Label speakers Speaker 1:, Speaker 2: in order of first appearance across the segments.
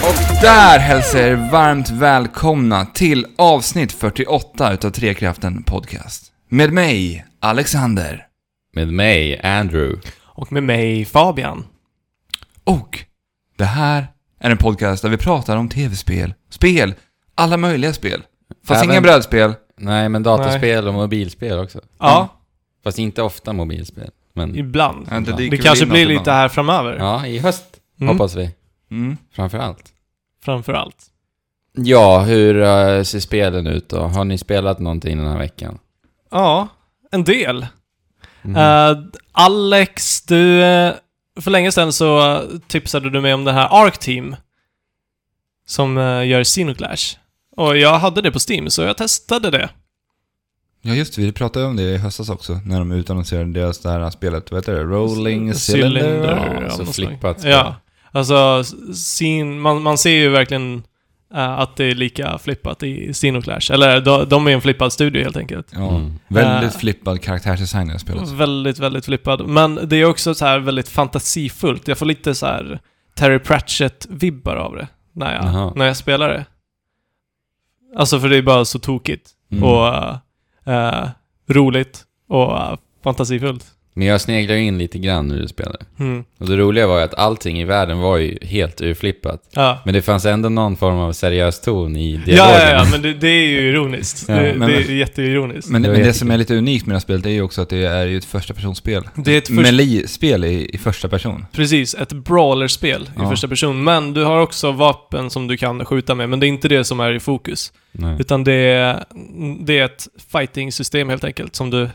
Speaker 1: Sådär hälsar er varmt välkomna till avsnitt 48 utav Trekraften Podcast. Med mig, Alexander.
Speaker 2: Med mig, Andrew.
Speaker 3: Och med mig Fabian.
Speaker 1: Och det här är en podcast där vi pratar om tv-spel, spel, alla möjliga spel. Fast
Speaker 2: Även-
Speaker 1: inga brädspel.
Speaker 2: Nej, men dataspel och mobilspel också.
Speaker 3: Ja,
Speaker 2: Fast inte ofta mobilspel. Men
Speaker 3: ibland.
Speaker 1: Ja, dyker
Speaker 3: Det
Speaker 1: väl
Speaker 3: kanske
Speaker 1: in
Speaker 3: blir
Speaker 1: något
Speaker 3: lite
Speaker 1: ibland.
Speaker 3: här framöver,
Speaker 2: ja, i höst
Speaker 3: Mm.
Speaker 2: hoppas vi.
Speaker 1: Mm.
Speaker 2: Framför allt.
Speaker 3: framför allt.
Speaker 2: Ja, hur eh, ser spelen ut då? Har ni spelat någonting den här veckan?
Speaker 3: Ja, en del.
Speaker 2: Mhm.
Speaker 3: Eh, Alex, du... eh, För länge sedan så eh, tipsade du mig om det här Arc Team. Som eh, gör Sinoclash. Och jag hade det på Steam, så jag testade det.
Speaker 4: Ja just det, vi pratade om det i höstas också när de utannonserade deras det här spelet, vad heter det? Rolling
Speaker 3: Cylinder.
Speaker 4: Cylinder?
Speaker 3: Ja,
Speaker 2: ja, så
Speaker 3: något slag.
Speaker 2: flippat spel.
Speaker 3: Ja. Alltså, sin, man, man ser ju verkligen eh, att det är lika flippat i Sinoclash. Eller de, de är en flippad studio helt enkelt.
Speaker 4: Ja,
Speaker 2: Mm.
Speaker 4: väldigt
Speaker 3: Eh.
Speaker 4: flippad karaktärsdesign i det här spelet.
Speaker 3: Väldigt, väldigt flippad. Men det är också så här väldigt fantasifullt. Jag får lite så här Terry Pratchett-vibbar av det när
Speaker 2: Jaha.
Speaker 3: jag, när jag spelar det. Alltså för det är bara så tokigt
Speaker 2: Mm.
Speaker 3: och eh, eh, roligt och eh, fantasifullt.
Speaker 2: Men jag sneglade ju in lite grann när du spelade.
Speaker 3: Mm.
Speaker 2: Och det roliga var ju att allting i världen var ju helt urflippat.
Speaker 3: Ja.
Speaker 2: Men det fanns ändå någon form av seriös ton i dialogen.
Speaker 3: Ja, ja, ja, men det, det är ju ironiskt.
Speaker 2: Ja,
Speaker 3: det,
Speaker 4: men-
Speaker 3: det är jätteironiskt.
Speaker 4: Men,
Speaker 2: Det
Speaker 4: det,
Speaker 2: var
Speaker 4: men det
Speaker 2: jättekul.
Speaker 4: som är lite unikt med det här spelet är ju också att det är ju ett första personspel.
Speaker 3: Det är ett först-
Speaker 4: Melee-spel i, i första person.
Speaker 3: Precis, ett brawlerspel i
Speaker 4: Ja.
Speaker 3: första person. Men du har också vapen som du kan skjuta med, men det är inte det som är i fokus.
Speaker 2: Nej.
Speaker 3: Utan det är, det är ett fighting-system helt enkelt som du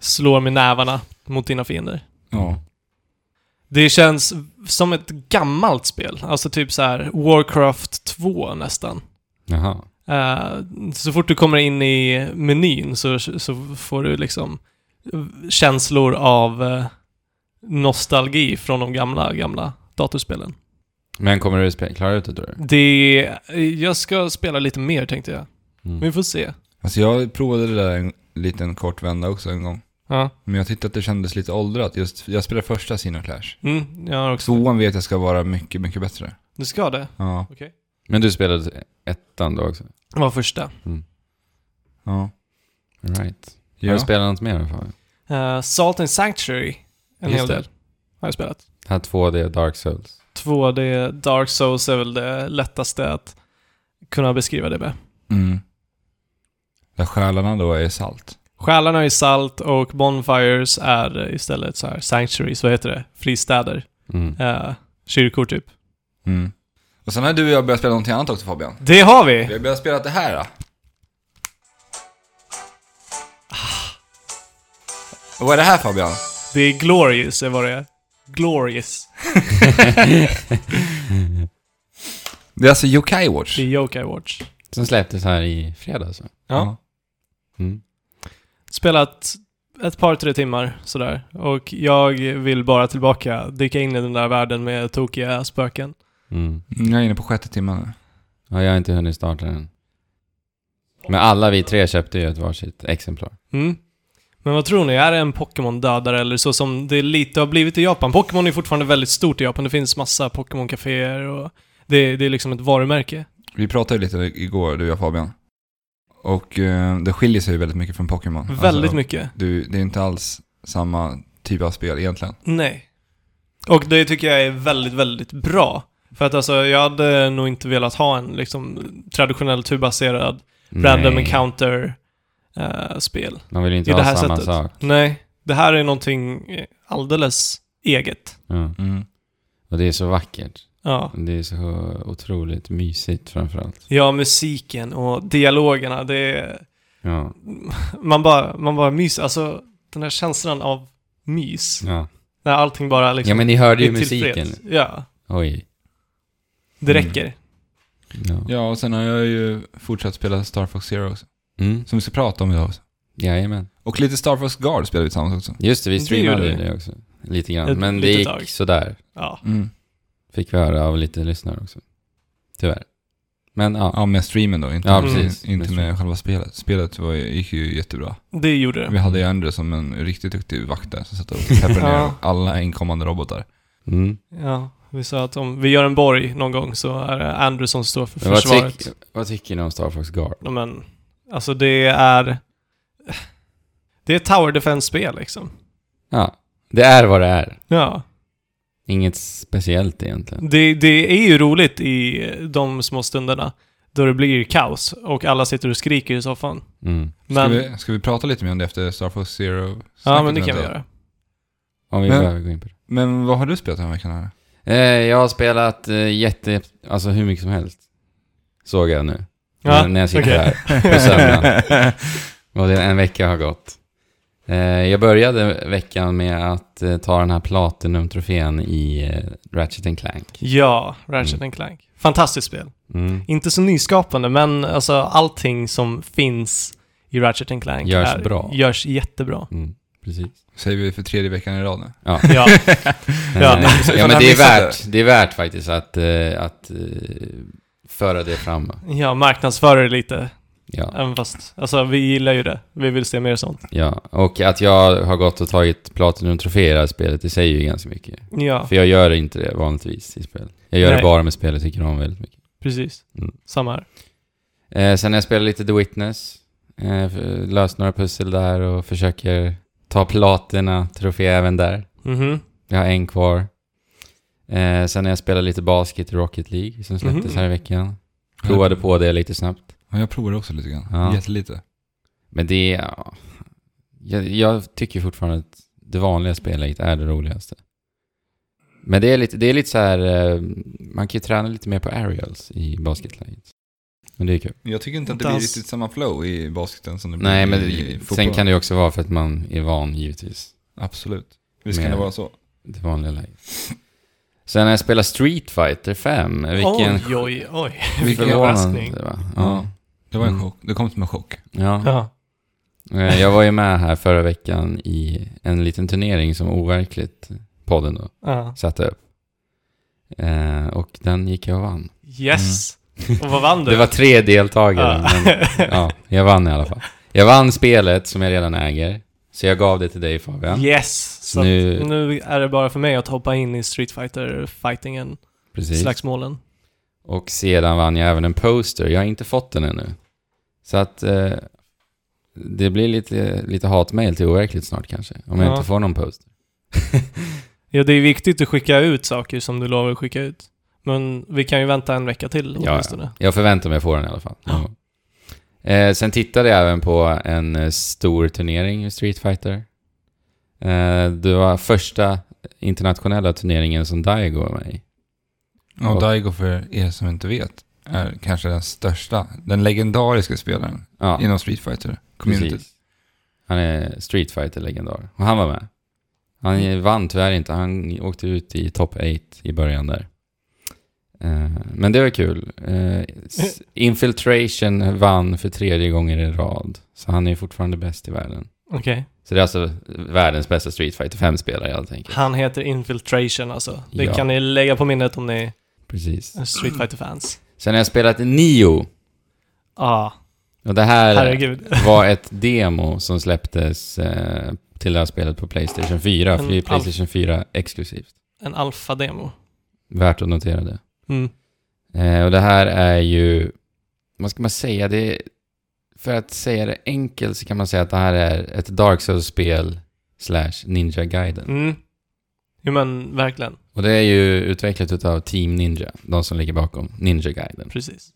Speaker 3: slår med nävarna mot dina fiender.
Speaker 4: Ja.
Speaker 3: Det känns som ett gammalt spel, alltså typ så här Warcraft 2 nästan.
Speaker 2: Jaha.
Speaker 3: Eh, så fort du kommer in i menyn så, så får du liksom känslor av eh, nostalgi från de gamla, gamla datorspelen.
Speaker 2: Men kommer du spe- klara ut det
Speaker 3: Mm.
Speaker 2: tror du?
Speaker 3: Det, jag ska spela lite mer tänkte jag.
Speaker 2: Mm.
Speaker 3: Vi får se.
Speaker 4: Alltså jag provade det där en liten kort vända också en gång.
Speaker 3: Ja.
Speaker 4: Men jag tyckte att det kändes lite åldrat. Just, jag spelade första Sino Clash.
Speaker 3: Mm, jag har också.
Speaker 4: Tvåan vet jag ska vara mycket, mycket bättre.
Speaker 3: Du ska det?
Speaker 4: Ja.
Speaker 3: Okej.
Speaker 2: Men du spelade ettan då också?
Speaker 3: Det var första.
Speaker 4: Ja.
Speaker 2: All Right. Har
Speaker 4: Ja.
Speaker 2: du spelat något mer Fabian?
Speaker 3: Eh, Salt and Sanctuary. En
Speaker 2: Just
Speaker 3: hel
Speaker 2: det.
Speaker 3: del. Har jag spelat.
Speaker 2: Här 2D och Dark Souls.
Speaker 3: 2D Dark Souls är väl det lättaste att kunna beskriva det med.
Speaker 4: Mm. Där själarna då är salt.
Speaker 3: Själarna är salt och Bonfires är istället så här sanctuaries, vad heter det? Fristäder.
Speaker 2: Mm.
Speaker 3: Eh, kyrkor typ.
Speaker 4: Mm. Och sen har du och jag börjat spela någonting annat också Fabian.
Speaker 3: Det har
Speaker 4: Vi
Speaker 3: vi!
Speaker 4: har börjat spela det här då. Och Ah. vad är det här Fabian?
Speaker 3: Det är glorious, är vad det är. Glorious.
Speaker 4: Det är alltså Yokai Watch.
Speaker 3: Det är Yokai Watch.
Speaker 2: Som släpptes här i fredags va?
Speaker 3: Ja.
Speaker 2: Mm.
Speaker 3: Spelat ett par, tre timmar sådär. Och jag vill bara tillbaka, dyka in i den där världen med tokiga spöken.
Speaker 2: Mm.
Speaker 4: Mm, Jag är inne på sjätte timmen nu.
Speaker 2: Ja, jag har inte hunnit starta den. Men alla vi tre köpte ju ett varsitt exemplar.
Speaker 3: Mm. Men vad tror ni? Är det en Pokémon-dödare eller så som det lite har blivit i Japan? Pokémon är fortfarande väldigt stort i Japan. Det finns massa Pokémon-caféer och det, det är liksom ett varumärke.
Speaker 4: Vi pratade lite igår, du och jag Fabian. Och eh, det skiljer sig ju väldigt mycket från Pokémon.
Speaker 3: Väldigt
Speaker 4: Alltså,
Speaker 3: mycket.
Speaker 4: Du, det är inte alls samma typ av spel egentligen.
Speaker 3: Nej. Och det tycker jag är väldigt, väldigt bra. För att alltså, jag hade nog inte velat ha en liksom traditionell turbaserad random
Speaker 2: Nej,
Speaker 3: encounter-spel. Eh, spel.
Speaker 2: De vill ju inte
Speaker 3: i det
Speaker 2: ha
Speaker 3: här
Speaker 2: samma
Speaker 3: sättet.
Speaker 2: sak.
Speaker 3: Nej, det här är någonting eh, alldeles eget.
Speaker 2: Ja.
Speaker 4: Mm.
Speaker 2: Och det är så vackert.
Speaker 3: Ja.
Speaker 2: Det är så otroligt mysigt framförallt.
Speaker 3: ja, musiken och dialogerna, det är...
Speaker 2: Ja.
Speaker 3: man bara, man bara mys, alltså den här känslan av mys.
Speaker 2: Ja.
Speaker 3: När allting bara liksom
Speaker 2: ja, men ni hörde ju
Speaker 3: är tillfreds.
Speaker 2: musiken.
Speaker 3: Ja,
Speaker 2: Oj.
Speaker 3: det
Speaker 4: Mm.
Speaker 3: räcker.
Speaker 2: Ja.
Speaker 4: Ja, och sen har jag ju fortsatt spela Star Fox Zero också.
Speaker 2: Mm.
Speaker 4: Som vi ska prata om idag också.
Speaker 2: Jajamän.
Speaker 4: Och lite Star Fox Guard spelar vi tillsammans också.
Speaker 2: Just det, vi
Speaker 3: Det
Speaker 2: streamade
Speaker 3: gjorde vi.
Speaker 2: det också. Lite grann.
Speaker 3: Ett
Speaker 2: men det
Speaker 3: litet
Speaker 2: gick
Speaker 3: tag.
Speaker 2: sådär.
Speaker 3: Ja.
Speaker 4: Mm.
Speaker 2: Fick vi höra av lite lyssnare också. Tyvärr. Men ja.
Speaker 4: Ja, med streamen då. Inte,
Speaker 2: Ja,
Speaker 3: precis.
Speaker 4: Mm. inte
Speaker 2: Med
Speaker 4: med själva spelet. Spelet var, ju- gick ju jättebra.
Speaker 3: Det gjorde det.
Speaker 4: Vi hade ju Andrew som en riktigt duktig vakt där som satt och peppade ner
Speaker 3: Ja.
Speaker 4: alla inkommande robotar.
Speaker 2: Mm.
Speaker 3: Ja. Vi sa att om vi gör en borg någon gång så är det Andrew som står för
Speaker 2: Men vad,
Speaker 3: försvaret.
Speaker 2: tyck, vad tycker ni om Star Fox Guard?
Speaker 3: Ja, Men, alltså det är... Det är ett tower defense-spel liksom.
Speaker 2: Ja, det är vad det är.
Speaker 3: Ja.
Speaker 2: Inget speciellt egentligen.
Speaker 3: Det, det är ju roligt i de små stunderna då det blir kaos och alla sitter och skriker i soffan.
Speaker 2: Mm.
Speaker 3: Men,
Speaker 4: Ska, vi, ska vi prata lite mer om det efter Star Fox Zero?
Speaker 3: ja men det kan vi göra.
Speaker 2: Om vi
Speaker 4: Men-
Speaker 2: behöver gå in på det.
Speaker 4: Men vad har du spelat den här veckan? Här?
Speaker 2: Eh, jag har spelat eh, jätte... Alltså hur mycket som helst. Såg jag nu.
Speaker 3: Ja,
Speaker 2: När- när jag sitter
Speaker 3: okej.
Speaker 2: här på sömnen. Och det, en vecka har gått. Eh, jag började veckan med att eh, ta den här Platinum-trofén i eh, Ratchet and Clank.
Speaker 3: Ja, Ratchet and Clank. Fantastiskt spel.
Speaker 2: Mm.
Speaker 3: Inte så nyskapande, men alltså allting som finns i Ratchet and Clank
Speaker 2: Görs bra.
Speaker 3: görs jättebra.
Speaker 2: Mm, precis.
Speaker 4: Säger vi för tredje veckan i rad nu.
Speaker 2: Ja.
Speaker 3: Ja, Ja.
Speaker 2: Eh, ja,
Speaker 4: Ifall
Speaker 2: men
Speaker 4: han
Speaker 2: det är,
Speaker 4: missade.
Speaker 2: värt, det är värt faktiskt att, eh, att eh, föra det fram.
Speaker 3: ja marknadsföra det lite.
Speaker 2: Ja,
Speaker 3: Även fast, alltså vi gillar ju det. Vi vill se mer sånt.
Speaker 2: ja. Och att jag har gått och tagit Platinum-trofé i det här spelet, det säger ju ganska mycket.
Speaker 3: Ja,
Speaker 2: För jag gör inte det vanligtvis i spel. Jag gör
Speaker 3: Nej.
Speaker 2: det bara med spel jag tycker om väldigt mycket.
Speaker 3: precis.
Speaker 2: Mm.
Speaker 3: Samma här.
Speaker 2: Eh, sen har jag spelat lite The Witness. Eh, f- löst några pussel där och försöker ta platina trofé även där.
Speaker 3: Mhm.
Speaker 2: Jag har en kvar. Eh, sen har jag spelat lite basket i Rocket League som släpptes
Speaker 3: Mhm.
Speaker 2: här i veckan. Provade på det lite snabbt.
Speaker 4: Ja, jag provade också lite grann.
Speaker 2: Ja.
Speaker 4: Jättelite.
Speaker 2: Men det är... Ja, jag, jag tycker fortfarande att det vanliga spelläget är det roligaste. Men det är lite, det är lite så här... eh, Man kan ju träna lite mer på aerials i basketläget. Men det är kul.
Speaker 4: Jag tycker inte att det
Speaker 3: Inte
Speaker 4: blir
Speaker 3: alls.
Speaker 4: riktigt samma flow i basketen som det blir
Speaker 2: Nej, men
Speaker 4: i,
Speaker 2: det-
Speaker 4: Mm, i fotboll.
Speaker 2: sen kan det ju också vara för att man är van givetvis.
Speaker 4: Absolut. Visst kan
Speaker 2: Mer.
Speaker 4: det vara så.
Speaker 2: Det vanliga läget. Sen när jag spelar Street Fighter 5, vilken
Speaker 3: Oj, oj, oj.
Speaker 4: Vilken
Speaker 3: överraskning.
Speaker 2: det var.
Speaker 4: Ja.
Speaker 2: Ja.
Speaker 4: Det var en
Speaker 2: Mm.
Speaker 4: chock. Det kom som en chock.
Speaker 2: Ja.
Speaker 3: Ja.
Speaker 2: Eh, Jag var ju med här förra veckan i en liten turnering som overkligt podden då
Speaker 3: ja.
Speaker 2: satte upp. Eh, och den gick jag och vann.
Speaker 3: Yes. Och vad vann du?
Speaker 2: Mm. Det var tre deltagare,
Speaker 3: Ja.
Speaker 2: men ja, jag vann i alla fall. Jag vann spelet som jag redan äger, så jag gav det till dig Fabian.
Speaker 3: Yes! Så nu...
Speaker 2: Nu-
Speaker 3: Att nu är det bara för mig att hoppa in i Street fighter fightingen
Speaker 2: Precis.
Speaker 3: slagsmålen.
Speaker 2: Och sedan vann jag även en poster. Jag har inte fått den ännu. Så att eh, det blir lite, lite hatmejl till overkligt snart kanske. Om jag
Speaker 3: Ja.
Speaker 2: inte får någon poster.
Speaker 3: Ja, det är viktigt att skicka ut saker som du lovar att skicka ut. Men vi kan ju vänta en vecka till
Speaker 2: Ja,
Speaker 3: åtminstone.
Speaker 2: Jag förväntar mig att få den i alla fall.
Speaker 3: Ja.
Speaker 2: Eh, sen tittade jag även på en eh, stor turnering i Street Fighter. Eh, det var första internationella turneringen som Daigo var med i.
Speaker 4: Och Daigo, för er som inte vet, är kanske den största, den legendariska spelaren
Speaker 2: Ja,
Speaker 4: inom Street Fighter. Community.
Speaker 2: precis. Han är Street fighter legendar Och han var med. Han vann tyvärr inte. Han åkte ut i top 8 i början där. Eh, Men det var kul. Eh, s- Infiltration vann för tredje gången i rad. Så han är fortfarande bäst i världen.
Speaker 3: Okej.
Speaker 2: Så det är alltså världens bästa Street Fighter 5-spelare helt enkelt.
Speaker 3: Han heter Infiltration alltså. Det
Speaker 2: Ja.
Speaker 3: kan ni lägga på minnet om ni
Speaker 2: Precis.
Speaker 3: är Street fighter fans
Speaker 2: Sen har jag spelat Nio.
Speaker 3: Ja,
Speaker 2: Och det här
Speaker 3: Ah, herregud.
Speaker 2: var ett demo som släpptes eh, till det här spelet på Playstation 4. För det är
Speaker 3: En alf-
Speaker 2: Playstation 4 exklusivt.
Speaker 3: En alfa-demo.
Speaker 2: Värt att notera det.
Speaker 3: Mm.
Speaker 2: Eh, och det här är ju, vad ska man säga, det är, för att säga det enkelt så kan man säga att det här är ett Dark Souls-spel slash Ninja Gaiden.
Speaker 3: Mm. Jo men verkligen,
Speaker 2: Och det är ju utvecklat utav Team Ninja, de som ligger bakom Ninja Gaiden.
Speaker 3: precis.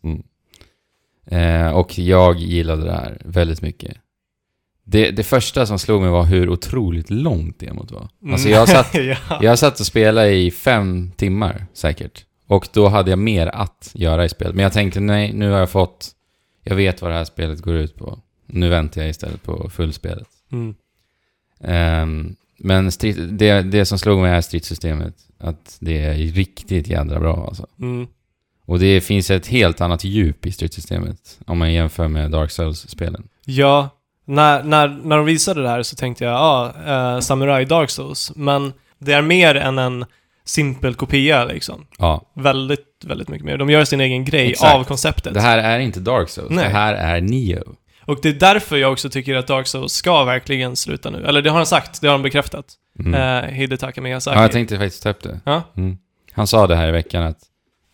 Speaker 2: Eh, och jag gillade det här väldigt mycket. Det, det första som slog mig var hur otroligt långt demot var. Alltså jag satt
Speaker 3: Mm. ja.
Speaker 2: Jag satt och spelade i fem timmar säkert. Och då hade jag mer att göra i spelet. Men jag tänkte nej, nu har jag fått... Jag vet vad det här spelet går ut på. Nu väntar jag istället på fullspelet.
Speaker 3: Mm.
Speaker 2: Ehm, men strid, det, det som slog mig är stridssystemet. Att det är riktigt jädra bra alltså.
Speaker 3: Mm.
Speaker 2: Och det finns ett helt annat djup i stridssystemet. Om man jämför med Dark Souls-spelen.
Speaker 3: Ja, när, när, när de visade det här så tänkte jag, ja, eh, Samurai Dark Souls, men det är mer än en simpel kopia liksom.
Speaker 2: Ja,
Speaker 3: Väldigt, väldigt mycket mer. De gör sin egen grej
Speaker 2: Exakt.
Speaker 3: av konceptet.
Speaker 2: det här är inte Dark Souls.
Speaker 3: Nej.
Speaker 2: Det här är Neo.
Speaker 3: Och det är därför jag också tycker att Dark Souls ska verkligen sluta nu. Eller det har han sagt, det har han bekräftat.
Speaker 2: Mm.
Speaker 3: Eh, Hidetaka Miyazaki.
Speaker 2: ja, jag tänkte faktiskt ta upp det.
Speaker 3: Ja.
Speaker 2: Mm. Han sa det här i veckan att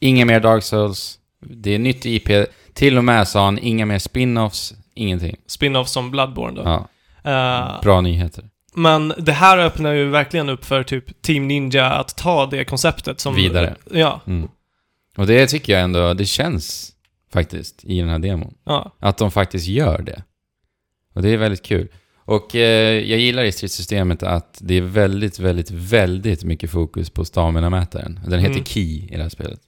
Speaker 2: inga mer Dark Souls, det är nytt IP, till och med sa han inga mer spin-offs, ingenting.
Speaker 3: Spin-off som Bloodborne då.
Speaker 2: Ja,
Speaker 3: Eh,
Speaker 2: bra nyheter.
Speaker 3: men det här öppnar ju verkligen upp för typ Team Ninja att ta det konceptet som...
Speaker 2: Vidare.
Speaker 3: Ja,
Speaker 2: Mm. Och det tycker jag ändå, det känns faktiskt i den här demon.
Speaker 3: ja.
Speaker 2: Att de faktiskt gör det. Och det är väldigt kul. Och eh, jag gillar i stridssystemet att det är väldigt, väldigt, väldigt mycket fokus på stamina-mätaren. Den heter
Speaker 3: Mm.
Speaker 2: Key i det här spelet.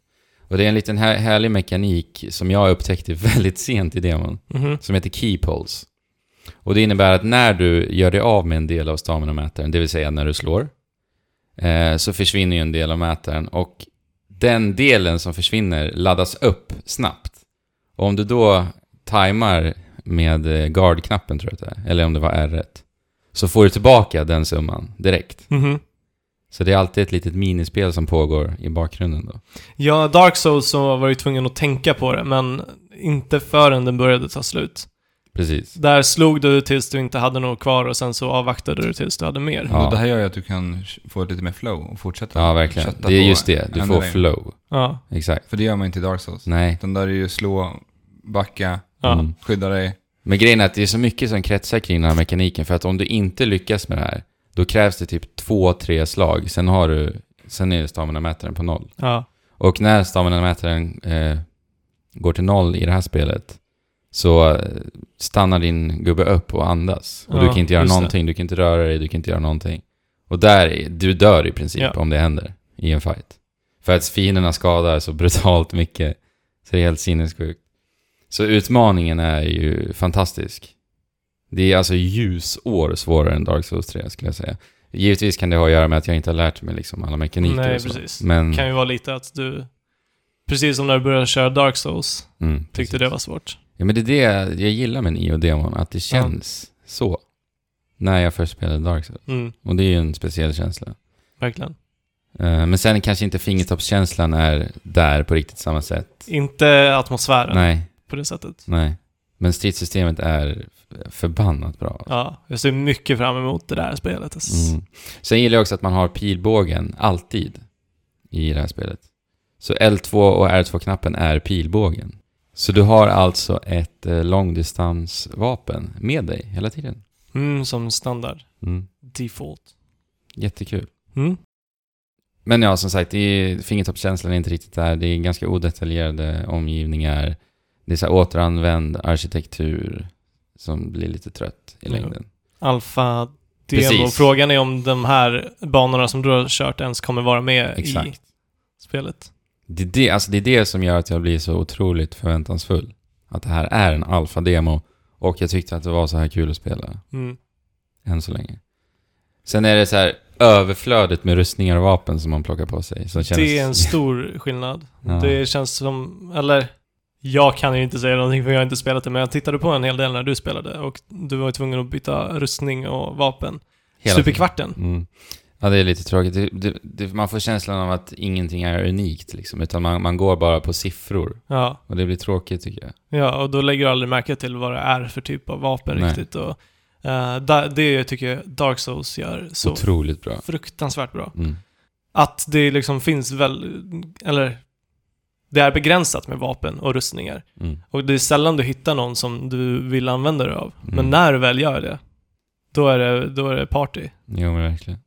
Speaker 2: Och det är en liten här, härlig mekanik som jag upptäckte väldigt sent i demon
Speaker 3: Mhm.
Speaker 2: som heter Key Pulse. Och det innebär att när du gör dig av med en del av stamina-mätaren, det vill säga när du slår, eh, så försvinner ju en del av mätaren och den delen som försvinner laddas upp snabbt. Och om du då tajmar med eh, guard-knappen, tror jag att det är, eller om det var R1, så får du tillbaka den summan direkt.
Speaker 3: Mhm.
Speaker 2: Så det är alltid ett litet minispel som pågår i bakgrunden då.
Speaker 3: Ja, Dark Souls så var jag ju tvungen att tänka på det, men inte förrän den började ta slut.
Speaker 2: Precis.
Speaker 3: Där slog du tills du inte hade något kvar och sen så avvaktade du tills du hade mer.
Speaker 2: Ja.
Speaker 4: Och det här gör ju att du kan få lite mer flow och fortsätta.
Speaker 2: Ja, verkligen.
Speaker 4: kötta
Speaker 2: Det är
Speaker 4: på
Speaker 2: just det. Du
Speaker 4: ännu
Speaker 2: får
Speaker 4: längre.
Speaker 2: flow.
Speaker 3: Ja.
Speaker 2: Exakt.
Speaker 4: För det gör man inte i Dark Souls.
Speaker 2: Nej.
Speaker 4: Utan där är det ju slå, backa,
Speaker 3: Ja.
Speaker 2: Mm.
Speaker 4: skydda dig.
Speaker 2: Men grejen är att det är så mycket som kretsar kring den här mekaniken för att om du inte lyckas med det här då krävs det typ två, tre slag. Sen har du, sen är stamina-mätaren på noll.
Speaker 3: ja.
Speaker 2: Och när stamina-mätaren eh, går till noll i det här spelet så eh, stannar din gubbe upp och andas. Och du
Speaker 3: Ja,
Speaker 2: kan inte göra
Speaker 3: just det.
Speaker 2: någonting, du kan inte röra dig, du kan inte göra någonting. Och där, är- du dör i princip
Speaker 3: Ja.
Speaker 2: om det händer i en fight. För att fienderna skadar så brutalt mycket. Så det är helt sinnessjukt. Så utmaningen är ju fantastisk. Det är alltså ljusår svårare än Dark Souls 3 skulle jag säga. Givetvis kan det ha att göra med att jag inte har lärt mig liksom alla mekaniker
Speaker 3: Nej,
Speaker 2: och Mm. så.
Speaker 3: precis.
Speaker 2: Men,
Speaker 3: kan ju vara lite att du... Precis som när du började köra Dark Souls,
Speaker 2: mm,
Speaker 3: tyckte
Speaker 2: precis.
Speaker 3: det var svårt.
Speaker 2: Ja, men det är det jag gillar med Neo-demon, att det känns så. När jag först spelade Dark Souls.
Speaker 3: Mm,
Speaker 2: Och det är ju en speciell känsla.
Speaker 3: verkligen.
Speaker 2: Eh, Men sen kanske inte fingertoppskänslan är där på riktigt samma sätt.
Speaker 3: Inte atmosfären
Speaker 2: Nej,
Speaker 3: på det sättet.
Speaker 2: nej. Men stridssystemet är f- förbannat bra.
Speaker 3: Ja, jag ser mycket fram emot det där spelet. alltså.
Speaker 2: Mm. Sen gillar jag också att man har pilbågen alltid i det här spelet. Så L2 och R2-knappen är pilbågen. Så du har alltså ett eh, långdistansvapen med dig hela tiden.
Speaker 3: Mm, som standard.
Speaker 2: Mm.
Speaker 3: Default.
Speaker 2: Jättekul.
Speaker 3: Mm.
Speaker 2: Men ja, som sagt, det är, fingertoppskänslan är inte riktigt där. Det är ganska odetaljerade omgivningar. Det är så här återanvänd arkitektur som blir lite trött i
Speaker 3: Ja.
Speaker 2: längden.
Speaker 3: Alfa demo.
Speaker 2: Precis.
Speaker 3: Frågan är om de här banorna som du har kört ens kommer vara med
Speaker 2: Exakt.
Speaker 3: i spelet.
Speaker 2: Det, är det, alltså det är det som gör att jag blir så otroligt förväntansfull. Att det här är en alfa-demo och jag tyckte att det var så här kul att spela
Speaker 3: Mm.
Speaker 2: än så länge. Sen är det så här överflödet med rustningar och vapen som man plockar på sig. Som känns,
Speaker 3: Det är en stor skillnad.
Speaker 2: Ja.
Speaker 3: Det känns som, eller jag kan ju inte säga någonting för jag har inte spelat det, men jag tittade på en hel del när du spelade och du var ju tvungen att byta rustning och vapen.
Speaker 2: hela
Speaker 3: Stup i
Speaker 2: tiden.
Speaker 3: kvarten.
Speaker 2: Mm. Ja, det är lite tråkigt. Det, det, det, man får känslan av att ingenting är unikt, liksom, utan man, man går bara på siffror.
Speaker 3: Ja.
Speaker 2: Och det blir tråkigt tycker jag.
Speaker 3: ja, och då lägger du aldrig märke till vad det är för typ av vapen
Speaker 2: Nej.
Speaker 3: riktigt. Och, eh, da- det tycker jag Dark Souls gör så
Speaker 2: Otroligt bra.
Speaker 3: fruktansvärt bra.
Speaker 2: Mm.
Speaker 3: Att det liksom finns väl, eller det är begränsat med vapen och rustningar.
Speaker 2: Mm.
Speaker 3: Och det är sällan du hittar någon som du vill använda dig av.
Speaker 2: Mm.
Speaker 3: Men när du väl gör det, då är det, då är det party.
Speaker 2: Jo, men verkligen.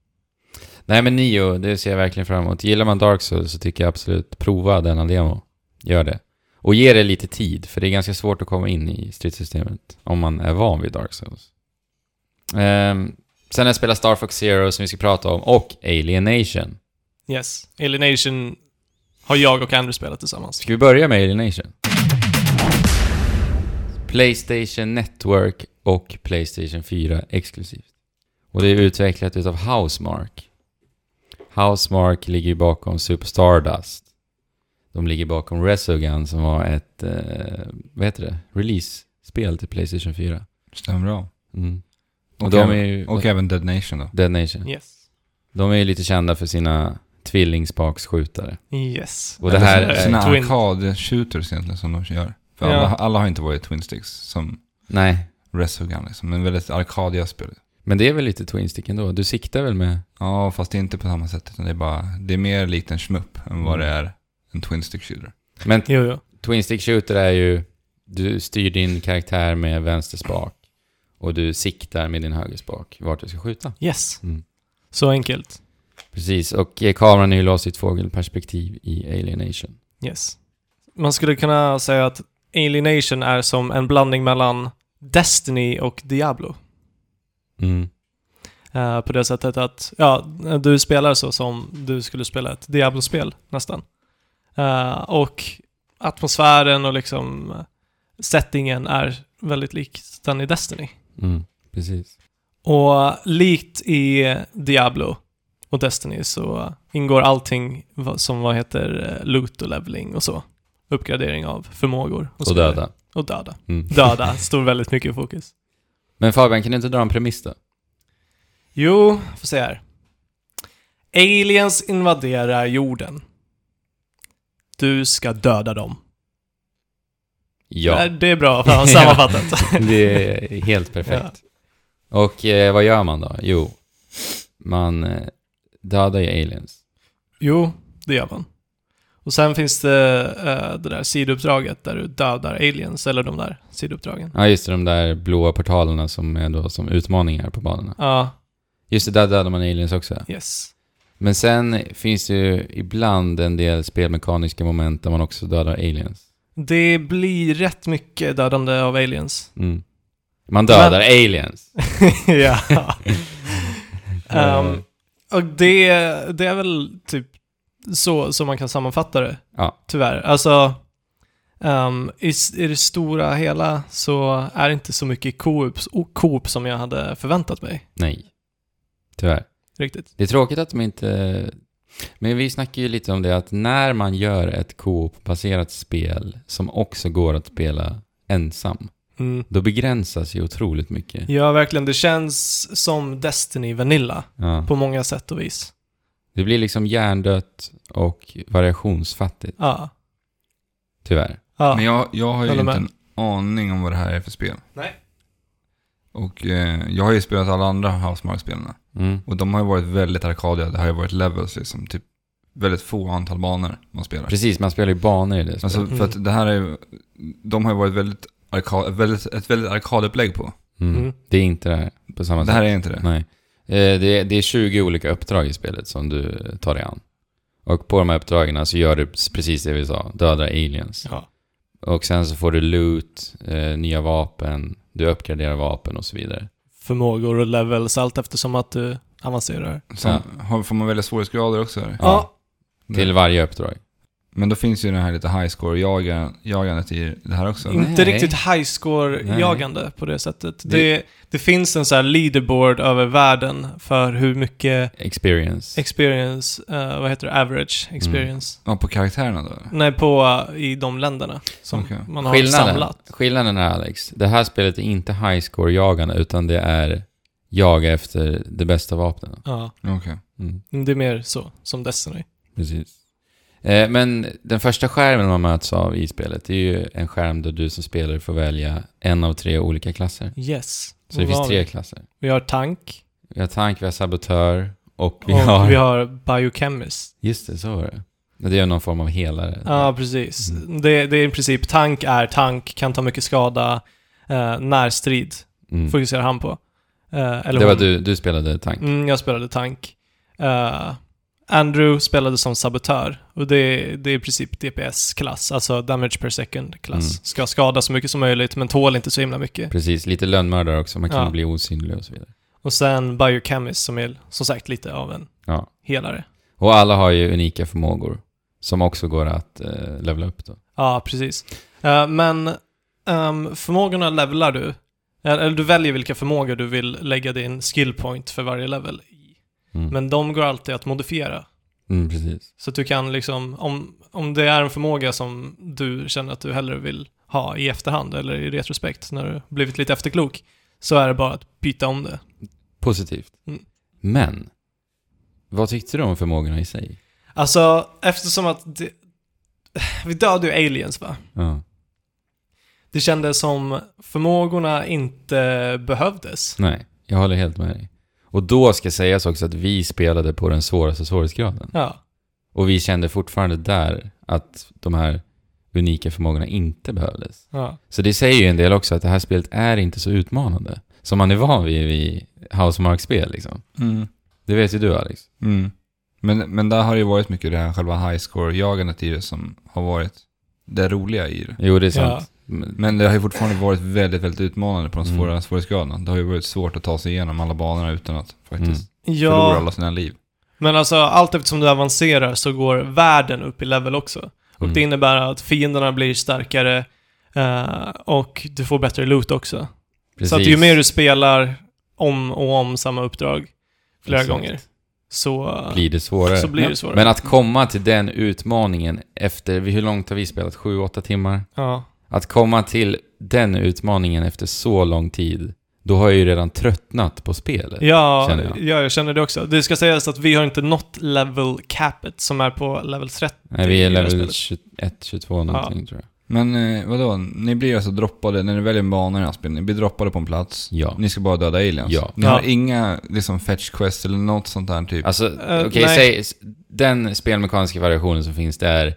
Speaker 2: Nej, men Nio, det ser jag verkligen fram emot. Gillar man Dark Souls så tycker jag absolut prova denna demo. Gör det. Och ge det lite tid, för det är ganska svårt att komma in i stridssystemet om man är van vid Dark Souls. Ehm, sen har jag spelat Star Fox Zero som vi ska prata om, och Alienation.
Speaker 3: Yes. Alienation har jag och Andrew spelat tillsammans.
Speaker 2: Ska vi börja med Alienation? Playstation Network och Playstation 4 exklusivt. Och det är utvecklat utav Housemark. Housemark ligger ju bakom Super Stardust. De ligger bakom Resogun som var ett, eh, vad heter det, release-spel till Playstation 4.
Speaker 4: Stämmer bra.
Speaker 2: Mm. Och
Speaker 4: Och,
Speaker 2: de
Speaker 4: även,
Speaker 2: är ju...
Speaker 4: och även Dead Nation då.
Speaker 2: Dead Nation.
Speaker 3: Yes.
Speaker 2: De är ju lite kända för sina tvillingspaksskjutare.
Speaker 3: Yes.
Speaker 2: Och det här
Speaker 4: Eller
Speaker 2: är-
Speaker 4: Såna
Speaker 3: Twin.
Speaker 4: arkad-shooters egentligen som de gör. För
Speaker 3: Ja.
Speaker 4: alla, alla har inte varit Twin Sticks som
Speaker 2: Nej,
Speaker 4: Resogun liksom. Men väldigt arkadiga spel.
Speaker 2: Men det är väl lite twin stick ändå? Du siktar väl med...
Speaker 4: Ja, fast det är inte på samma sätt. Utan det, är bara, det är mer likt en schmupp än vad
Speaker 2: Mm.
Speaker 4: det är en twin stick shooter.
Speaker 2: Men
Speaker 3: Jo, jo.
Speaker 2: Twin Stick Shooter är ju, du styr din karaktär med vänster spak och du siktar med din höger spak vart du ska skjuta.
Speaker 3: Yes.
Speaker 2: Mm.
Speaker 3: Så enkelt.
Speaker 2: Precis, och eh, kameran är ju låst i ett fågelperspektiv i Alienation.
Speaker 3: Yes. Man skulle kunna säga att Alienation är som en blandning mellan Destiny och Diablo.
Speaker 2: Mm.
Speaker 3: Eh, på det sättet att, ja, du spelar så som du skulle spela ett Diablo-spel nästan. Eh, och atmosfären och liksom settingen är väldigt lik den i Destiny.
Speaker 2: Mm. Precis.
Speaker 3: Och likt i Diablo och Destiny så ingår allting vad- som vad heter eh, loot och leveling och så. Uppgradering av förmågor. så
Speaker 2: Och
Speaker 3: vidare.
Speaker 2: döda.
Speaker 3: Och döda.
Speaker 2: Mm.
Speaker 3: Döda står väldigt mycket i fokus.
Speaker 2: Men Fabian, kan du inte dra en premiss då?
Speaker 3: Jo, får se här. Aliens invaderar jorden. Du ska döda dem.
Speaker 2: Ja,
Speaker 3: Nej, Det är bra fan, sammanfattat.
Speaker 2: det är helt perfekt. Och eh, vad gör man då? Jo, man eh, dödar ju aliens.
Speaker 3: jo, det gör man. Och sen finns det eh, det där sidouppdraget där du dödar aliens, eller de där sidouppdragen.
Speaker 2: Ja, just det, de där blåa portalerna som är då som utmaningar på banorna.
Speaker 3: Ja,
Speaker 2: Just det, där dödar man aliens också.
Speaker 3: yes.
Speaker 2: Men sen finns det ju ibland en del spelmekaniska moment där man också dödar aliens.
Speaker 3: Det blir rätt mycket dödande av aliens.
Speaker 2: Mm. Man dödar aliens.
Speaker 3: ja.
Speaker 2: Eh,
Speaker 3: Ehm, och det, det är väl typ så som man kan sammanfatta det.
Speaker 2: Ja.
Speaker 3: Tyvärr. Alltså, ehm, i, s- i det stora hela så är det inte så mycket Coop, Coop som jag hade förväntat mig.
Speaker 2: nej. Tyvärr.
Speaker 3: Riktigt.
Speaker 2: Det är tråkigt att de inte... Men vi snackar ju lite om det att när man gör ett co-op-baserat spel som också går att spela ensam,
Speaker 3: Mm.
Speaker 2: då begränsas ju otroligt mycket.
Speaker 3: Ja, verkligen. Det känns som Destiny Vanilla
Speaker 2: Ja.
Speaker 3: på många sätt och vis.
Speaker 2: Det blir liksom hjärndött och variationsfattigt,
Speaker 3: Ja.
Speaker 2: tyvärr.
Speaker 3: ja.
Speaker 4: Men jag, jag har ju
Speaker 3: Håller
Speaker 4: inte
Speaker 3: med.
Speaker 4: en aning om vad det här är för spel.
Speaker 3: Nej.
Speaker 4: Och eh, jag har ju spelat alla andra Housemark-spelarna.
Speaker 2: Mm.
Speaker 4: Och de har ju varit väldigt arkadiga. Det har ju varit levels liksom. Typ väldigt få antal banor man spelar.
Speaker 2: Precis, man spelar ju banor i det spelet.
Speaker 4: Alltså för att det här är ju- De har ju varit väldigt, arka, väldigt ett väldigt arkadupplägg på.
Speaker 2: Mm.
Speaker 3: Mm.
Speaker 2: Det är inte det här på samma
Speaker 4: Det
Speaker 2: sätt.
Speaker 4: här är inte det.
Speaker 2: Nej. Eh, Det är, det är 20 olika uppdrag i spelet som du tar dig an. Och på de här uppdragen så gör du precis det vi sa, döda aliens.
Speaker 3: Ja.
Speaker 2: Och sen så får du loot, eh, nya vapen, du uppgraderar vapen och så vidare.
Speaker 3: Förmågor och levels, allt eftersom att du avancerar.
Speaker 4: Sen har, får man välja svårighetsgrader också. Eller?
Speaker 2: Ja. Till varje uppdrag.
Speaker 4: Men då finns ju den här lite high score-jagandet i det här också.
Speaker 3: Inte
Speaker 2: Nej.
Speaker 3: riktigt highscore-jagande på det sättet. Det, det, finns en så här leaderboard över världen för hur mycket
Speaker 2: Experience.
Speaker 3: experience, eh, vad heter det, average
Speaker 2: Mm.
Speaker 3: experience.
Speaker 4: Ja, på karaktärerna då? eller?
Speaker 3: Nej, på eh, i de länderna som
Speaker 4: Okej.
Speaker 3: man har
Speaker 2: Skillnaden,
Speaker 3: samlat.
Speaker 2: skillnaden är Alex, det här spelet är inte high score-jagande utan det är jaga efter det bästa vapnen.
Speaker 3: Ja,
Speaker 4: Okej.
Speaker 2: Mm.
Speaker 3: det är mer så, som Destiny.
Speaker 2: Precis. Eh, men den första skärmen man möts av i spelet det är ju en skärm där du som spelare får välja en av tre olika klasser.
Speaker 3: Yes.
Speaker 2: Så det
Speaker 3: Vad har
Speaker 2: finns tre
Speaker 3: vi?
Speaker 2: klasser.
Speaker 3: Vi har tank,
Speaker 2: Vi har tank, vi har sabotör och vi
Speaker 3: och
Speaker 2: har...
Speaker 3: vi har biochemist.
Speaker 2: Just det, så var det. Men Det är ju någon form av helare.
Speaker 3: Ja, precis.
Speaker 2: Mm.
Speaker 3: Det, det är i princip, tank är tank, kan ta mycket skada, eh, närstrid
Speaker 2: Mm.
Speaker 3: fokuserar han på. Eh, eller
Speaker 2: Det var
Speaker 3: hon.
Speaker 2: du, du spelade tank.
Speaker 3: Mm, jag spelade tank. Eh, Andrew spelade som sabotör. Och det, det är i princip DPS-klass, alltså damage per second-klass.
Speaker 2: Mm.
Speaker 3: Ska skada så mycket som möjligt, men tål inte så himla mycket.
Speaker 2: Precis, lite lönnmördare också. Man kan
Speaker 3: Ja.
Speaker 2: bli osynlig och så vidare.
Speaker 3: Och sen Biochemist som är som sagt lite av en
Speaker 2: Ja.
Speaker 3: helare.
Speaker 2: Och alla har ju unika förmågor som också går att eh, levla upp då.
Speaker 3: Ja, precis. Eh, men ehm, förmågorna levlar du. Eller eller du väljer vilka förmågor du vill lägga din skill point för varje level i.
Speaker 2: Mm.
Speaker 3: Men de går alltid att modifiera.
Speaker 2: Mm, precis.
Speaker 3: Så att du kan liksom, om, om det är en förmåga som du känner att du hellre vill ha i efterhand eller i retrospekt när du blivit lite efterklok, så är det bara att byta om det.
Speaker 2: Positivt.
Speaker 3: Mm.
Speaker 2: Men, vad tyckte du om förmågorna i sig?
Speaker 3: Alltså, eftersom att det, vi dödade ju aliens va?
Speaker 2: Ja.
Speaker 3: Det kändes som förmågorna inte behövdes.
Speaker 2: Nej, Jag håller helt med dig. Och då ska sägas också att vi spelade på den svåraste svårighetsgraden.
Speaker 3: Ja.
Speaker 2: Och vi kände fortfarande där att de här unika förmågorna inte behövdes.
Speaker 3: ja.
Speaker 2: Så det säger ju en del också att det här spelet är inte så utmanande. Som man är van vid vid Housemark-spel liksom.
Speaker 4: Mm.
Speaker 2: Det vet ju du Alex.
Speaker 4: Mm. Men, men där har det ju varit mycket det här själva highscore-jagandet i det som har varit det roliga i det.
Speaker 2: Jo, det är
Speaker 3: Ja.
Speaker 2: sant. Men-
Speaker 4: Men det har ju fortfarande varit väldigt, väldigt utmanande på de
Speaker 2: Mm.
Speaker 4: svåra svårighetsgraderna. Det har ju varit svårt att ta sig igenom alla banorna utan att
Speaker 2: Mm.
Speaker 4: faktiskt förlora
Speaker 3: ja
Speaker 4: alla sina liv.
Speaker 3: men alltså allt eftersom du avancerar så går världen upp i level också. Och
Speaker 2: Mm.
Speaker 3: det innebär att fienderna blir starkare eh, och du får bättre loot också. Så att ju mer du spelar om och om samma uppdrag flera
Speaker 2: Exakt.
Speaker 3: gånger så
Speaker 2: blir det svårare.
Speaker 3: så blir
Speaker 4: Ja.
Speaker 3: det svårare.
Speaker 2: Men att komma till den utmaningen efter, hur långt har vi spelat? Sju, åtta timmar?
Speaker 3: ja.
Speaker 2: Att komma till den utmaningen efter så lång tid, då har jag ju redan tröttnat på spelet.
Speaker 3: Ja,
Speaker 2: känner
Speaker 3: jag.
Speaker 2: jag.
Speaker 3: ja, jag känner det också. Det ska sägas att vi har inte nått level capet som är på level 30.
Speaker 2: Nej, vi
Speaker 3: i
Speaker 2: är
Speaker 3: det här
Speaker 2: level
Speaker 3: spelet.
Speaker 2: 21, 22 någonting tror jag.
Speaker 4: Men eh, vadå, ni blir alltså droppade, när ni väljer en bana i det här spelet, ni blir droppade på en plats.
Speaker 2: Ja.
Speaker 4: Ni ska bara döda aliens.
Speaker 2: Ja.
Speaker 4: Ni
Speaker 3: Ja.
Speaker 4: har inga liksom fetch quest eller något sånt där typ.
Speaker 2: Alltså,
Speaker 3: Eh,
Speaker 2: okej,
Speaker 3: nej.
Speaker 2: säg, s- den spelmekaniska variationen som finns det är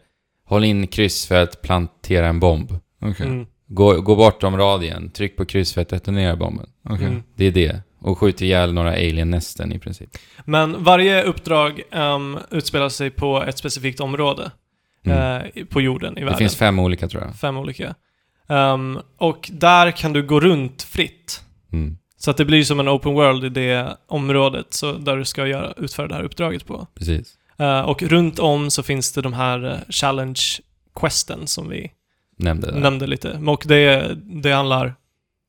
Speaker 2: håll in kryss för att plantera en bomb.
Speaker 4: Okej,
Speaker 3: Mm,
Speaker 2: Gå, gå bortom radien, tryck på kryss för att detonera bomben.
Speaker 4: okej.
Speaker 3: mm.
Speaker 2: Det är det. Och skjut ihjäl några alien-nästen i princip.
Speaker 3: Men varje uppdrag um, utspelar sig på ett specifikt område
Speaker 2: Mm.
Speaker 3: eh, i- på jorden i världen.
Speaker 2: det finns fem olika tror jag.
Speaker 3: fem olika. Ehm, och där kan du gå runt fritt.
Speaker 2: Mm,
Speaker 3: Så att det blir som en open world i det området så där du ska göra, utföra det här uppdraget på.
Speaker 2: precis.
Speaker 3: Eh, och runt om så finns det de här eh, challenge questen som vi
Speaker 2: nämnde det.
Speaker 3: nämnde lite. Och det, det handlar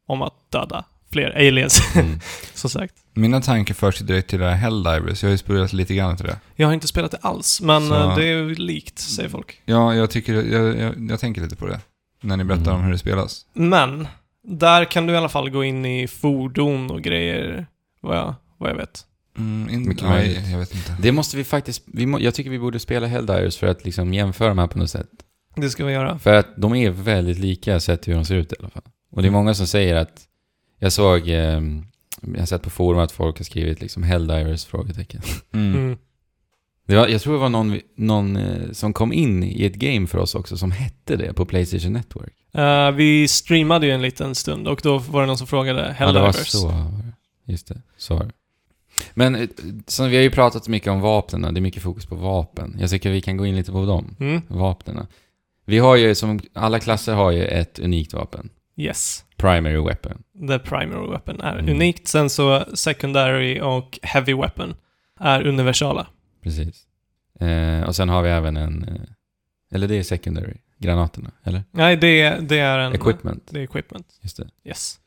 Speaker 3: om att döda fler aliens,
Speaker 2: Mm.
Speaker 3: som sagt.
Speaker 4: Mina tankar förs ju direkt till det här Helldivers, jag har ju spelat lite grann till det.
Speaker 3: Jag har inte spelat det alls, men
Speaker 4: Så-
Speaker 3: eh, det är ju likt,
Speaker 2: Mm.
Speaker 3: säger folk.
Speaker 4: Ja, jag, tycker, jag, jag, jag tänker lite på det. När ni berättar
Speaker 2: Mm.
Speaker 4: om hur det spelas.
Speaker 3: Men, där kan du i alla fall gå in i fordon och grejer, vad jag, vad jag vet.
Speaker 4: Mm, in,
Speaker 2: Mycket
Speaker 4: nej,
Speaker 2: möjligt.
Speaker 4: jag vet inte.
Speaker 2: Det måste vi faktiskt, vi må, jag tycker vi borde spela Helldivers för att liksom jämföra de här på något sätt.
Speaker 3: Det ska vi göra.
Speaker 2: För att de är väldigt lika sett till hur de ser ut i alla fall. Och det är många som säger att, jag såg, eh, jag har sett på forum att folk har skrivit liksom Helldivers? frågetecken.
Speaker 4: Mm.
Speaker 3: Mm.
Speaker 2: Det var, jag tror det var någon, någon eh, som kom in i ett game för oss också som hette det på Playstation Network.
Speaker 3: Eh, vi streamade ju en liten stund och då var det någon som frågade
Speaker 2: Ja, det var
Speaker 3: Helldivers.
Speaker 2: så. var det. Just det, så var det. Men eh, som vi har ju pratat mycket om vapnen, det är mycket fokus på vapen. Jag tycker vi kan gå in lite på dem.
Speaker 3: mm.
Speaker 2: vapnena. Vi har ju, som alla klasser har ju ett unikt vapen.
Speaker 3: Yes.
Speaker 2: Primary weapon.
Speaker 3: The primary weapon är
Speaker 2: Mm.
Speaker 3: unikt, sen så secondary och heavy weapon är universala.
Speaker 2: Precis. Eh, och sen har vi även en... Eh, eller det är secondary. Granaterna, eller?
Speaker 3: Nej, det, det är en...
Speaker 2: Equipment,
Speaker 3: Det är equipment.
Speaker 2: just det.
Speaker 3: Yes.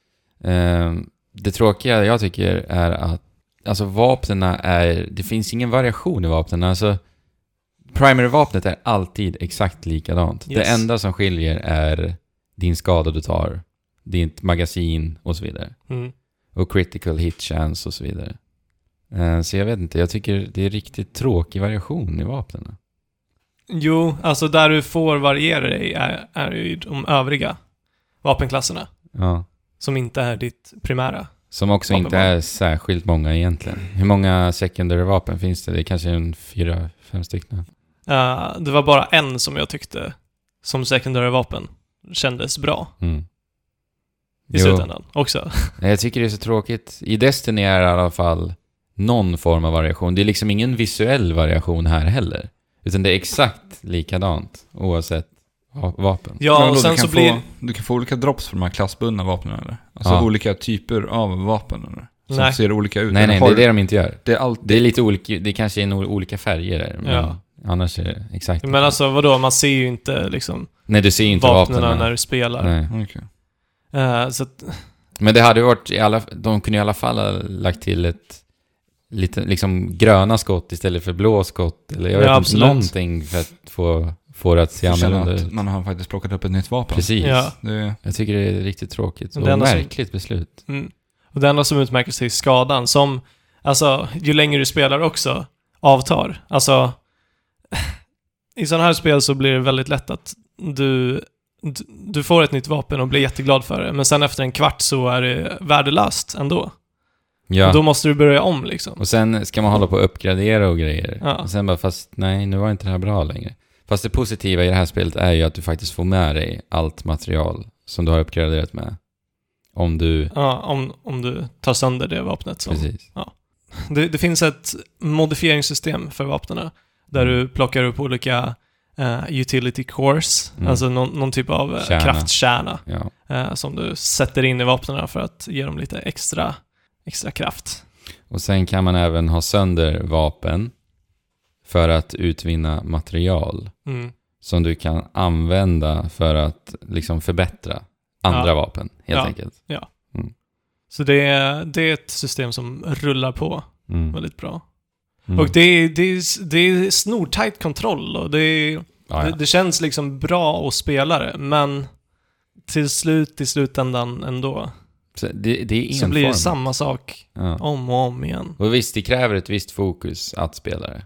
Speaker 2: Eh, det tråkiga jag tycker är att... Alltså vapnena är... Det finns ingen variation i vapnena. Alltså... Primary-vapnet är alltid exakt likadant. Det
Speaker 3: Yes.
Speaker 2: enda som skiljer är din skada du tar, ditt magasin och så vidare.
Speaker 3: Mm.
Speaker 2: och critical hit chance och så vidare. Eh, Så jag vet inte, jag tycker det är riktigt tråkig variation i vapnen.
Speaker 3: Jo, alltså där du får variera dig är, är ju de övriga vapenklasserna.
Speaker 2: Ja.
Speaker 3: Som inte är ditt primära.
Speaker 2: Som också inte
Speaker 3: Vapenval.
Speaker 2: är särskilt många egentligen. Hur många secondary vapen finns det? Det är kanske en fyra, fem stycken.
Speaker 3: Eh, det var bara en som jag tyckte som secondary vapen kändes bra
Speaker 2: Mm.
Speaker 3: i slutändan också.
Speaker 2: Nej, Jag tycker det är så tråkigt. I Destiny är det i alla fall någon form av variation. Det är liksom ingen visuell variation här heller. Utan det är exakt likadant oavsett va- vapen.
Speaker 4: Men
Speaker 3: Ja,
Speaker 4: vadå,
Speaker 3: och
Speaker 4: du
Speaker 3: sen
Speaker 4: kan
Speaker 3: så
Speaker 4: få,
Speaker 3: blir...
Speaker 4: Du kan få olika drops från de här klassbundna vapnen eller? Alltså
Speaker 2: Ja.
Speaker 4: olika typer av vapen eller? Som
Speaker 3: Nej.
Speaker 4: ser olika ut.
Speaker 2: Nej, nej, det
Speaker 4: Har-
Speaker 2: är det de inte gör.
Speaker 4: det är allt.
Speaker 2: Det är lite olika, det kanske är nog olika färger där, men
Speaker 3: Ja.
Speaker 2: annars är det exakt.
Speaker 3: Men alltså vadå, man ser ju inte liksom
Speaker 2: Nej, du ser ju inte
Speaker 3: vapnen
Speaker 2: vapnen.
Speaker 3: när du spelar.
Speaker 2: Nej.
Speaker 4: Okej.
Speaker 3: Eh, så att,
Speaker 2: Men det hade ju varit, i alla, de kunde i alla fall ha lagt till ett lite, liksom gröna skott istället för blå skott. Eller jag
Speaker 3: Ja,
Speaker 2: vet
Speaker 3: absolut.
Speaker 2: inte, någonting för att få, få det att se
Speaker 4: Jag känner
Speaker 2: annorlunda ut.
Speaker 4: att man har faktiskt plockat upp ett nytt vapen.
Speaker 2: Precis.
Speaker 3: Ja.
Speaker 4: Det,
Speaker 2: Jag tycker det är riktigt tråkigt
Speaker 3: Men
Speaker 2: och
Speaker 3: det enda som-
Speaker 2: märkligt beslut.
Speaker 3: mm. Och det enda som utmärker sig är skadan som, alltså ju längre du spelar också, avtar. Alltså, i sådana här spel så blir det väldigt lätt att du, du, du får ett nytt vapen och blir jätteglad för det, men sen efter en kvart så är det värdelöst ändå.
Speaker 2: Ja.
Speaker 3: Och då måste du börja om liksom.
Speaker 2: Och sen ska man hålla på och uppgradera och grejer.
Speaker 3: Ja.
Speaker 2: Och sen bara, fast nej, nu var inte det här bra längre. Fast det positiva i det här spelet är ju att du faktiskt får med dig allt material som du har uppgraderat med. Om du...
Speaker 3: Ja, om, om du tar sönder det vapnet. Som.
Speaker 2: Mm. Precis.
Speaker 3: Det, det finns ett modifieringssystem för vapnen där
Speaker 2: Mm.
Speaker 3: du plockar upp olika eh, utility cores,
Speaker 2: Mm.
Speaker 3: alltså någon, någon typ av eh,
Speaker 2: Kärna.
Speaker 3: kraftkärna
Speaker 2: Ja.
Speaker 3: eh, som du sätter in i vapnen för att ge dem lite extra, extra kraft.
Speaker 2: Och sen kan man även ha sönder vapen för att utvinna material
Speaker 3: Mm.
Speaker 2: som du kan använda för att liksom förbättra andra
Speaker 3: Ja.
Speaker 2: vapen, helt
Speaker 3: Ja.
Speaker 2: enkelt.
Speaker 3: Så det är, det är ett system som rullar på
Speaker 2: Mm.
Speaker 3: väldigt bra.
Speaker 2: Mm.
Speaker 3: Och det är, det är, det är snortajt kontroll och det, är,
Speaker 2: ja,
Speaker 3: det, det känns liksom bra att spela det, men till slut, i slutändan ändå,
Speaker 2: ja. det, det är
Speaker 3: så blir det
Speaker 2: enformigt.
Speaker 3: samma sak
Speaker 2: Ja.
Speaker 3: om och om igen.
Speaker 2: Och visst, det kräver ett visst fokus att spela det.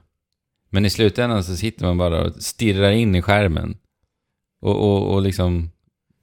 Speaker 2: Men i slutändan så sitter man bara och stirrar in i skärmen. Och, och, och liksom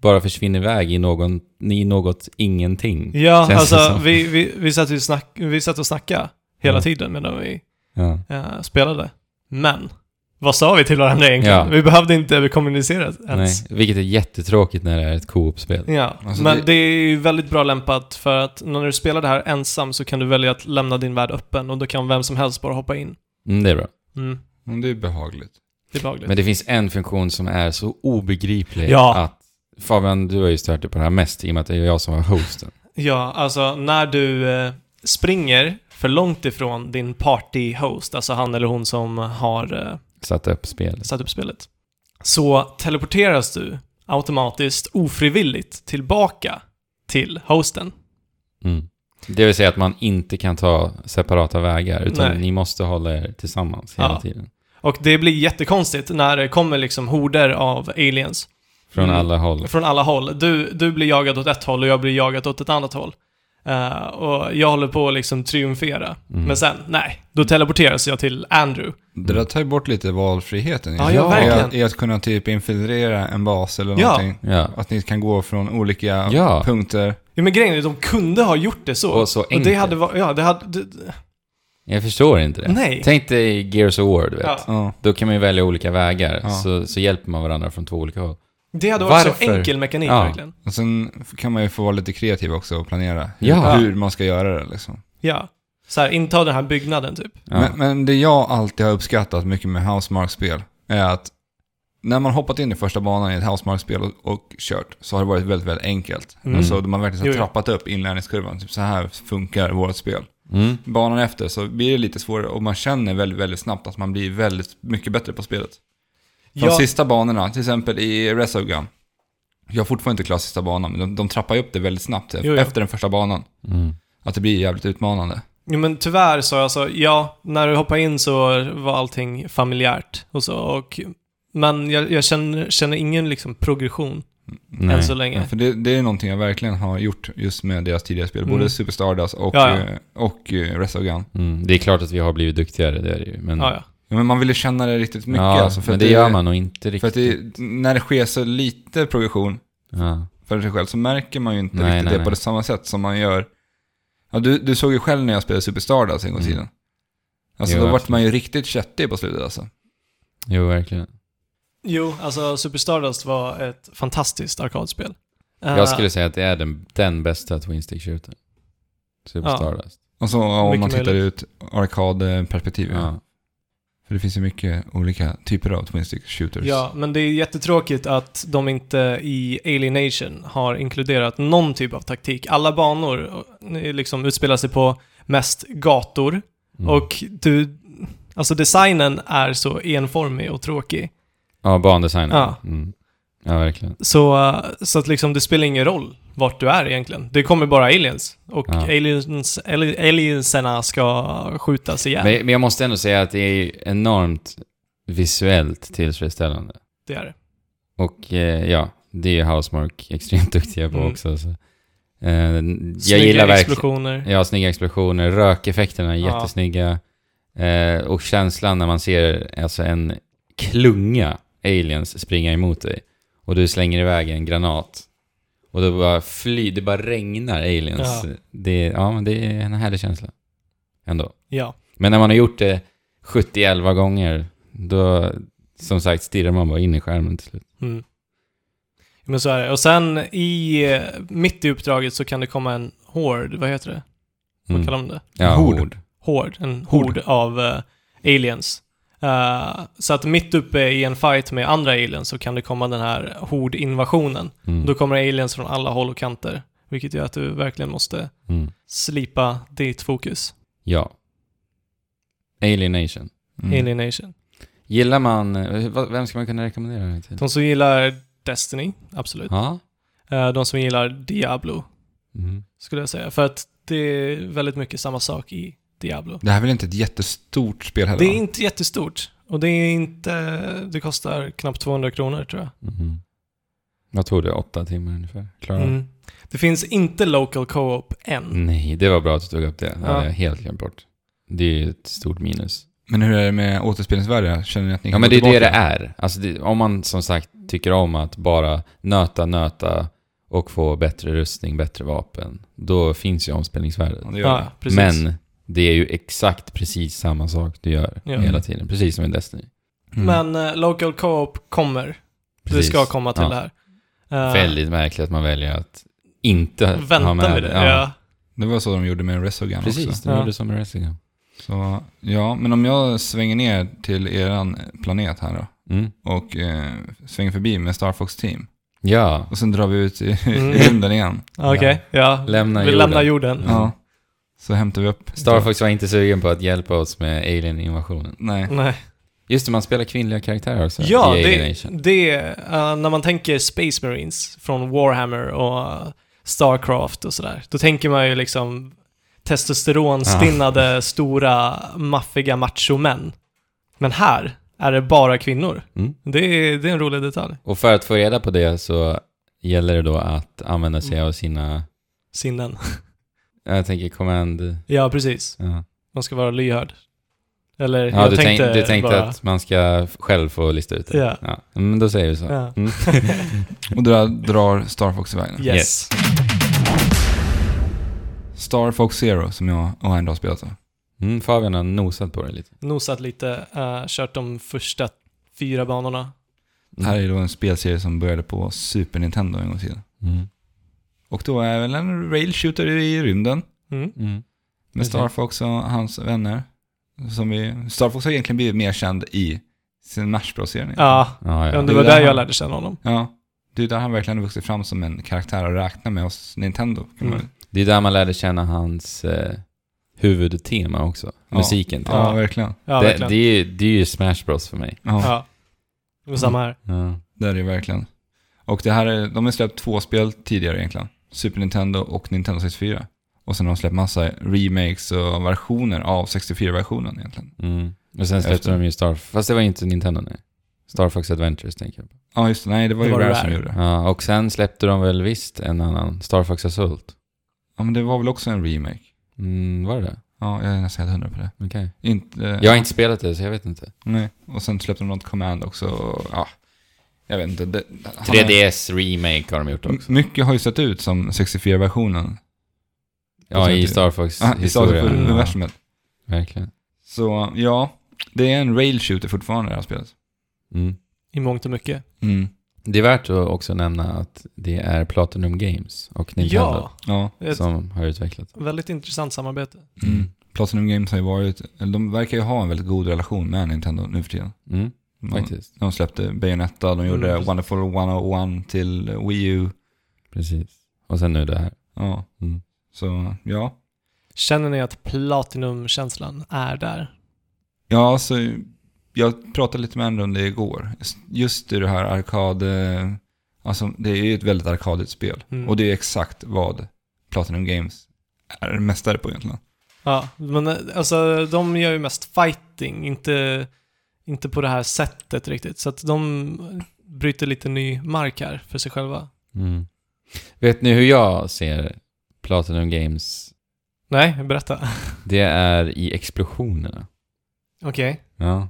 Speaker 2: bara försvinner iväg i, någon, i något ingenting.
Speaker 3: Ja,
Speaker 2: Känns det
Speaker 3: alltså
Speaker 2: som.
Speaker 3: vi, vi, vi, satt ju snack, vi satt och snackade hela
Speaker 2: Ja.
Speaker 3: tiden medan vi
Speaker 2: Ja.
Speaker 3: eh, spelade. Men, vad sa vi till varandra egentligen?
Speaker 2: Ja.
Speaker 3: Vi behövde inte kommunicera
Speaker 2: Nej,
Speaker 3: ens.
Speaker 2: vilket är jättetråkigt när det är ett co-op-spel.
Speaker 3: Ja,
Speaker 4: Alltså,
Speaker 3: men
Speaker 4: det-
Speaker 3: det... är ju väldigt bra lämpat för att när du spelar det här ensam så kan du välja att lämna din värld öppen och då kan vem som helst bara hoppa in.
Speaker 2: Mm, det är bra.
Speaker 3: Mm,
Speaker 4: Men det är behagligt.
Speaker 3: det är behagligt.
Speaker 2: Men det finns en funktion som är så obegriplig
Speaker 3: Ja.
Speaker 2: att... Fabian, du har ju stört dig på det här mest i och med att det är jag som var hosten.
Speaker 3: Ja, alltså när du eh, springer för långt ifrån din party-host, alltså han eller hon som har eh,
Speaker 2: Satt upp spelet.
Speaker 3: satt upp spelet, så teleporteras du automatiskt ofrivilligt tillbaka till hosten.
Speaker 2: Mm. Det vill säga att man inte kan ta separata vägar, utan
Speaker 3: Nej.
Speaker 2: ni måste hålla er tillsammans hela
Speaker 3: Ja.
Speaker 2: tiden.
Speaker 3: Och det blir jättekonstigt när det kommer liksom horder av aliens
Speaker 2: Från
Speaker 3: Mm.
Speaker 2: alla håll.
Speaker 3: från alla håll. Du, du blir jagad åt ett håll och jag blir jagad åt ett annat håll. Eh, och jag håller på att liksom triumfera.
Speaker 2: Mm.
Speaker 3: Men sen, nej, då teleporteras jag till Andrew.
Speaker 4: Det där tar ju bort lite valfriheten.
Speaker 2: ja,
Speaker 3: Ja,
Speaker 4: I att-
Speaker 3: verkligen.
Speaker 4: I att kunna typ infiltrera en bas eller
Speaker 3: Ja.
Speaker 4: någonting.
Speaker 2: Ja.
Speaker 4: Att ni kan gå från olika
Speaker 2: Ja.
Speaker 4: punkter.
Speaker 3: Ja, men grejen är att de kunde ha gjort det så.
Speaker 2: Och så
Speaker 3: och det
Speaker 2: enkelt.
Speaker 3: hade varit, ja, det hade, det,
Speaker 2: Jag förstår inte det.
Speaker 3: nej.
Speaker 2: Tänk dig Gears of War, du vet.
Speaker 3: Ja.
Speaker 4: Ja.
Speaker 2: Då kan man ju välja olika vägar,
Speaker 4: Ja.
Speaker 2: så, så hjälper man varandra från två olika håll.
Speaker 3: Det hade varit så
Speaker 2: Varför?
Speaker 3: enkel mekanik
Speaker 2: Ja.
Speaker 3: verkligen.
Speaker 4: Och sen kan man ju få vara lite kreativ också och planera hur-
Speaker 2: Ja.
Speaker 4: hur man ska göra det liksom.
Speaker 3: Ja. Så här, inta den här byggnaden typ.
Speaker 2: Ja.
Speaker 4: Men, men det jag alltid har uppskattat mycket med Housemark-spel är att när man hoppat in i första banan i ett Housemark-spel och, och kört så har det varit väldigt, väldigt enkelt.
Speaker 3: Mm.
Speaker 4: Alltså, de har verkligen så här
Speaker 3: Jo, jo.
Speaker 4: trappat upp inlärningskurvan. Typ så här funkar vårt spel.
Speaker 2: Mm.
Speaker 4: Banan efter så blir det lite svårare och man känner väldigt, väldigt snabbt att man blir väldigt mycket bättre på spelet. De
Speaker 3: Ja,
Speaker 4: sista banorna, till exempel i Resogun. Jag har fortfarande inte klarat sista banan, men de, de trappar ju upp det väldigt snabbt
Speaker 3: Jo, jo.
Speaker 4: efter den första banan.
Speaker 2: Mm.
Speaker 4: Att det blir jävligt utmanande.
Speaker 3: jo, men tyvärr så alltså, ja, när du hoppade in så var allting familjärt och så. Och, men jag, jag känner, känner ingen liksom progression än
Speaker 2: Nej.
Speaker 3: så länge.
Speaker 4: Ja, för det, det är någonting jag verkligen har gjort just med deras tidigare spel.
Speaker 3: Mm.
Speaker 4: Både Super Stardust och,
Speaker 3: Ja, ja.
Speaker 4: eh, och eh, Resogun.
Speaker 2: Mm. Det är klart att vi har blivit duktigare, det är det ju. Men,
Speaker 3: Ja, ja.
Speaker 4: Ja, men man vill ju känna det riktigt mycket.
Speaker 2: Ja,
Speaker 4: alltså, för
Speaker 2: men
Speaker 4: att
Speaker 2: det, gör man nog inte
Speaker 4: För
Speaker 2: riktigt.
Speaker 4: att det, när det sker så lite progression
Speaker 2: ja.
Speaker 4: för sig själv så märker man ju inte
Speaker 2: Nej,
Speaker 4: riktigt
Speaker 2: nej,
Speaker 4: det
Speaker 2: nej.
Speaker 4: på det samma sätt som man gör. Ja, du, du såg ju själv när jag spelade Super Stardust en gång i
Speaker 2: Mm.
Speaker 4: tiden. Alltså
Speaker 2: Jo,
Speaker 4: då vart
Speaker 2: absolut.
Speaker 4: man ju riktigt köttig på slutet alltså.
Speaker 2: Jo, verkligen.
Speaker 3: Jo, alltså Super Stardust var ett fantastiskt arkadspel. Eh,
Speaker 2: Jag skulle säga att det är den, den bästa Twin Stick Shooter. Super
Speaker 3: Ja.
Speaker 2: Stardust.
Speaker 4: Alltså om
Speaker 3: Mycket
Speaker 4: man tittar ut
Speaker 3: möjligt.
Speaker 4: arkadperspektiv. Ja.
Speaker 2: Ja.
Speaker 4: För det finns ju mycket olika typer av Twin Stick Shooters.
Speaker 3: Ja, men det är jättetråkigt att de inte i Alienation har inkluderat någon typ av taktik. Alla banor eh, liksom utspelar sig på mest gator
Speaker 2: Mm.
Speaker 3: och du... Alltså designen är så enformig och tråkig.
Speaker 2: ja, bandesignen.
Speaker 3: Ja.
Speaker 2: Mm. ja, verkligen.
Speaker 3: Så, eh, så att liksom det spelar ingen roll vart du är egentligen. Det kommer bara aliens. Och
Speaker 2: Ja.
Speaker 3: aliens, ali- alienserna ska skjutas igen.
Speaker 2: Men, men jag måste ändå säga att det är ju enormt visuellt tillfredsställande.
Speaker 3: Det är det.
Speaker 2: Och eh, ja, det är Housemark extremt duktiga på
Speaker 3: Mm.
Speaker 2: också. Så. Eh, jag
Speaker 3: Snygga
Speaker 2: gillar verkligen...
Speaker 3: explosioner.
Speaker 2: Ja, snygga explosioner. Rökeffekterna är
Speaker 3: Ja.
Speaker 2: jättesnygga. Eh, och känslan när man ser alltså, en klunga aliens springa emot dig och du slänger iväg en granat Och då bara fly, det bara regnar aliens.
Speaker 3: Ja.
Speaker 2: Det, ja, men det är en härlig känsla. Ändå.
Speaker 3: Ja.
Speaker 2: Men när man har gjort det 70-11 gånger, då som sagt stirrar man bara in i skärmen till slut.
Speaker 3: Mm. Men så är det. Och sen i, eh, mitt i uppdraget så kan det komma en hord, vad heter det? Vad
Speaker 2: Mm.
Speaker 3: kallar de det?
Speaker 2: Ja,
Speaker 4: Hord.
Speaker 2: hord.
Speaker 3: Hord. En
Speaker 4: Hord.
Speaker 3: hord av eh, aliens. Eh, så att mitt uppe i en fight med andra aliens så kan det komma den här hordinvasionen.
Speaker 2: Mm.
Speaker 3: Då kommer det aliens från alla håll och kanter. Vilket gör att du verkligen måste
Speaker 2: Mm.
Speaker 3: slipa ditt fokus.
Speaker 2: Ja. Alienation.
Speaker 4: Mm.
Speaker 3: Alienation.
Speaker 2: Gillar man, eh, vad- vem ska man kunna rekommendera den här till?
Speaker 3: De som gillar Destiny, absolut.
Speaker 2: Ja.
Speaker 3: Eh, de som gillar Diablo,
Speaker 2: Mm.
Speaker 3: skulle jag säga. För att det är väldigt mycket samma sak i Diablo.
Speaker 4: Det här är väl inte ett jättestort spel heller?
Speaker 3: Det är
Speaker 4: va?
Speaker 3: inte jättestort. Och det är inte... Det kostar knappt 200 kronor, tror jag.
Speaker 2: Mm. Vad tog det? Åtta timmar ungefär? Klara?
Speaker 3: Mm. Det finns inte local co-op än.
Speaker 2: Nej, det var bra att du tog upp det. Det
Speaker 3: Ja.
Speaker 2: hade jag helt glömt bort. Det är ju ett stort minus.
Speaker 4: Men hur är det med återspelningsvärde? Känner ni att ni
Speaker 2: Ja,
Speaker 4: kan
Speaker 2: men det
Speaker 4: gå
Speaker 2: är det det
Speaker 4: tillbaka?
Speaker 2: är. Alltså det, om man som sagt tycker om att bara nöta, nöta och få bättre rustning, bättre vapen, då finns ju omspelningsvärdet.
Speaker 4: Ja, det gör
Speaker 3: Ja,
Speaker 4: det.
Speaker 3: precis.
Speaker 2: Men det är ju exakt precis samma sak du gör
Speaker 3: Ja.
Speaker 2: hela tiden, precis som i Destiny.
Speaker 4: Mm.
Speaker 3: Men eh, local co-op kommer.
Speaker 2: Precis.
Speaker 3: Det ska komma till
Speaker 2: Ja.
Speaker 3: det här. Eh,
Speaker 2: Väldigt märkligt att man väljer att inte ha
Speaker 3: Vänta
Speaker 2: med
Speaker 3: med det.
Speaker 2: Ja,
Speaker 3: Ja.
Speaker 4: Det var så de gjorde med Resogun
Speaker 2: Precis,
Speaker 4: också.
Speaker 2: de
Speaker 3: Ja.
Speaker 2: gjorde som i Resident.
Speaker 4: Så, ja, men om jag svänger ner till eran planet här då
Speaker 2: Mm.
Speaker 4: och eh, svänger förbi med Star Fox Team
Speaker 2: Ja,
Speaker 4: och sen drar vi ut i
Speaker 3: Mm.
Speaker 4: i rymden igen.
Speaker 3: Okej, ja.
Speaker 2: lämna
Speaker 3: Vi
Speaker 2: jorden.
Speaker 3: lämnar jorden.
Speaker 4: Ja. Så hämtar vi upp...
Speaker 2: Star Fox var inte sugen på att hjälpa oss med alien-invasionen.
Speaker 4: Nej.
Speaker 3: Nej.
Speaker 2: Just det, man spelar kvinnliga karaktärer också
Speaker 3: Ja,
Speaker 2: i
Speaker 3: det,
Speaker 2: Alienation.
Speaker 3: det eh, när man tänker Space Marines från Warhammer och eh, Starcraft och sådär, då tänker man ju liksom testosteronstinnade, stora, maffiga machomän. Men här är det bara kvinnor.
Speaker 2: Mm.
Speaker 3: Det är, det är en rolig detalj.
Speaker 2: Och för att få reda på det så gäller det då att använda
Speaker 3: Mm.
Speaker 2: sig av sina,
Speaker 3: Sinnen.
Speaker 2: jag tänker command...
Speaker 3: Ja, precis.
Speaker 2: Ja,
Speaker 3: Man ska vara lyhörd. Eller,
Speaker 2: ja
Speaker 3: jag
Speaker 2: du,
Speaker 3: tänkte
Speaker 2: tänk, du tänkte
Speaker 3: bara,
Speaker 2: att man ska f- själv få lista ut det?
Speaker 3: Ja.
Speaker 2: Men då säger vi så.
Speaker 3: Ja.
Speaker 2: Mm.
Speaker 3: Mm.
Speaker 4: Och där drar Star Fox iväg. nu.
Speaker 3: Yes.
Speaker 2: Yes.
Speaker 4: Star Fox Zero som jag och ändå har spelat. då.
Speaker 2: Mm, Fabian har nosat på det lite.
Speaker 3: Nosat lite, eh, kört de första fyra banorna.
Speaker 4: Det
Speaker 2: Mm.
Speaker 4: här är då en spelserie som började på Super Nintendo en gång i tiden.
Speaker 2: Mm.
Speaker 4: Och då är väl en rail shooter i rymden.
Speaker 3: Mm.
Speaker 2: Mm.
Speaker 4: Med
Speaker 2: Just det.
Speaker 4: Star Fox och hans vänner. Som vi, Star Fox har egentligen blivit mer känd i sin Smash Bros-serien.
Speaker 3: Ja,
Speaker 2: Ja,
Speaker 3: ja,
Speaker 2: ja.
Speaker 3: det var
Speaker 4: Det är
Speaker 3: där
Speaker 4: han.
Speaker 3: jag lärde känna honom.
Speaker 4: ja. Det är där han verkligen har vuxit fram som en karaktär att räkna med hos Nintendo. Kan man,
Speaker 3: Mm.
Speaker 2: Det är där man lärde känna hans eh, huvudtema också.
Speaker 4: Ja.
Speaker 2: Musiken.
Speaker 4: ja,
Speaker 2: till.
Speaker 4: verkligen.
Speaker 3: Ja,
Speaker 2: det,
Speaker 3: verkligen.
Speaker 2: det, är, ju- det är ju Smash Bros för mig.
Speaker 4: Ja,
Speaker 3: Ja. Det var samma här.
Speaker 2: Ja.
Speaker 4: det är det ju verkligen. Och det här är, de har släppt två spel tidigare egentligen. Super Nintendo och Nintendo 64. Och sen har de släppt massa remakes och versioner av 64-versionen egentligen.
Speaker 2: Mm. Och sen släppte
Speaker 4: Efter.
Speaker 2: de ju Star... Fast det var inte Nintendo, nej. Star Fox Adventures tänker jag på.
Speaker 4: Ja, just det. Nej, det var
Speaker 3: Det
Speaker 4: ju
Speaker 3: var
Speaker 4: Rare
Speaker 3: Rare.
Speaker 4: som gjorde det.
Speaker 2: Ja, och sen släppte de väl visst en annan, Star Fox Assault.
Speaker 4: Ja, men det var väl också en remake.
Speaker 2: Mm, var det det?
Speaker 4: Ja, jag är nästan helt hundra på det.
Speaker 2: Okej.
Speaker 4: Inte, eh,
Speaker 2: Jag har inte spelat det, så jag vet inte.
Speaker 4: Nej, och sen släppte de något Command också. och, Ja, jag vet inte. Det, han har-
Speaker 2: 3DS remake har de gjort
Speaker 4: M-
Speaker 2: också.
Speaker 4: Mycket har ju sett ut som 64-versionen.
Speaker 2: Ja, i
Speaker 4: precis.
Speaker 2: Star Fox
Speaker 4: Ah, I Star
Speaker 2: historia. Ja,
Speaker 4: universumet.
Speaker 2: verkligen.
Speaker 4: Så ja, det är en rail shooter fortfarande det här spelet.
Speaker 2: Mm.
Speaker 3: I mångt och mycket.
Speaker 4: Mm.
Speaker 2: Det är värt att också nämna att det är Platinum Games och Nintendo
Speaker 4: Ja.
Speaker 3: Ja, ett
Speaker 2: som har utvecklat.
Speaker 3: väldigt intressant samarbete.
Speaker 4: Mm. Platinum Games har ju varit, eller de verkar ju ha en väldigt god relation med Nintendo nu för tiden.
Speaker 2: Mm,
Speaker 4: De,
Speaker 2: faktiskt.
Speaker 4: de släppte Bayonetta, de gjorde
Speaker 3: Mm, precis.
Speaker 4: Wonderful 101 till Wii U.
Speaker 2: Precis. Och sen nu det här.
Speaker 4: Ja,
Speaker 2: Mm.
Speaker 4: så ja.
Speaker 3: Känner ni att Platinum-känslan är där?
Speaker 4: Ja, alltså, jag pratade lite med en om det igår. Just i det här arkad... eh, Alltså, det är ju ett väldigt arkadigt spel.
Speaker 3: Mm.
Speaker 4: Och det är exakt vad Platinum Games är mästare på egentligen.
Speaker 3: Ja, men eh, alltså de gör ju mest fighting, inte, inte på det här sättet riktigt. Så att de bryter lite ny mark här för sig själva.
Speaker 2: Mm. Vet ni hur jag ser Platinum Games?
Speaker 3: Nej, berätta.
Speaker 2: Det är i explosionerna.
Speaker 3: Okej.
Speaker 2: Ja.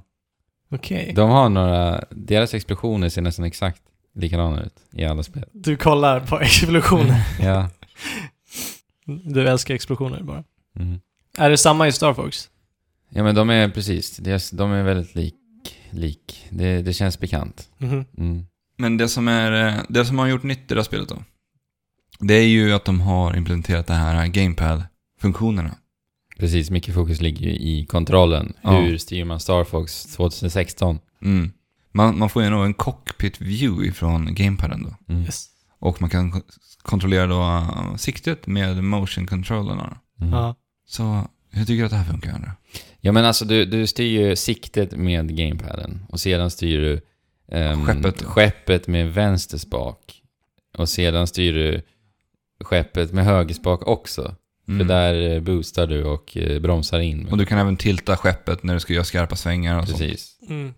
Speaker 3: Okej.
Speaker 4: Eh.
Speaker 2: De har några, deras explosioner ser nästan exakt likadana ut i alla spel.
Speaker 3: Du kollar på explosioner.
Speaker 2: Ja.
Speaker 3: Du älskar explosioner bara.
Speaker 2: Mm.
Speaker 3: Är det samma i Star Fox?
Speaker 2: Ja men de är precis, de är, de är väldigt lik, lik. Det, det känns bekant.
Speaker 3: Mhm.
Speaker 2: Mm.
Speaker 4: Men det som, är, eh, det som har gjort nytt i det här spelet då, det är ju att de har implementerat det här GamePad-funktionerna.
Speaker 2: Precis, mycket fokus ligger ju i kontrollen.
Speaker 4: Ja.
Speaker 2: Hur styr man Star Fox 2016?
Speaker 4: Mm. Man, man får ju nog en cockpit view ifrån GamePaden då.
Speaker 2: Mm.
Speaker 3: Yes.
Speaker 4: Och man kan k- kontrollera då eh, siktet med motion-controllerna.
Speaker 2: Mm.
Speaker 3: Ja.
Speaker 4: Så hur tycker du att det här funkar? Andra?
Speaker 2: Ja men alltså du, du styr ju siktet med gamepaden och sedan styr du ehm,
Speaker 4: Skeppet.
Speaker 2: skeppet med vänster spak. Och sedan styr du skeppet med höger spak också.
Speaker 4: Mm.
Speaker 2: För där eh, boostar du och eh, bromsar in.
Speaker 4: Och du kan även tilta skeppet när du ska göra skarpa svängar och sånt.
Speaker 2: Precis.
Speaker 3: Mm.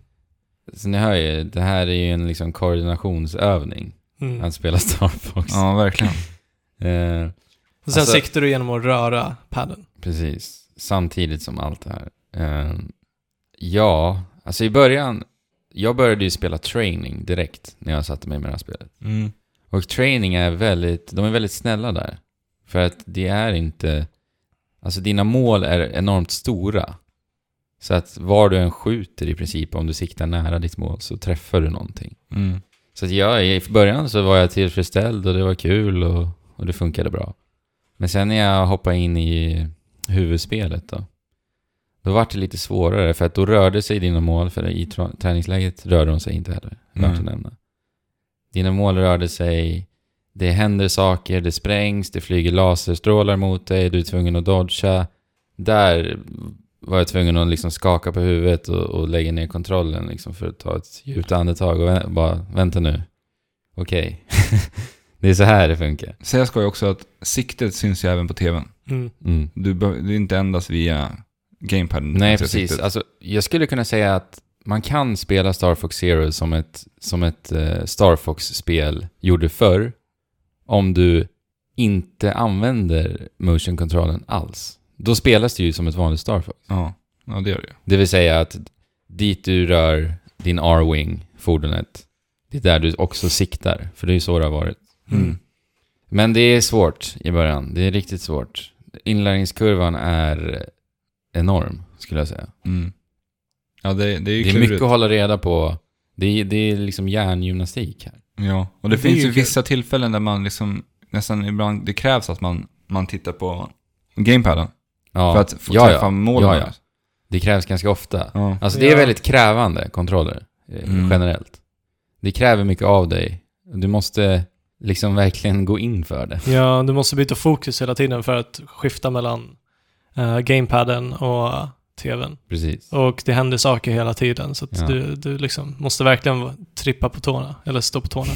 Speaker 2: Så ni hör ju, det här är ju en liksom koordinationsövning
Speaker 3: Mm.
Speaker 2: att spela Star Fox.
Speaker 4: Ja, verkligen.
Speaker 2: Eh,
Speaker 3: Och sen
Speaker 2: Alltså-
Speaker 3: siktar du genom att röra padden.
Speaker 2: Precis. Samtidigt som allt det här. Ehm, ja, alltså i början, jag började ju spela training direkt när jag satte mig med det här spelet.
Speaker 4: Mm.
Speaker 2: Och training är väldigt, de är väldigt snälla där. För att det är inte, alltså dina mål är enormt stora. Så att var du än skjuter i princip, om du siktar nära ditt mål så träffar du någonting.
Speaker 4: Mm.
Speaker 2: Så att jag, i början så var jag tillfredsställd och det var kul och, och det funkade bra. Men sen när jag hoppade in i huvudspelet då, då var det lite svårare för att då rörde sig dina mål, för i tra- träningsläget rörde de sig inte heller, värt att
Speaker 4: Mm.
Speaker 2: nämna. Dina mål rörde sig, det händer saker, det sprängs, det flyger laserstrålar mot dig, du är tvungen att dodga. Där var jag tvungen att liksom skaka på huvudet och, och lägga ner kontrollen liksom för att ta ett djupt andetag och vä- bara vänta nu. Okej. det är så här det funkar.
Speaker 4: Sägas ska ju också att siktet syns ju även på tvn.
Speaker 3: Mm.
Speaker 2: Mm.
Speaker 4: Du bör, det är inte endast via GamePaden.
Speaker 2: Nej,
Speaker 4: Alltså,
Speaker 2: precis.
Speaker 4: siktet.
Speaker 2: Alltså, jag skulle kunna säga att man kan spela Star Fox Zero som ett, som ett eh, Star Fox-spel gjorde förr om du inte använder motion-kontrollen alls. Då spelas det ju som ett vanligt Star Fox.
Speaker 4: Ja. ja, det gör det ju.
Speaker 2: Det vill säga att dit du rör din R-Wing, fordonet, det är där du också siktar. För det är ju så det har varit.
Speaker 4: Mm.
Speaker 2: Men det är svårt i början. Det är riktigt svårt. Inlärningskurvan är enorm, skulle jag säga.
Speaker 4: Mm. Ja, det, det är ju
Speaker 2: Det är
Speaker 4: klurigt.
Speaker 2: mycket att hålla reda på. Det är, det är liksom hjärngymnastik här.
Speaker 4: Ja, och det,
Speaker 3: Det är
Speaker 4: finns
Speaker 3: ju
Speaker 4: ju
Speaker 3: kul.
Speaker 4: vissa tillfällen där man liksom nästan ibland, det krävs att man, man tittar på gamepaden
Speaker 2: Ja,
Speaker 4: för att få
Speaker 2: ja,
Speaker 4: träffa
Speaker 2: ja.
Speaker 4: målen.
Speaker 2: Ja, ja. Det krävs ganska ofta.
Speaker 4: Ja.
Speaker 2: Alltså det är
Speaker 3: Ja.
Speaker 2: väldigt krävande kontroller eh,
Speaker 4: Mm.
Speaker 2: generellt. Det kräver mycket av dig. Du måste liksom verkligen gå in för det.
Speaker 3: Ja, du måste byta fokus hela tiden för att skifta mellan eh, gamepaden och tvn.
Speaker 2: Precis.
Speaker 3: Och det händer saker hela tiden, så att
Speaker 2: Ja.
Speaker 3: du, du liksom måste verkligen va- trippa på tårna, eller stå på tårna.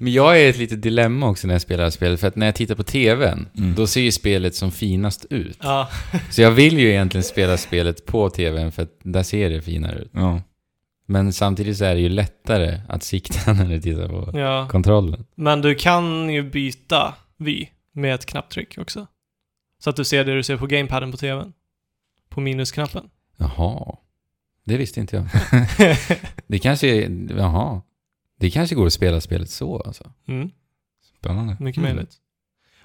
Speaker 2: Men jag är i ett litet dilemma också när jag spelar det här spelet, för att när jag tittar på TVn,
Speaker 4: Mm.
Speaker 2: då ser ju spelet som finast ut.
Speaker 3: ja.
Speaker 2: Så jag vill ju egentligen spela spelet på TVn, för att där ser det finare ut.
Speaker 4: Ja.
Speaker 2: Men samtidigt så är det ju lättare att sikta när du tittar på
Speaker 3: ja.
Speaker 2: kontrollen.
Speaker 3: Men du kan ju byta vi med ett knapptryck också. Så att du ser det du ser på gamepaden på tvn. På minusknappen.
Speaker 2: Jaha. Det visste inte jag. Det kanske är... Jaha. Det kanske går att spela spelet så alltså.
Speaker 3: mm,
Speaker 4: Spännande.
Speaker 3: mycket
Speaker 2: Mm.
Speaker 3: möjligt.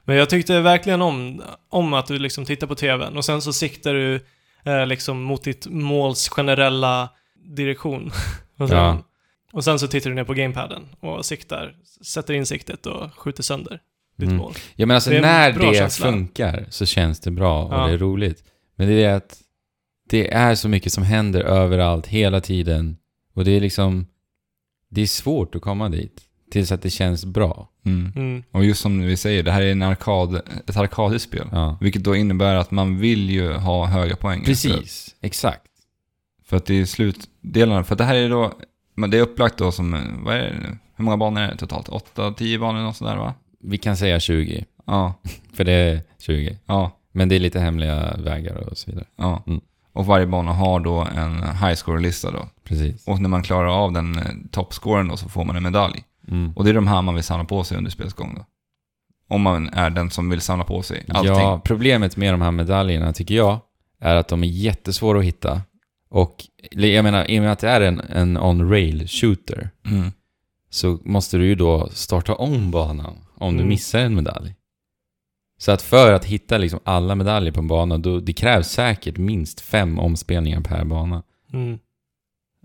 Speaker 3: Men jag tyckte verkligen om, om att du liksom tittar på tvn och sen så siktar du eh, liksom mot ditt måls generella direktion. Vad säger
Speaker 2: Ja.
Speaker 3: man? Och sen så tittar du ner på gamepaden och siktar, sätter in siktet och skjuter sönder ditt
Speaker 2: Mm.
Speaker 3: mål.
Speaker 2: Ja men alltså
Speaker 3: Det är en
Speaker 2: när
Speaker 3: bra
Speaker 2: det
Speaker 3: känsla.
Speaker 2: funkar så känns det bra och
Speaker 3: Ja.
Speaker 2: det är roligt. Men det är att det är så mycket som händer överallt hela tiden. Och det är liksom... Det är svårt att komma dit. Tills att det känns bra.
Speaker 4: Mm.
Speaker 3: Mm.
Speaker 4: Och just som vi säger, det här är en arkad, ett arkadiskt spel.
Speaker 2: Ja.
Speaker 4: Vilket då innebär att man vill ju ha höga poäng.
Speaker 2: Precis. Exakt.
Speaker 4: För att det är slutdelarna. För att det här är då, men det är upplagt då som, eh, vad är det nu? Hur många banor är det totalt? 8-10 banor eller något sådär va?
Speaker 2: Vi kan säga 20.
Speaker 4: Ja,
Speaker 2: För det är 20.
Speaker 4: ja,
Speaker 2: Men det är lite hemliga vägar och så vidare.
Speaker 4: ja.
Speaker 2: Mm.
Speaker 4: Och varje bana har då en high score-lista då.
Speaker 2: Precis.
Speaker 4: Och när man klarar av den eh, toppscoren då så får man en medalj.
Speaker 2: Mm.
Speaker 4: Och det är de här man vill samla på sig under spelets gång då. Om man är den som vill samla på sig allting.
Speaker 2: Ja, problemet med de här medaljerna tycker jag är att de är jättesvåra att hitta. Och eller jag menar, i och med att det är en, en on-rail shooter
Speaker 4: Mm.
Speaker 2: så måste du ju då starta om banan om du
Speaker 3: Mm.
Speaker 2: missar en medalj. Så att för att hitta liksom alla medaljer på en bana, då, det krävs säkert minst fem omspelningar per bana.
Speaker 3: Mm.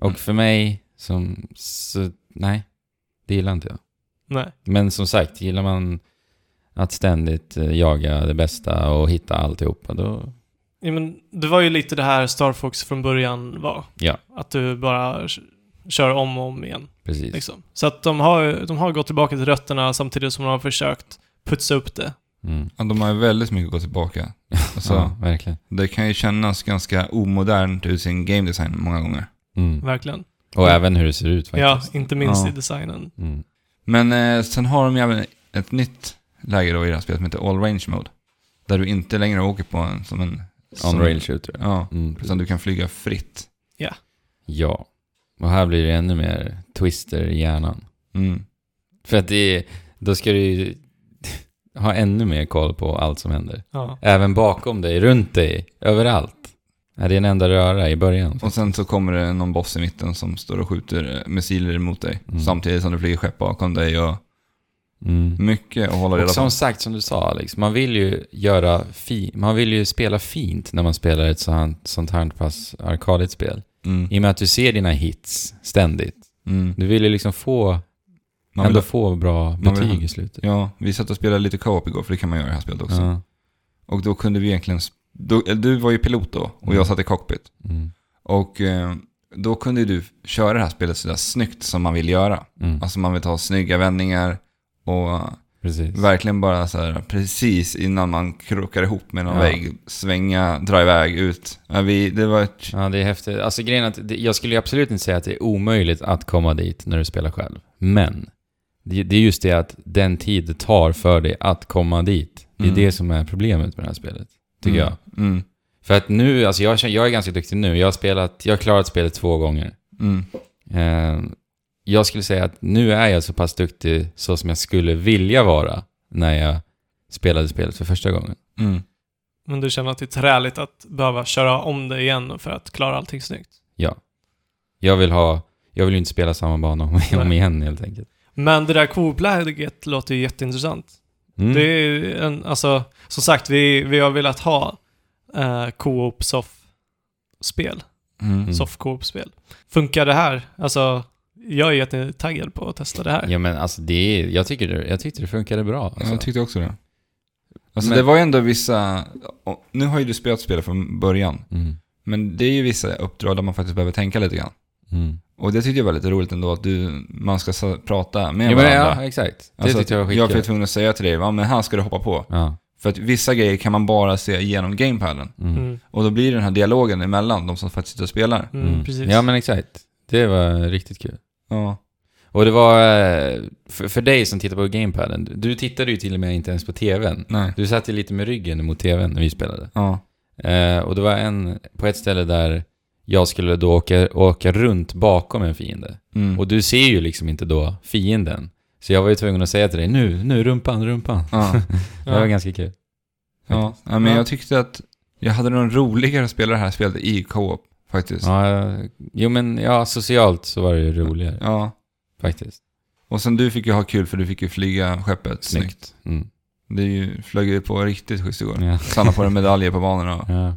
Speaker 2: Och för mig, som, så, nej, det gillar inte jag.
Speaker 3: Nej.
Speaker 2: Men som sagt, gillar man att ständigt eh, jaga det bästa och hitta alltihopa, då...
Speaker 3: Ja, men det var ju lite det här Star Fox från början var.
Speaker 2: Ja.
Speaker 3: Att du bara k- kör om och om igen.
Speaker 2: Precis.
Speaker 3: Liksom. Så att de har, de har gått tillbaka till rötterna samtidigt som de har försökt putsa upp det.
Speaker 2: Mm.
Speaker 4: Ja, de har ju väldigt mycket att gå tillbaka. Alltså,
Speaker 2: Ja, verkligen.
Speaker 4: Det kan ju kännas ganska omodernt ur sin game design många gånger.
Speaker 2: Mm.
Speaker 3: Verkligen.
Speaker 2: Och även hur det ser ut faktiskt.
Speaker 3: Ja, inte minst
Speaker 4: Ja.
Speaker 3: i designen.
Speaker 2: Mm.
Speaker 4: Men eh, sen har de ju även ett nytt läge då i det här spelet som heter All Range Mode. Där du inte längre åker på en som en... som-
Speaker 2: On-rail shooter.
Speaker 4: Ja,
Speaker 2: Mm.
Speaker 4: utan du kan flyga fritt.
Speaker 2: Ja. Och här blir det ännu mer twister i hjärnan.
Speaker 4: Mm.
Speaker 2: För att det är, då ska du ju ha ännu mer koll på allt som händer.
Speaker 3: Ja.
Speaker 2: Även bakom dig, runt dig, överallt. Ja, det är en enda röra i början.
Speaker 4: Och sen så kommer det någon boss i mitten som står och skjuter eh, missiler mot dig.
Speaker 2: Mm.
Speaker 4: Samtidigt som det flyger skepp bakom dig och
Speaker 2: Mm.
Speaker 4: mycket att hålla
Speaker 2: Och
Speaker 4: reda på.
Speaker 2: som sagt, som du sa Alex, man vill ju göra fi- man vill ju spela fint när man spelar ett sånt, sånt här pass arkadigt spel.
Speaker 4: Mm.
Speaker 2: I och med att du ser dina hits ständigt.
Speaker 4: Mm.
Speaker 2: Du vill ju liksom få,
Speaker 4: Man
Speaker 2: ändå
Speaker 4: vill,
Speaker 2: få bra
Speaker 4: vill-
Speaker 2: betyg i slutet.
Speaker 4: ja, vi satt och spelade lite co-op igår, för det kan man göra i det här spelet också.
Speaker 2: Ja.
Speaker 4: Och då kunde vi egentligen... sp- Då, eller du var ju pilot då och jag satt i cockpit.
Speaker 2: Mm.
Speaker 4: Och eh, då kunde ju du köra det här spelet sådär snyggt som man vill göra.
Speaker 2: Mm.
Speaker 4: Alltså man vill ta snygga vändningar och eh,
Speaker 2: Precis.
Speaker 4: verkligen bara så här precis innan man krockar ihop med någon
Speaker 2: Ja.
Speaker 4: vägg, svänga, dra iväg ut. Ja, vi, det var ett...
Speaker 2: Ja, det är häftigt. Alltså grejen är att det, jag skulle ju absolut inte säga att det är omöjligt att komma dit när du spelar själv. Men det, det är just det att den tid det tar för dig att komma dit, det är
Speaker 4: Mm.
Speaker 2: det som är problemet med det här spelet. Tycker
Speaker 4: mm,
Speaker 2: jag.
Speaker 4: Mm,
Speaker 2: För att nu, alltså jag, känner- jag är ganska duktig nu. Jag har spelat, jag har klarat spelet två gånger.
Speaker 4: mm,
Speaker 2: Eh, jag skulle säga att nu är jag så pass duktig så som jag skulle vilja vara när jag spelade spelet för första gången.
Speaker 4: mm.
Speaker 3: Men du känner att det är träligt att behöva köra om det igen för att klara allting snyggt.
Speaker 2: Jag vill ha, jag vill ju inte spela samma bana om, om
Speaker 3: Nej.
Speaker 2: igen helt enkelt.
Speaker 3: Men det där koläget låter ju jätteintressant.
Speaker 2: Mm.
Speaker 3: Det är ju en, alltså, som sagt, vi, vi har velat ha eh, co-op soff-spel.
Speaker 4: Mm.
Speaker 2: Mm.
Speaker 3: Soft co-op-spel. Funkar det här? Alltså, jag är jättetaggad på att testa det här.
Speaker 2: Ja men alltså det är, jag, tycker det, jag tyckte det funkade bra.
Speaker 4: Ja,
Speaker 2: Alltså.
Speaker 4: Jag tyckte också det. Alltså
Speaker 2: Men-
Speaker 4: det var ju ändå vissa... och Nu har ju du spelat spelet från början.
Speaker 2: mm.
Speaker 4: Men det är ju vissa uppdrag där man faktiskt behöver tänka lite grann.
Speaker 2: Mm.
Speaker 4: Och det tyckte jag var lite roligt ändå, att du, man ska sa- prata med
Speaker 2: Ja, men,
Speaker 4: varandra.
Speaker 2: ja exakt. Det
Speaker 4: Alltså,
Speaker 2: tyckte jag var
Speaker 4: jag var
Speaker 2: skitkul.
Speaker 4: tvungen att säga till dig, ja, men här ska du hoppa på.
Speaker 2: Ja.
Speaker 4: För att vissa grejer kan man bara se genom gamepaden.
Speaker 2: Mm.
Speaker 3: Mm.
Speaker 4: Och då blir det den här dialogen emellan de som faktiskt sitter och spelar.
Speaker 3: Mm,
Speaker 2: Mm.
Speaker 3: Precis.
Speaker 2: Ja men exakt. Det var riktigt kul.
Speaker 4: Ja.
Speaker 2: Och det var, eh, för, för dig som tittar på gamepaden, du- du tittade ju till och med inte ens på tvn.
Speaker 4: Nej.
Speaker 2: Du satt ju lite med ryggen mot tvn när vi spelade.
Speaker 4: Ja.
Speaker 2: Eh, och det var en, på ett ställe där jag skulle då åka, åka runt bakom en fiende.
Speaker 4: Mm.
Speaker 2: Och du ser ju liksom inte då fienden. Så jag var ju tvungen att säga till dig, nu, nu, rumpan, rumpan.
Speaker 4: ja.
Speaker 2: Det var
Speaker 3: Ja.
Speaker 2: ganska kul.
Speaker 4: ja. ja. Men
Speaker 3: Ja.
Speaker 4: jag tyckte att jag hade någon roligare att spela det här spelet i co-op faktiskt. Ja.
Speaker 2: Ja, jo men ja, socialt så var det ju roligare faktiskt.
Speaker 4: Och sen du fick ju ha kul för du fick ju flyga skeppet snyggt.
Speaker 2: Mm.
Speaker 4: Det är ju, flög ju på riktigt schysst igår.
Speaker 2: Ja.
Speaker 4: Sanna på en medaljer på banorna.
Speaker 2: ja.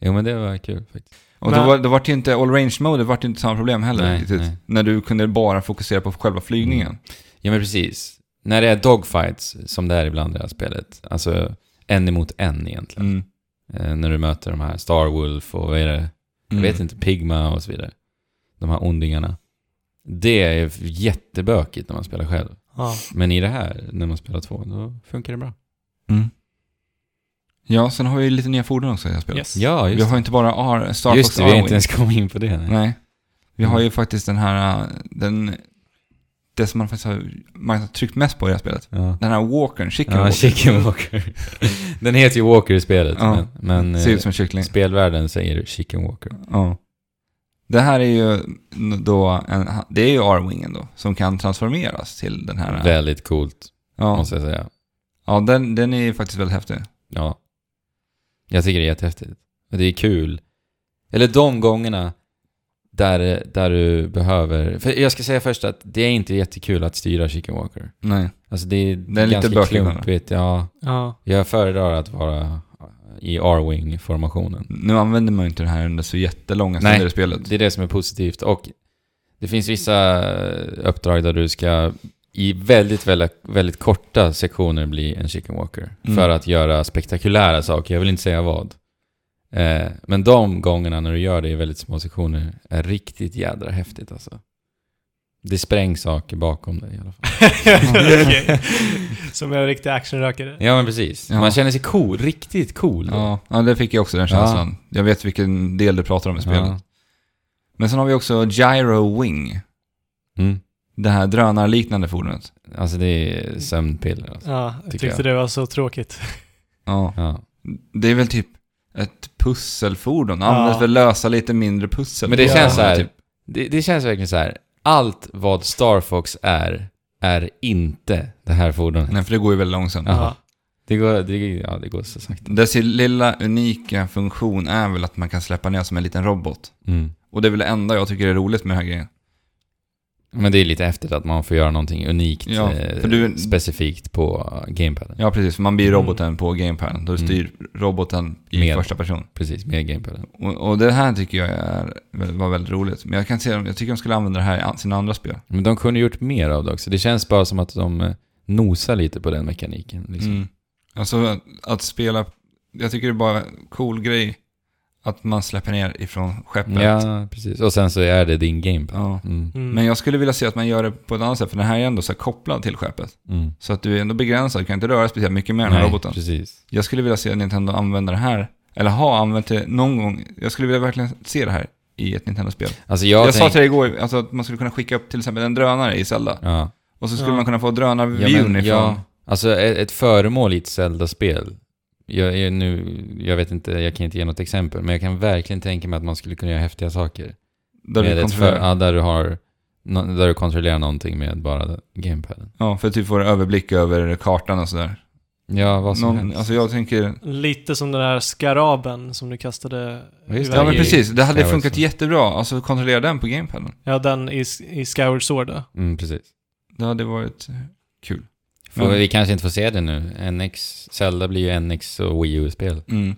Speaker 2: Jo men det var kul faktiskt.
Speaker 4: Och
Speaker 3: Men-
Speaker 4: då var, då var det ju inte all range mode, det var ju inte samma problem heller
Speaker 2: Nej,
Speaker 4: riktigt.
Speaker 2: nej. Mm,
Speaker 4: När du kunde bara fokusera på själva flygningen.
Speaker 2: Ja men precis. När det är dogfights, som det är ibland i det här spelet, alltså en emot en egentligen.
Speaker 4: Mm.
Speaker 2: Eh, när du möter de här Starwolf och vad är det? Jag
Speaker 4: Mm.
Speaker 2: vet inte, Pigma och så vidare. De här ondingarna. Det är jättebökigt när man spelar själv.
Speaker 3: Ja.
Speaker 2: Men i det här, när man spelar två, då funkar det bra.
Speaker 4: Mm. Ja, sen har vi lite nya fordon också i det här spelet.
Speaker 3: Yes.
Speaker 2: Ja,
Speaker 4: Vi
Speaker 2: just,
Speaker 4: har inte bara R, Star
Speaker 2: just
Speaker 4: Fox
Speaker 2: det. Vi har
Speaker 4: Arwing.
Speaker 2: inte ens kommit in på det. Nej.
Speaker 4: Nej. Vi har
Speaker 2: Mm.
Speaker 4: ju faktiskt den här, äh, den, det som man faktiskt har, man har tryckt mest på i det här spelet.
Speaker 2: Ja.
Speaker 4: Den här walkern, chicken
Speaker 2: Ja,
Speaker 4: walker.
Speaker 2: Chicken Walker. Den heter ju Walker i spelet,
Speaker 4: Ja.
Speaker 2: men, men
Speaker 4: Ser
Speaker 2: eh,
Speaker 4: ut som en kyckling.
Speaker 2: spelvärlden säger Chicken Walker.
Speaker 4: Ja. Det här är ju då en, det är ju R-wingen då, som kan transformeras till den här. äh,
Speaker 2: Väldigt coolt,
Speaker 4: Ja,
Speaker 2: måste jag säga.
Speaker 4: ja den, den är ju faktiskt väldigt häftig.
Speaker 2: Ja. Jag tycker det är jättehäftigt. Och Det är kul. Eller de gångerna där, där du behöver... För jag ska säga först att det är inte jättekul att styra Chicken Walker.
Speaker 4: Nej.
Speaker 2: Alltså det är,
Speaker 4: Den är lite
Speaker 2: ganska
Speaker 4: bökig, den här.
Speaker 2: klumpigt. Ja,
Speaker 3: Ja.
Speaker 2: jag föredrar att vara i R-Wing-formationen.
Speaker 4: Nu använder man ju inte den här under så jättelånga
Speaker 2: Nej.
Speaker 4: stunder i spelet.
Speaker 2: Det är det som är positivt. Och det finns vissa uppdrag där du ska i väldigt, väldigt, väldigt korta sektioner bli en chicken walker.
Speaker 4: Mm.
Speaker 2: För att göra spektakulära saker. Jag vill inte säga vad. Eh, men de gångerna när du gör det i väldigt små sektioner är riktigt jädra häftigt alltså. Det sprängs saker bakom dig i alla fall.
Speaker 3: Okej. Som en riktig actionrökare.
Speaker 2: Ja men precis.
Speaker 4: Ja.
Speaker 2: Man känner sig cool, riktigt cool.
Speaker 4: Ja, ja, det fick jag också den känslan. Jag vet vilken del du pratar om i spelet.
Speaker 2: Ja.
Speaker 4: Men sen har vi också Gyro Wing.
Speaker 2: Mm.
Speaker 4: Det här drönarliknande fordonet.
Speaker 2: Alltså det är sömnpiller. Alltså.
Speaker 3: Ja, jag
Speaker 2: Tycker
Speaker 3: tyckte det var så tråkigt.
Speaker 4: Ja.
Speaker 2: Ja.
Speaker 4: Det är väl typ ett pusselfordon. Används
Speaker 3: Ja.
Speaker 4: för att lösa lite mindre pussel.
Speaker 2: Men det
Speaker 4: Ja.
Speaker 2: känns så här,
Speaker 4: Typ.
Speaker 2: det, det känns verkligen så här. Allt vad Star Fox är, är inte det här fordonet.
Speaker 4: Nej, för det går ju väldigt långsamt.
Speaker 2: Ja.
Speaker 3: Ja.
Speaker 2: Det, går, det, ja, det går så sakta.
Speaker 4: Dess lilla unika funktion är väl att man kan släppa ner som en liten robot. Och det är väl det enda jag tycker är roligt med den här grejen.
Speaker 2: Men det är lite häftigt att man får göra någonting unikt,
Speaker 4: Ja,
Speaker 2: eh,
Speaker 4: för du-
Speaker 2: specifikt på gamepaden.
Speaker 4: Ja, precis. För man blir
Speaker 3: Mm.
Speaker 4: roboten på gamepaden. Då
Speaker 2: Mm.
Speaker 4: styr roboten i
Speaker 2: Med.
Speaker 4: första person.
Speaker 2: Precis, med gamepaden.
Speaker 4: Och, och det här tycker jag är, var väldigt roligt. Men jag kan se, jag tycker de skulle använda det här i an- sina andra spel.
Speaker 2: Men de kunde gjort mer av det också. Det känns bara som att de eh, nosar lite på den mekaniken. Liksom.
Speaker 4: Mm. Alltså att, att spela, jag tycker det är bara en cool grej att man släpper ner ifrån skeppet.
Speaker 2: Ja, precis. Och sen så är det din gamepad.
Speaker 4: Mm. Ja.
Speaker 2: Mm.
Speaker 3: Mm.
Speaker 4: Men jag skulle vilja se att man gör det på ett annat sätt, för den här är ändå så här kopplad till skeppet.
Speaker 2: Mm.
Speaker 4: Så att du är ändå begränsad, du kan inte röra speciellt mycket med den här
Speaker 2: Nej,
Speaker 4: roboten.
Speaker 2: precis.
Speaker 4: Jag skulle vilja se att Nintendo använder det här, eller ha använt det någon gång. Jag skulle vilja verkligen se det här i ett Nintendo-spel.
Speaker 2: Alltså
Speaker 4: Jag,
Speaker 2: jag,
Speaker 4: sa till
Speaker 2: tänk-
Speaker 4: dig igår alltså, att man skulle kunna skicka upp till exempel en drönare i Zelda.
Speaker 2: ja.
Speaker 4: Och så skulle
Speaker 3: Ja.
Speaker 4: man kunna få drönarvyn
Speaker 2: Ja, men,
Speaker 4: ifrån...
Speaker 2: ja, alltså ett, ett föremål i ett Zelda-spel. Jag, jag, nu, jag vet inte, jag kan inte ge något exempel, men jag kan verkligen tänka mig att man skulle kunna göra häftiga saker.
Speaker 4: Där
Speaker 2: med
Speaker 4: du
Speaker 2: ett för,
Speaker 4: kontrollerar.
Speaker 2: ja, där, du har, nå- där du kontrollerar någonting med bara gamepaden.
Speaker 4: Ja, för att typ få en överblick över kartan och sådär.
Speaker 2: Ja, vad som
Speaker 4: Någon,
Speaker 2: helst.
Speaker 4: alltså jag tänker...
Speaker 3: Lite som den där skaraben som du kastade
Speaker 2: Ja, just det.
Speaker 3: iväg.
Speaker 4: Ja men
Speaker 2: i-
Speaker 4: precis, det hade
Speaker 2: Skyward
Speaker 4: funkat
Speaker 2: Sword.
Speaker 4: jättebra. Alltså kontrollera den på gamepaden.
Speaker 3: Ja, den i, i Skyward Sword då.
Speaker 2: mm, precis.
Speaker 4: Det hade varit eh, kul.
Speaker 2: Får,
Speaker 4: Ja.
Speaker 2: Vi kanske inte får se det nu. NX, Zelda blir ju NX och Wii U-spel.
Speaker 4: Mm.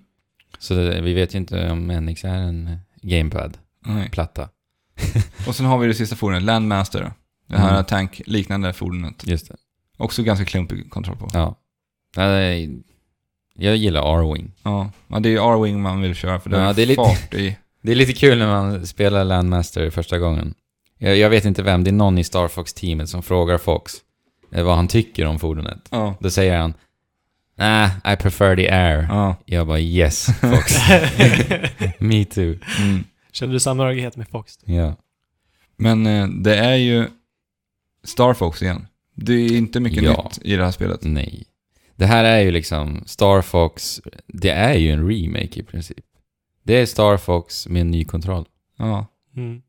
Speaker 2: Så det, vi vet ju inte om NX är en gamepad-platta.
Speaker 4: Nej. Och sen har vi det sista fordonet, Landmaster. då. Det här
Speaker 2: Mm.
Speaker 4: tankliknande fordonet.
Speaker 2: Just det.
Speaker 4: Också ganska klumpig kontroll på.
Speaker 2: Ja. Nej, Jag gillar R-Wing.
Speaker 4: Ja, ja det är ju R-Wing man vill köra för det,
Speaker 2: Ja,
Speaker 4: är
Speaker 2: det är lite-
Speaker 4: fart i.
Speaker 2: Det är lite kul när man spelar Landmaster första gången. Jag, jag vet inte vem, det är någon i Star Fox-teamet som frågar Fox eh, vad han tycker om fordonet.
Speaker 4: Ja.
Speaker 2: Då säger han Nej, I prefer the air.
Speaker 4: ja.
Speaker 2: Jag bara yes, Fox. Me too.
Speaker 4: Mm.
Speaker 3: Kände du samhörighet med Fox?
Speaker 2: Ja.
Speaker 4: Men eh, det är ju Star Fox igen. Det är inte mycket
Speaker 2: Ja.
Speaker 4: nytt i det här spelet.
Speaker 2: Nej. Det här är ju liksom Star Fox, det är ju en remake i princip. Det är Star Fox med en ny kontroll.
Speaker 4: Ja.
Speaker 3: Mm.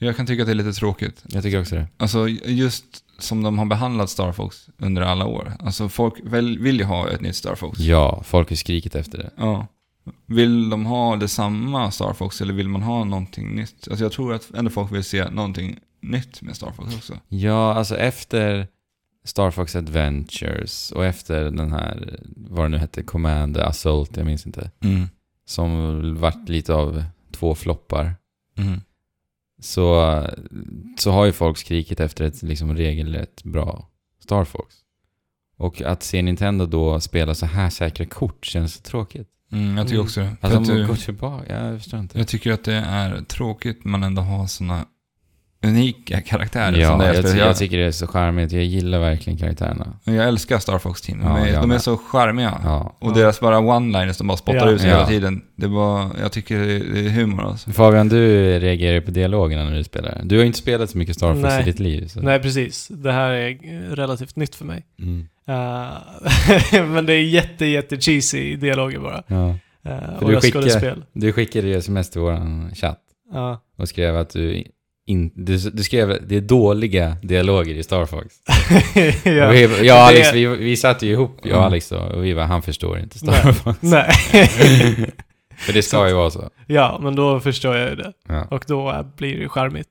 Speaker 4: Jag kan tycka att det är lite tråkigt.
Speaker 2: Jag tycker också det.
Speaker 4: Alltså just som de har behandlat Star Fox under alla år. Alltså folk väl, vill ju ha ett nytt Star Fox.
Speaker 2: Ja, folk har skrikit efter det.
Speaker 4: Ja. Vill de ha detsamma Star Fox eller vill man ha någonting nytt? Alltså jag tror att ändå folk vill se någonting nytt med Star Fox också.
Speaker 2: Ja, alltså efter Star Fox Adventures och efter den här, vad det nu hette, Command Assault, jag minns inte,
Speaker 4: Mm.
Speaker 2: som vart lite av två floppar,
Speaker 4: Mm.
Speaker 2: så, så har ju folk skrikit efter ett liksom regelrätt bra Star Fox. Och att se Nintendo då spela så här säkra kort känns så tråkigt.
Speaker 4: Mm, jag tycker
Speaker 3: Mm.
Speaker 4: också det. För
Speaker 2: Alltså
Speaker 4: att
Speaker 2: man
Speaker 4: du-
Speaker 2: går tillbaka, ja, jag förstår inte.
Speaker 4: Jag tycker att det är tråkigt man ändå har sådana unika karaktärer som
Speaker 2: Ja,
Speaker 4: det är.
Speaker 2: jag, ty-
Speaker 4: speciellt.
Speaker 2: jag tycker det är så charmigt. Jag gillar verkligen karaktärerna.
Speaker 4: Men jag älskar Star Fox Team. De,
Speaker 2: Ja,
Speaker 4: är,
Speaker 2: jag
Speaker 4: de är
Speaker 2: med.
Speaker 4: så charmiga.
Speaker 2: Ja.
Speaker 4: Och deras bara one-liners, de bara spottar
Speaker 3: Ja.
Speaker 4: ut sig
Speaker 2: Ja.
Speaker 4: hela tiden. Det var, jag tycker det är humor alltså.
Speaker 2: Fabian, du reagerar ju på dialogerna när du spelar. Du har ju inte spelat så mycket Star Fox
Speaker 3: Nej.
Speaker 2: i ditt liv. Så.
Speaker 3: Nej, precis. Det här är eh, relativt nytt för mig.
Speaker 2: Mm.
Speaker 3: Eh, men det är jätte, jätte cheesy dialoger bara.
Speaker 2: Ja.
Speaker 3: Eh,
Speaker 2: För
Speaker 3: och
Speaker 2: du
Speaker 3: jag
Speaker 2: skickar-
Speaker 3: skådespel.
Speaker 2: Du skickade ju sms till vår chatt
Speaker 3: Ja.
Speaker 2: och skrev att du, in, du, du skrev att det är dåliga dialoger i Star Fox. Och
Speaker 3: ja.
Speaker 2: vi, jag och Alex,
Speaker 3: Det-
Speaker 2: vi, vi satt ju ihop, jag och
Speaker 4: Mm.
Speaker 2: Alex då, och vi bara, han förstår inte Star
Speaker 3: Nej.
Speaker 2: Fox.
Speaker 3: Nej.
Speaker 2: För det ska ju vara så.
Speaker 3: Ja, men då förstår jag ju det.
Speaker 2: Ja,
Speaker 3: Och då eh, blir det charmigt.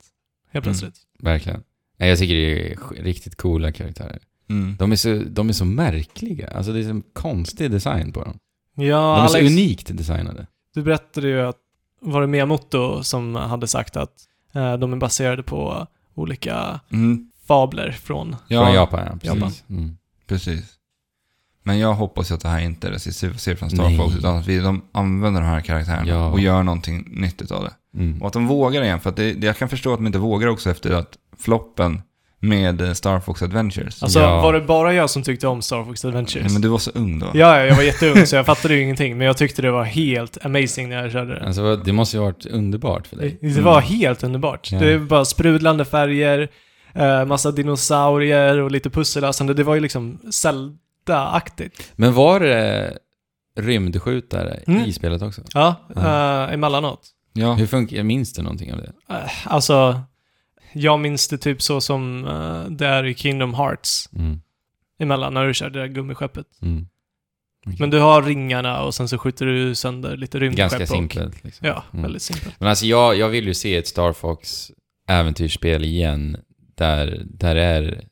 Speaker 3: Helt
Speaker 2: Mm.
Speaker 3: plötsligt.
Speaker 2: verkligen. Nej, jag tycker det är sk- riktigt coola karaktärer.
Speaker 4: Mm.
Speaker 2: De är så, de är så märkliga. Alltså det är en konstig design på dem. De
Speaker 3: Ja,
Speaker 2: är så
Speaker 3: Alex,
Speaker 2: unikt designade.
Speaker 3: du berättade ju att var det Miyamoto som hade sagt att eh, de är baserade på olika
Speaker 4: Mm.
Speaker 3: fabler från...
Speaker 4: Ja,
Speaker 2: Från Japan, ja.
Speaker 3: Japan.
Speaker 2: Precis. Mm.
Speaker 4: precis. Men jag hoppas ju att det här inte är det sista vi ser från Star
Speaker 2: Nej.
Speaker 4: Fox, utan att vi, de använder de här karaktärerna
Speaker 2: Ja.
Speaker 4: och gör någonting nytt av det.
Speaker 2: Mm.
Speaker 4: Och att de vågar igen, för att det, det, jag kan förstå att de inte vågar också efter att floppen med eh, Star Fox Adventures.
Speaker 3: Alltså,
Speaker 2: Ja.
Speaker 3: var det bara jag som tyckte om Star Fox Adventures?
Speaker 4: Nej, men du var så ung då.
Speaker 3: Ja, ja, jag var jätteung så jag fattade ju ingenting, men jag tyckte det var helt amazing när jag körde det.
Speaker 2: Alltså vad- det måste ju ha varit underbart för dig. Mm.
Speaker 3: Det det var helt underbart.
Speaker 2: Ja.
Speaker 3: Det är bara sprudlande färger, eh, massa dinosaurier och lite pussellösande. Det var ju liksom Zelda-aktigt.
Speaker 2: Men var det rymdskjutare
Speaker 3: Mm.
Speaker 2: i spelet också?
Speaker 3: Ja,
Speaker 2: Ja.
Speaker 3: eh, emellanåt.
Speaker 4: Ja.
Speaker 2: Hur funkar, minns du någonting av det?
Speaker 3: Eh, alltså, jag minns det typ så som eh, det är i Kingdom Hearts
Speaker 2: Mm.
Speaker 3: emellan när du kör det där gummiskeppet.
Speaker 2: Mm.
Speaker 3: Men du har ringarna och sen så skjuter du sönder lite rymdskepp
Speaker 2: Ganska
Speaker 3: och-
Speaker 2: simpelt. Liksom.
Speaker 3: Ja,
Speaker 2: Mm.
Speaker 3: väldigt simpelt.
Speaker 2: Men alltså jag, jag vill ju se ett Star Fox äventyrsspel igen där, där är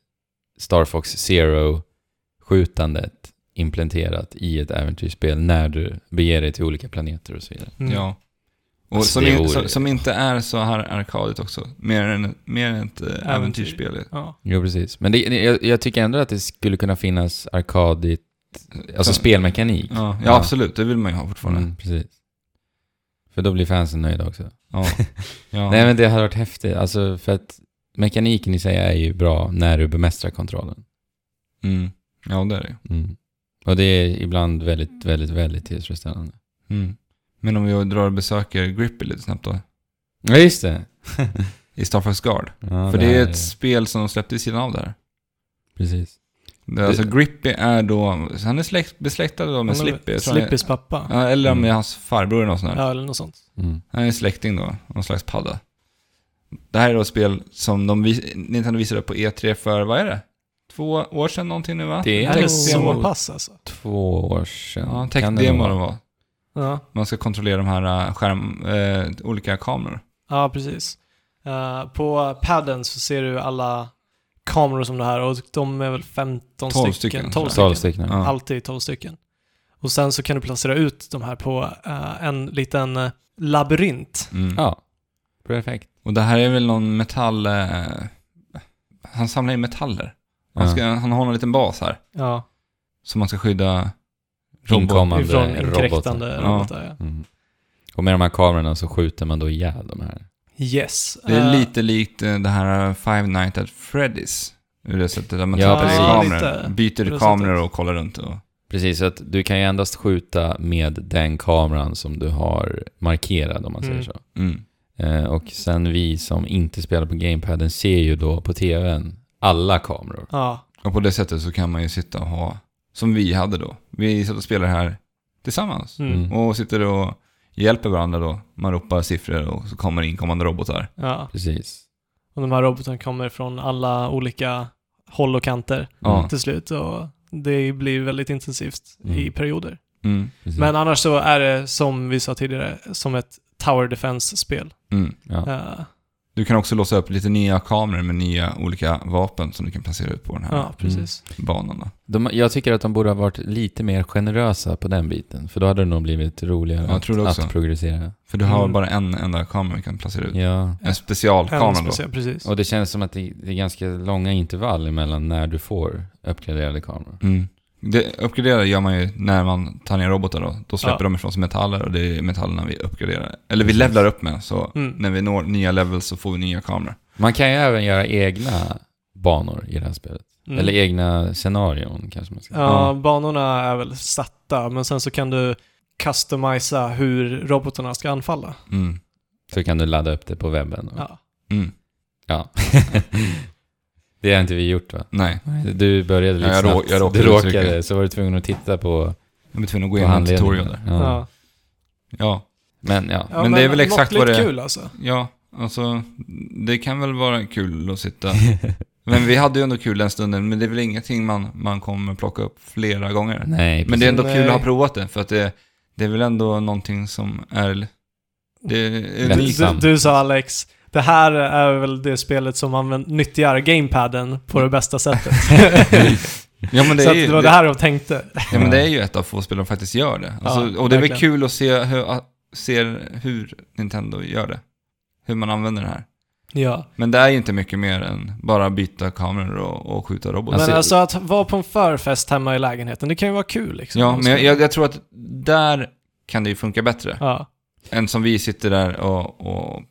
Speaker 2: Star Fox Zero-skjutandet implementerat i ett äventyrsspel när du beger dig till olika planeter och så vidare.
Speaker 3: Mm.
Speaker 4: Ja. Och
Speaker 2: Alltså,
Speaker 4: som,
Speaker 2: det
Speaker 4: in,
Speaker 2: vore-
Speaker 4: som, som inte är så här arkadigt också. Mer än, mer än ett eh, äventyrsspel.
Speaker 3: Ja.
Speaker 2: Jo, precis. Men det, det- jag, jag tycker ändå att det skulle kunna finnas arkadigt, alltså
Speaker 4: Så-
Speaker 2: spelmekanik.
Speaker 4: Ja, ja,
Speaker 2: Ja.
Speaker 4: absolut. Det vill man ju ha fortfarande.
Speaker 2: Mm, precis. För då blir fansen nöjda också.
Speaker 4: Ja. ja.
Speaker 2: Nej, men det hade varit häftigt. Alltså, för att mekaniken i sig är ju bra när du bemästrar kontrollen.
Speaker 4: mm. ja, det är det.
Speaker 2: Mm. Och det är ibland väldigt, väldigt, väldigt tillfredsställande.
Speaker 4: Mm. Men om vi drar och besöker Grippy lite snabbt då.
Speaker 2: Ja, just det.
Speaker 4: I Star Fox Guard.
Speaker 2: Ja,
Speaker 4: För det är
Speaker 2: här
Speaker 4: ett spel som de släppte i sidan av där.
Speaker 2: Precis.
Speaker 4: Det, alltså Grippy är då, han är släkt, besläktad då med Slippy. jag tror han är-
Speaker 3: Slippys pappa.
Speaker 4: Ja, eller med
Speaker 2: Mm.
Speaker 4: hans farbror eller något sånt där.
Speaker 3: Ja, eller något sånt.
Speaker 2: Mm.
Speaker 4: Han är släkting då, någon slags padda. Det här är då ett spel som de vis- Nintendo visade upp på E3 för, vad är det? Två år sedan någonting nu va?
Speaker 2: Det
Speaker 3: Det
Speaker 2: är
Speaker 3: här är
Speaker 2: nog
Speaker 3: så pass alltså.
Speaker 2: två år sedan.
Speaker 4: Ja,
Speaker 2: Kan det
Speaker 4: tech-demo
Speaker 2: nog
Speaker 4: det
Speaker 2: vara.
Speaker 4: var.
Speaker 3: Ja,
Speaker 4: Man ska kontrollera de här äh, skärm, eh, olika kameror.
Speaker 3: ja precis. Eh, på padden så ser du alla kameror som det här och de är väl 15
Speaker 4: 12
Speaker 3: stycken.
Speaker 4: stycken,
Speaker 3: 12
Speaker 4: tror
Speaker 3: stycken.
Speaker 2: Tolv stycken.
Speaker 4: Ja.
Speaker 3: Alltid 12 stycken. Och sen så kan du placera ut de här på eh, en liten eh, labyrint.
Speaker 4: Mm.
Speaker 2: Ja. Perfekt.
Speaker 4: Och det här är väl någon metall... Eh, han samlar in metaller. Han, ska, han har en liten bas här.
Speaker 3: Ja,
Speaker 4: Som man ska skydda...
Speaker 2: ja. Inkommande
Speaker 3: ifrån
Speaker 2: robotar.
Speaker 3: inkräktande
Speaker 4: Ja.
Speaker 3: robotar. Ja.
Speaker 2: Mm. Och med de här kamerorna så skjuter man då ihjäl de här.
Speaker 3: Yes.
Speaker 4: Det är
Speaker 3: Eh,
Speaker 4: lite likt eh, det här Five Nights at Freddy's. Ur det sättet att man
Speaker 2: Ja,
Speaker 4: tar på
Speaker 2: precis.
Speaker 4: kameror.
Speaker 3: lite. På
Speaker 4: Byter
Speaker 3: det
Speaker 4: kameror
Speaker 3: sättet.
Speaker 4: och kollar runt. Och,
Speaker 2: Precis, så att du kan ju endast skjuta med den kameran som du har markerad om man säger
Speaker 3: Mm.
Speaker 2: så.
Speaker 4: mm.
Speaker 2: Eh, och sen vi som inte spelar på gamepaden ser ju då på tvn alla kameror.
Speaker 3: Ja,
Speaker 4: och på det sättet så kan man ju sitta och ha... Som vi hade då. Vi satt och spelade här tillsammans.
Speaker 3: mm.
Speaker 2: Mm.
Speaker 4: Och sitter och hjälper varandra då. Man ropar siffror och så kommer inkommande robotar.
Speaker 3: ja.
Speaker 2: Precis.
Speaker 3: Och de här robotarna kommer från alla olika håll och kanter
Speaker 4: Ja.
Speaker 3: till slut. Och det blir väldigt intensivt i
Speaker 2: Mm.
Speaker 3: perioder.
Speaker 4: Mm.
Speaker 2: Precis.
Speaker 3: Men annars så är det, som vi sa tidigare, som ett Tower Defense-spel.
Speaker 4: Mm.
Speaker 2: Ja.
Speaker 3: Eh,
Speaker 4: Du kan också låsa upp lite nya kameror med nya olika vapen som du kan placera ut på den här
Speaker 3: ja, precis.
Speaker 4: banan. Då.
Speaker 2: De, jag tycker att de borde ha varit lite mer generösa på den biten, för då hade det nog blivit roligare
Speaker 4: Jag
Speaker 2: att,
Speaker 4: tror det också.
Speaker 2: att progressera.
Speaker 4: För du har
Speaker 3: Mm.
Speaker 4: bara en enda kamera du kan placera ut.
Speaker 2: Ja.
Speaker 4: En specialkamera
Speaker 3: En
Speaker 4: då.
Speaker 3: speciell, precis.
Speaker 2: Och det känns som att det, det är ganska långa intervall emellan när du får uppgraderade kameror.
Speaker 4: Mm. Det uppgraderar gör man ju när man tar ner robotar då. Då släpper
Speaker 3: Ja.
Speaker 4: de ifrån sig metaller och det är metallerna vi uppgraderar. Eller vi
Speaker 2: Precis.
Speaker 4: levlar upp med. Så
Speaker 3: Mm.
Speaker 4: när vi når nya levels så får vi nya kameror.
Speaker 2: Man kan ju även göra egna banor i det här spelet.
Speaker 3: Mm.
Speaker 2: Eller egna scenarion kanske man ska säga.
Speaker 3: ja, banorna är väl satta, men sen så kan du customisa hur robotarna ska anfalla.
Speaker 4: Mm.
Speaker 2: Så kan du ladda upp det på webben. Och,
Speaker 3: Ja.
Speaker 4: Mm.
Speaker 2: ja. det har inte vi gjort va?
Speaker 4: Nej,
Speaker 2: Du började lite
Speaker 4: Ja, jag rå-
Speaker 2: snabbt.
Speaker 4: jag råkade
Speaker 2: du
Speaker 4: uttrycka.
Speaker 2: råkade, så var du tvungen att titta på,
Speaker 4: jag blir tvungen att gå
Speaker 2: på
Speaker 4: igenom en tutorial
Speaker 2: handledningen.
Speaker 4: där.
Speaker 2: Ja.
Speaker 3: Ja.
Speaker 4: Ja,
Speaker 2: Men ja.
Speaker 3: Ja,
Speaker 4: Men det är väl exakt vad
Speaker 3: måttligt
Speaker 4: det är.
Speaker 3: kul alltså.
Speaker 4: ja, alltså det kan väl vara kul att sitta. Men vi hade ju ändå kul den stunden, men det är väl ingenting man, man kommer plocka upp flera gånger.
Speaker 2: Nej,
Speaker 4: Men det är ändå
Speaker 3: Nej.
Speaker 4: kul att ha provat det, för att det, Det är väl ändå någonting som är... Det är
Speaker 3: Du,
Speaker 4: unikt.
Speaker 2: Lättsamt.
Speaker 3: du, du sa Alex, det här är väl det spelet som använder, nyttjar gamepaden på det bästa sättet.
Speaker 4: Ja, men det
Speaker 3: så
Speaker 4: är
Speaker 3: att
Speaker 4: ju,
Speaker 3: det var det här de tänkte.
Speaker 4: Ja, men det är ju ett av få spel de faktiskt gör det. Alltså,
Speaker 3: Ja,
Speaker 4: och det är väl
Speaker 3: verkligen.
Speaker 4: kul att se hur, att- ser hur Nintendo gör det. Hur man använder det här.
Speaker 3: Ja.
Speaker 4: Men det är ju inte mycket mer än bara byta kameror och, och skjuta robotar.
Speaker 3: Men
Speaker 2: Alltså-
Speaker 3: alltså att vara på en förfest hemma i lägenheten, det kan ju vara kul liksom.
Speaker 4: ja, men jag, jag, jag tror att där kan det ju funka bättre.
Speaker 3: Ja,
Speaker 4: Än som vi sitter där och, och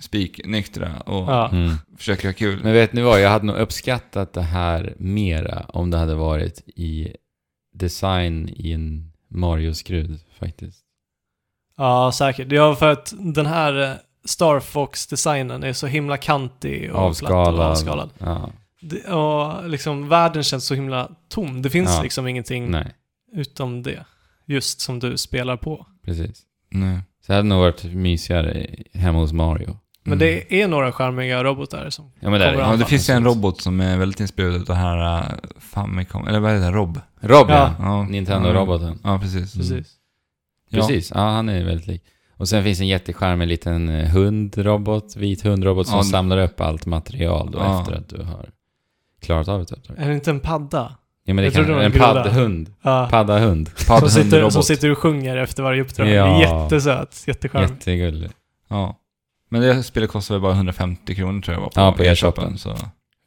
Speaker 4: spiknyktra och
Speaker 3: ja.
Speaker 2: Mm.
Speaker 4: försöker ha kul.
Speaker 2: Men vet ni vad, jag hade nog uppskattat det här mera om det hade varit i design i en Mario-skrud faktiskt.
Speaker 3: ja, säkert. Ja, för att den här eh, Star Fox-designen är så himla kantig och platt
Speaker 2: Avskalad.
Speaker 3: och avskalad.
Speaker 2: Ja,
Speaker 3: Det, och liksom världen känns så himla tom. Det finns
Speaker 2: Ja.
Speaker 3: liksom ingenting
Speaker 2: nej,
Speaker 3: utom det. Just som du spelar på.
Speaker 2: precis.
Speaker 4: Nej.
Speaker 2: Så det hade nog varit mysigare i- hemma hos Mario.
Speaker 3: Men
Speaker 4: Mm.
Speaker 3: det är några charmiga robotar som...
Speaker 2: Ja, men det är det.
Speaker 3: Kommer
Speaker 4: Ja,
Speaker 2: Ja,
Speaker 4: det finns ju en robot som är väldigt inspirerad av det här äh, Famicom, eller vad heter det? Rob?
Speaker 2: Rob,
Speaker 3: Ja.
Speaker 2: ja.
Speaker 4: Ja.
Speaker 2: Nintendo-roboten.
Speaker 4: Ja, precis.
Speaker 3: Precis.
Speaker 4: Ja.
Speaker 2: Mm. Precis, ja, han är väldigt lik. Och sen finns en jättecharmig liten eh, hundrobot, vit hundrobot som
Speaker 4: Ja.
Speaker 2: samlar upp allt material då
Speaker 4: Ja.
Speaker 2: efter att du har klarat av ett uppdrag.
Speaker 3: Är det inte en padda?
Speaker 2: Ja, men det
Speaker 3: Jag
Speaker 2: kan,
Speaker 3: trodde det var en
Speaker 2: en
Speaker 3: groda.
Speaker 2: paddhund.
Speaker 3: Ja.
Speaker 2: Paddahund.
Speaker 3: Som sitter, som
Speaker 4: Paddhundrobot.
Speaker 3: sitter och sjunger efter varje uppdrag.
Speaker 2: Ja.
Speaker 3: Jättesöt, jättecharmig.
Speaker 2: Jättegullig.
Speaker 4: Ja. Men det spelet kostar väl bara 150 kronor tror jag var på,
Speaker 2: Ja, på
Speaker 4: e-shoppen. Så.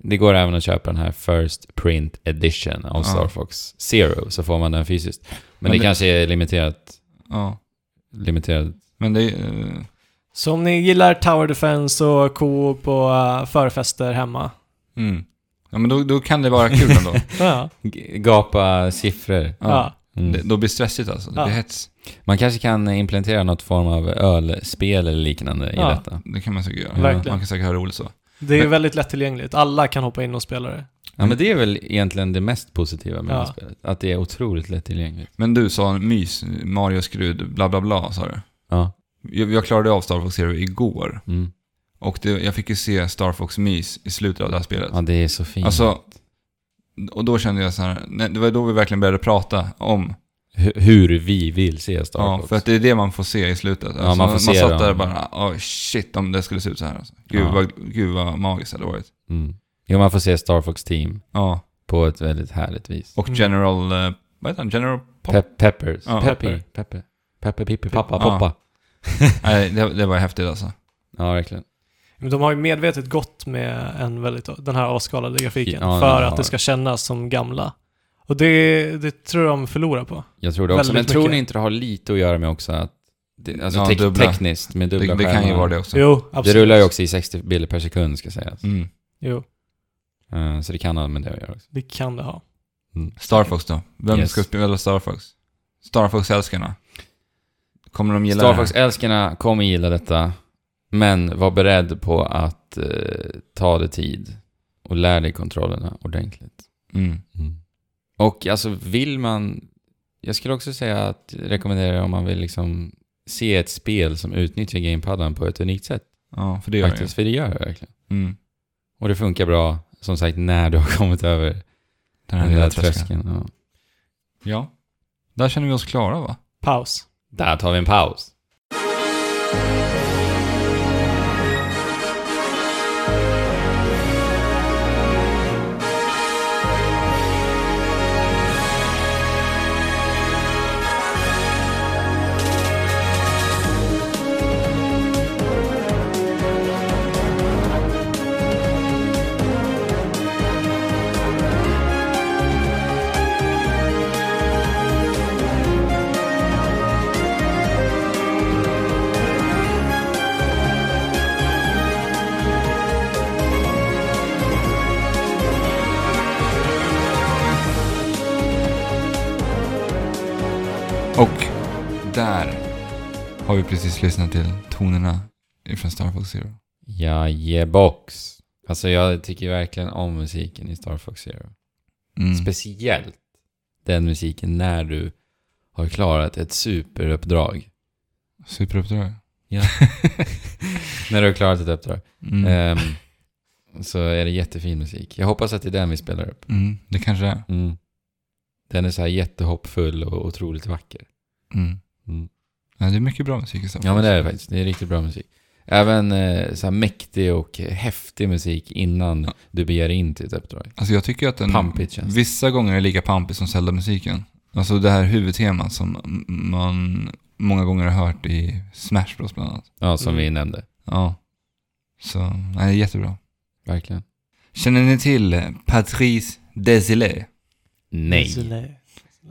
Speaker 2: Det går även att köpa den här First Print Edition av
Speaker 4: Ja.
Speaker 2: Star Fox Zero, så får man den fysiskt. Men,
Speaker 4: Men
Speaker 2: det,
Speaker 4: det-
Speaker 2: kanske är limiterat,
Speaker 4: Ja.
Speaker 2: limiterat
Speaker 4: Men det är... eh,
Speaker 3: Så om ni gillar Tower Defense och Coop och eh, förfester hemma.
Speaker 4: Mm. Ja, men då, då kan det vara kul ändå.
Speaker 3: Ja.
Speaker 2: g- gapa siffror.
Speaker 3: ja.
Speaker 2: Mm.
Speaker 4: Det, då blir det stressigt alltså. Det
Speaker 3: Ja.
Speaker 4: blir hets.
Speaker 2: Man kanske kan implementera något form av ölspel eller liknande
Speaker 3: Ja.
Speaker 2: i detta.
Speaker 4: Det kan man säkert göra.
Speaker 3: Verkligen.
Speaker 4: Man kan säkert ha roligt så.
Speaker 3: Det är ju väldigt lättillgängligt. Alla kan hoppa in och spela det.
Speaker 2: Ja, men det är väl egentligen det mest positiva med
Speaker 3: Ja.
Speaker 2: det här spelet. Att det är otroligt lättillgängligt.
Speaker 4: Men du sa mys, Mario skrud, bla bla bla sa du.
Speaker 2: Ja.
Speaker 4: Jag, jag klarade av Star Fox Zero igår.
Speaker 2: Mm.
Speaker 4: Och det, jag fick ju se Star Fox mys i slutet av det här spelet.
Speaker 2: ja, det är så fint.
Speaker 4: Alltså, och då kände jag så här, nej, det var då vi verkligen började prata om,
Speaker 2: Hu- hur vi vill se Star
Speaker 4: ja,
Speaker 2: Fox.
Speaker 4: för att det är det man får se i slutet. Alltså,
Speaker 2: Ja, man får se
Speaker 4: satt där och
Speaker 2: dem.
Speaker 4: bara, oh, shit om det skulle se ut så här. Alltså. Gud,
Speaker 2: Ja.
Speaker 4: vad, gud vad magiskt det hade varit.
Speaker 2: mm. Jo, man får se Star Fox Team
Speaker 4: Ja,
Speaker 2: på ett väldigt härligt vis.
Speaker 4: och
Speaker 3: Mm.
Speaker 4: General, eh, vad heter han? General Pop?
Speaker 2: Pe peppers.
Speaker 4: Ja.
Speaker 2: Pepper. Pepper. Pepper, Pippi, pappa,
Speaker 4: Ja.
Speaker 2: poppa.
Speaker 4: Nej, det, det var häftigt alltså.
Speaker 2: Ja, verkligen.
Speaker 3: Men de har ju medvetet gått med en väldigt, den här avskalade grafiken
Speaker 2: Ja,
Speaker 3: för
Speaker 2: de
Speaker 3: att
Speaker 2: har.
Speaker 3: det ska kännas som gamla. Och det, det tror jag de förlorar på.
Speaker 2: Jag tror det också. Men
Speaker 3: Väldigt
Speaker 2: tror
Speaker 3: mycket.
Speaker 2: ni inte det har lite att göra med också att... Det, alltså
Speaker 4: Ja,
Speaker 2: tek-
Speaker 4: dubbla.
Speaker 2: tekniskt med dubbla
Speaker 4: Det, det kan ju
Speaker 2: skärmar.
Speaker 4: vara det också.
Speaker 3: Jo, absolut.
Speaker 2: Det rullar ju också i 60 bilder per sekund ska sägas.
Speaker 4: Mm.
Speaker 3: Jo,
Speaker 2: Eh, Så det kan ha med det att göra också.
Speaker 3: det kan det ha.
Speaker 4: Star Fox då? Vem
Speaker 2: Yes.
Speaker 4: ska spela Star Fox? Star Fox-älskarna? Kommer de gilla
Speaker 2: Star
Speaker 4: det här?
Speaker 2: Fox-älskarna kommer gilla detta, men var beredd på att eh, ta det tid och lär dig kontrollerna ordentligt.
Speaker 4: Mm.
Speaker 2: Och alltså vill man... Jag skulle också säga att rekommendera om man vill liksom se ett spel som utnyttjar gamepaddan på ett unikt sätt.
Speaker 4: Ja, för det gör
Speaker 2: faktiskt, för det gör det verkligen.
Speaker 4: det ju. Mm.
Speaker 2: Och det funkar bra, som sagt, när du har kommit över
Speaker 4: Den här
Speaker 2: den
Speaker 4: lilla
Speaker 2: där
Speaker 4: tröskeln.
Speaker 2: tröskeln. Ja.
Speaker 4: Ja. Där känner vi oss klara va?
Speaker 3: Paus.
Speaker 2: Där tar vi en paus.
Speaker 4: Och där har vi precis lyssnat till tonerna ifrån Star Fox Zero.
Speaker 2: Ja, yeah, box. Alltså jag tycker verkligen om musiken i Star Fox Zero.
Speaker 4: Mm.
Speaker 2: Speciellt den musiken när du har klarat ett superuppdrag.
Speaker 4: Superuppdrag.
Speaker 2: När du har klarat ett uppdrag.
Speaker 4: Mm.
Speaker 2: Ehm, så är det jättefin musik. Jag hoppas att det är den vi spelar upp.
Speaker 4: Mm. Det kanske det är.
Speaker 2: Den är så här jättehoppfull och otroligt vacker.
Speaker 4: Mm.
Speaker 2: Mm.
Speaker 4: Ja, det är mycket bra musik i Star Fox.
Speaker 2: Ja men det är det faktiskt. Det är riktigt bra musik. Även eh, så här mäktig och häftig musik innan
Speaker 4: Ja.
Speaker 2: du beger in till ett uppdrag.
Speaker 4: Alltså jag tycker att den...
Speaker 2: Pampigt känns det.
Speaker 4: Vissa gånger är lika pampig som Zelda-musiken. Alltså det här huvudtemat som m- man många gånger har hört i Smash Bros bland annat.
Speaker 2: Ja, som
Speaker 3: Mm.
Speaker 2: vi nämnde.
Speaker 4: Ja. Så, nej, jättebra.
Speaker 2: Verkligen.
Speaker 4: Känner ni till Patrice Desilets?
Speaker 2: Nej.
Speaker 3: Zile-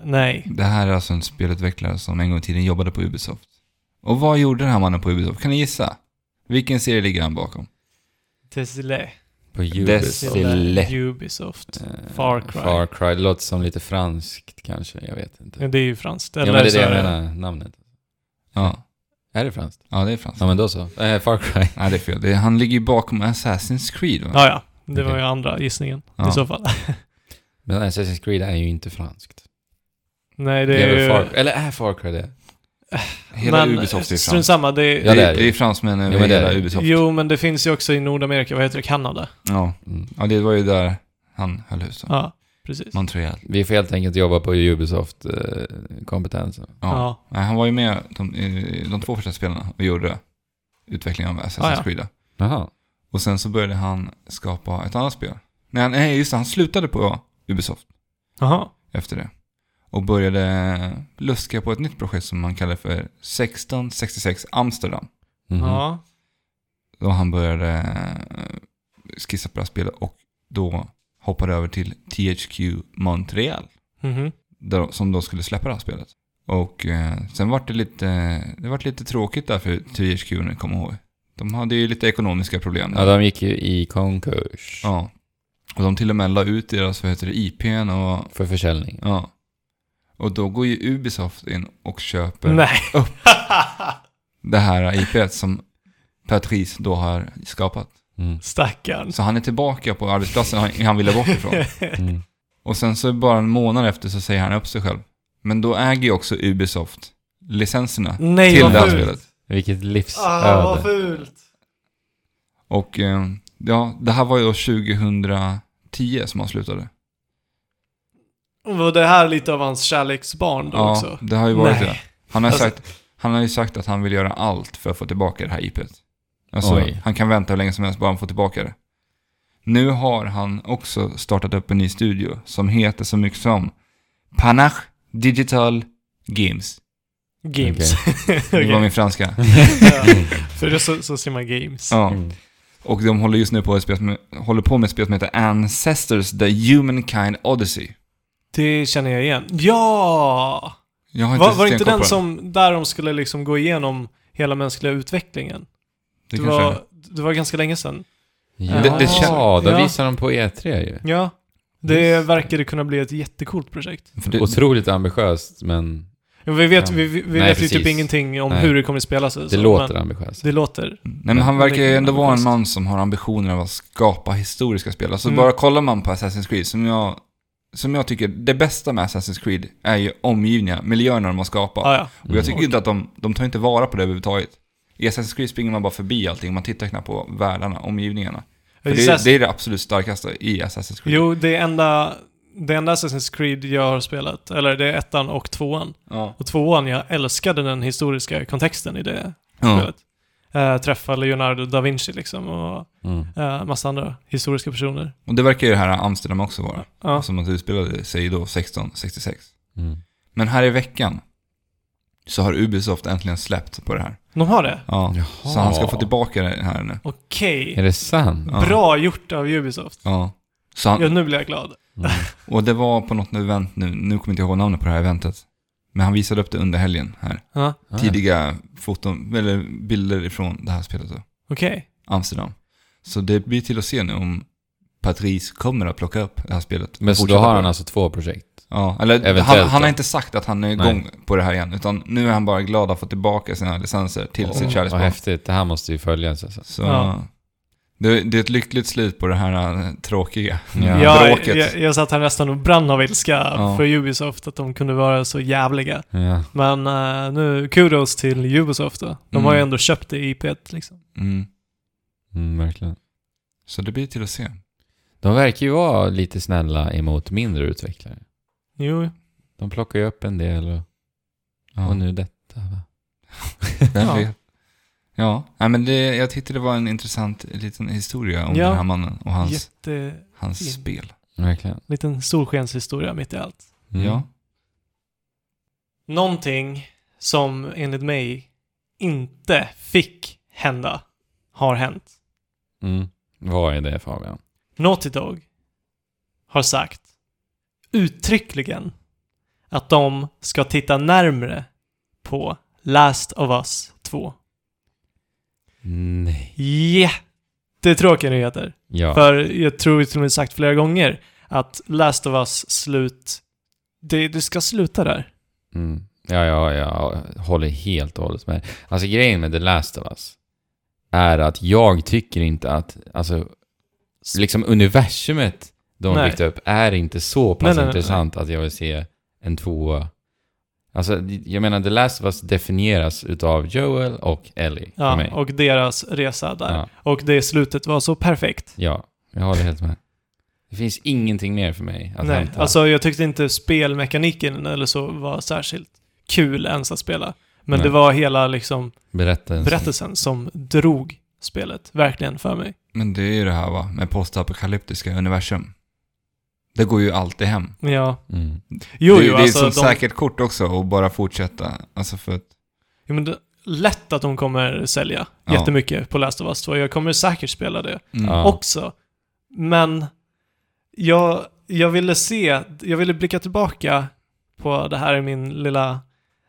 Speaker 3: Nej.
Speaker 4: Det här är alltså en spelutvecklare som en gång i tiden jobbade på Ubisoft. Och vad gjorde den här mannen på Ubisoft? Kan ni gissa? Vilken serie ligger han bakom?
Speaker 3: Tesla.
Speaker 2: På Ubisoft.
Speaker 4: Desole. Zile.
Speaker 3: Ubisoft.
Speaker 2: Eh,
Speaker 3: Far Cry.
Speaker 2: Far Cry. Det låter som lite franskt kanske. Jag vet inte.
Speaker 3: Ja, det är ju franskt.
Speaker 2: Ja, men
Speaker 3: Eller
Speaker 2: det är
Speaker 3: så
Speaker 2: det jag
Speaker 3: är
Speaker 2: menar. Namnet.
Speaker 4: Ja,
Speaker 2: Är det franskt?
Speaker 4: ja det är franskt.
Speaker 2: Ja, men då så. Eh, Far Cry.
Speaker 4: Nej, det är fel. Det är, han ligger ju bakom Assassin's Creed va?
Speaker 3: Ja, ja. Det var
Speaker 2: Okej.
Speaker 3: ju andra gissningen
Speaker 4: Ja.
Speaker 3: i så fall.
Speaker 2: Men Assassin's Creed är ju inte franskt.
Speaker 3: Nej, det,
Speaker 2: Det är
Speaker 3: är
Speaker 2: väl
Speaker 3: ju...
Speaker 2: Far Eller är Far Cry det?
Speaker 4: Hela Ubisoft är
Speaker 3: Strunt
Speaker 4: franskt.
Speaker 3: samma. Det är,
Speaker 2: Ja,
Speaker 4: det,
Speaker 2: det
Speaker 4: är,
Speaker 2: är
Speaker 4: det är fransmännen över
Speaker 2: Jo, men det är
Speaker 4: hela
Speaker 2: det.
Speaker 4: Ubisoft.
Speaker 3: Jo, men det finns ju också i Nordamerika. Vad heter det? Kanada?
Speaker 4: Ja.
Speaker 2: Mm.
Speaker 4: ja, det var ju där han höll hus. då.
Speaker 3: Ja, precis.
Speaker 4: Montreal.
Speaker 2: Vi får helt enkelt jobba på eh, Ubisoft-kompetensen.
Speaker 4: Ja.
Speaker 3: Ja.
Speaker 4: Nej, han var ju med de, i de två första spelarna och gjorde utvecklingen av Assassin's
Speaker 3: Ah, ja.
Speaker 4: Creed. då.
Speaker 2: Jaha.
Speaker 4: Och sen så började han skapa ett annat spel. Nej, han- nej, just det. Han slutade på Ubisoft.
Speaker 3: Jaha.
Speaker 4: efter det. Och började luska på ett nytt projekt som man kallar för 1666 Amsterdam.
Speaker 2: Mhm.
Speaker 3: Ja.
Speaker 4: Då han började eh, skissa på det här spelet och då hoppade över till THQ Montreal.
Speaker 3: Mhm.
Speaker 4: Där, som då skulle släppa det här spelet. Och eh, sen var det lite, det vart lite tråkigt där för THQ nu, kommer jag ihåg. De hade ju lite ekonomiska problem.
Speaker 2: Ja, de gick ju i konkurs.
Speaker 4: ja. Och de till och med la ut deras, vad heter det, IPn och,
Speaker 2: För försäljning.
Speaker 4: ja. Och då går ju Ubisoft in och köper
Speaker 3: Nej.
Speaker 4: det här IPet som Patrice då har skapat.
Speaker 2: Mm.
Speaker 3: Stackarn.
Speaker 4: Så han är tillbaka på arbetsplatsen han, han ville bort ifrån.
Speaker 2: Mm.
Speaker 4: Och sen så bara en månad efter så säger han upp sig själv. Men då äger ju också Ubisoft licenserna
Speaker 3: Nej,
Speaker 4: till
Speaker 3: vad
Speaker 4: det här
Speaker 3: fult.
Speaker 4: spelet.
Speaker 2: Vilket livsöde.
Speaker 3: Ah, vad fult.
Speaker 4: Och eh, ja, det här var ju då 2010 som han slutade.
Speaker 3: Var det här lite av hans kärleksbarn då
Speaker 4: Ja,
Speaker 3: också?
Speaker 4: det har ju varit
Speaker 3: Nej.
Speaker 4: det. Han har, ju
Speaker 3: Alltså-
Speaker 4: sagt, han har ju sagt att han vill göra allt för att få tillbaka det här IPet. Alltså,
Speaker 2: Oj.
Speaker 4: han kan vänta hur länge som helst bara han får tillbaka det. Nu har han också startat upp en ny studio som heter så mycket som Panache Digital Games.
Speaker 3: Games.
Speaker 4: Det var
Speaker 3: Okej.
Speaker 4: min franska.
Speaker 3: Ja. För det så, så ser man games.
Speaker 4: Ja.
Speaker 2: Mm.
Speaker 4: Och de håller just nu på, ett spel som, håller på med ett spel som heter Ancestors The Humankind Odyssey.
Speaker 3: Det känner jag igen. Ja!
Speaker 4: Jag har inte
Speaker 3: Var, var det inte
Speaker 4: stenkoll på
Speaker 3: den som, där de skulle liksom gå igenom hela mänskliga utvecklingen?
Speaker 4: Det,
Speaker 3: Det,
Speaker 4: kanske är.
Speaker 3: var, det var ganska länge sedan.
Speaker 2: Ja,
Speaker 4: Det- det
Speaker 3: känns-
Speaker 2: då
Speaker 3: Ja.
Speaker 2: visar de på E3 ju.
Speaker 3: Ja. Det
Speaker 2: Just det.
Speaker 3: verkade kunna bli ett jättecoolt projekt.
Speaker 4: För det,
Speaker 2: Otroligt ambitiöst, men
Speaker 3: Ja, Vi vet,
Speaker 2: Ja.
Speaker 3: vi, vi vi
Speaker 2: Nej,
Speaker 3: vet ju typ
Speaker 2: precis.
Speaker 3: ingenting om
Speaker 2: Nej.
Speaker 3: hur det kommer att spelas.
Speaker 2: det låter ambitiöst.
Speaker 3: Det låter.
Speaker 4: Nej men han
Speaker 3: Men det
Speaker 4: verkar ju
Speaker 3: kan
Speaker 4: ändå
Speaker 3: vara
Speaker 4: vara en
Speaker 3: schysst.
Speaker 4: man som har ambitioner av att skapa historiska spel. Alltså
Speaker 3: Mm.
Speaker 4: bara kollar man på Assassin's Creed, som jag, som jag tycker, det bästa med Assassin's Creed är ju omgivningarna, miljöerna de har skapat.
Speaker 3: Ja, ja.
Speaker 4: Och jag tycker
Speaker 3: Mm.
Speaker 4: inte att de, de tar inte vara på det överhuvudtaget. I Assassin's Creed springer man bara förbi allting, man tittar knappt på världarna, omgivningarna. För det, är, det är det absolut starkaste i Assassin's Creed.
Speaker 3: Jo, det enda, det enda Assassin's Creed jag har spelat, eller det är ettan och tvåan.
Speaker 4: Ja.
Speaker 3: Och tvåan, jag älskade den historiska kontexten i det
Speaker 4: Ja.
Speaker 3: spelet. Eh, träffa Leonardo da Vinci liksom och
Speaker 2: Mm.
Speaker 3: eh, massa andra historiska personer.
Speaker 4: Och det verkar ju det här Amsterdam också vara.
Speaker 3: Ja.
Speaker 4: Som att det utspelade sig då 1666.
Speaker 2: Mm.
Speaker 4: Men här i veckan så har Ubisoft äntligen släppt på det här.
Speaker 3: De har det?
Speaker 4: Ja.
Speaker 2: Jaha.
Speaker 4: Så han ska få tillbaka det här nu.
Speaker 3: Okej.
Speaker 2: Är det sant?
Speaker 4: Ja.
Speaker 3: Bra gjort av Ubisoft.
Speaker 4: Ja. Så han,
Speaker 3: Ja, nu blir jag glad.
Speaker 2: Mm.
Speaker 4: och det var på något event nu, nu kommer jag inte ihåg namnet på det här eventet. Men han visade upp det under helgen här.
Speaker 3: Ja,
Speaker 2: Ah.
Speaker 4: Tidiga foton, eller bilder ifrån det här spelet då.
Speaker 3: okej.
Speaker 4: Amsterdam. Så det blir till att se nu om Patrice kommer att plocka upp det här spelet.
Speaker 2: Men så då
Speaker 4: Fortsätta på
Speaker 2: har han
Speaker 4: det.
Speaker 2: alltså två projekt?
Speaker 4: Ja, eller
Speaker 2: Eventuellt
Speaker 4: han, han
Speaker 2: då.
Speaker 4: har inte sagt att han är igång på det här igen. Utan nu är han bara glad att få tillbaka sina licenser till
Speaker 2: Åh,
Speaker 4: sitt
Speaker 2: Vad
Speaker 4: kärleksbarn.
Speaker 2: häftigt, det här måste ju följas alltså.
Speaker 4: Så
Speaker 3: Ja.
Speaker 4: det, det är ett lyckligt slut på det här eh, tråkiga
Speaker 2: Ja.
Speaker 3: Jag,
Speaker 4: bråket.
Speaker 3: jag, jag satt här nästan och brann av ilska
Speaker 4: Ja.
Speaker 3: för Ubisoft, att de kunde vara så jävliga.
Speaker 2: Ja.
Speaker 3: Men eh, nu, kudos till Ubisoft då. De har ju
Speaker 4: Mm.
Speaker 3: ändå köpt det IP liksom.
Speaker 4: Mm.
Speaker 2: Mm, verkligen.
Speaker 4: Så det blir till att se.
Speaker 2: De verkar ju vara lite snälla emot mindre utvecklare.
Speaker 3: Jo,
Speaker 2: De plockar ju upp en del och,
Speaker 4: Ja.
Speaker 2: och nu detta. döva.
Speaker 1: Ja.
Speaker 4: Ja. Ja, nej, men det, jag tyckte det var en intressant liten historia om
Speaker 3: Ja.
Speaker 4: den här mannen och hans,
Speaker 3: Jätte...
Speaker 4: hans
Speaker 3: fin.
Speaker 4: spel.
Speaker 2: Verkligen.
Speaker 3: Liten solskenshistoria mitt i allt.
Speaker 2: Mm.
Speaker 4: Ja.
Speaker 3: Någonting som enligt mig inte fick hända har hänt.
Speaker 2: Mm. Vad är det Fabian?
Speaker 3: Naughty Dog har sagt uttryckligen att de ska titta närmre på Last of Us 2.
Speaker 2: Nej.
Speaker 3: Jättetråkiga nyheter.
Speaker 2: Ja.
Speaker 3: För jag tror vi till och med sagt flera gånger att Last of Us slut, det, det ska sluta där.
Speaker 2: Mm. Ja, ja, jag håller helt och hållet med. Alltså grejen med The Last of Us är att jag tycker inte att, alltså, liksom universumet de har
Speaker 3: Nej.
Speaker 2: byggt upp är inte så
Speaker 3: Nej,
Speaker 2: pass
Speaker 3: nej, nej,
Speaker 2: intressant att jag vill se en tvåa. Alltså, jag menar, The Last of Us definieras utav Joel och Ellie för
Speaker 3: Ja,
Speaker 2: mig.
Speaker 3: och deras resa där.
Speaker 2: Ja,
Speaker 3: Och det slutet var så perfekt.
Speaker 2: ja, jag håller helt med. Det finns ingenting mer för mig att
Speaker 3: Nej,
Speaker 2: hämta.
Speaker 3: alltså jag tyckte inte spelmekaniken eller så var särskilt kul ens att spela. Men
Speaker 2: Nej.
Speaker 3: det var hela liksom
Speaker 2: Berättelsen.
Speaker 3: berättelsen som drog spelet verkligen för mig.
Speaker 4: Men det är ju det här va, med postapokalyptiska universum. Det går ju alltid hem.
Speaker 3: Ja,
Speaker 2: Mm.
Speaker 3: jo,
Speaker 4: det,
Speaker 3: jo,
Speaker 4: det är
Speaker 3: alltså
Speaker 4: som
Speaker 3: de,
Speaker 4: säkert kort också att bara fortsätta. Alltså för att,
Speaker 3: jo, men det, lätt att de kommer sälja
Speaker 4: Ja.
Speaker 3: jättemycket på Last of Us 2. Jag kommer säkert spela det
Speaker 4: mm.
Speaker 2: Ja.
Speaker 3: också. Men jag, jag ville se, jag ville blicka tillbaka på det här i min lilla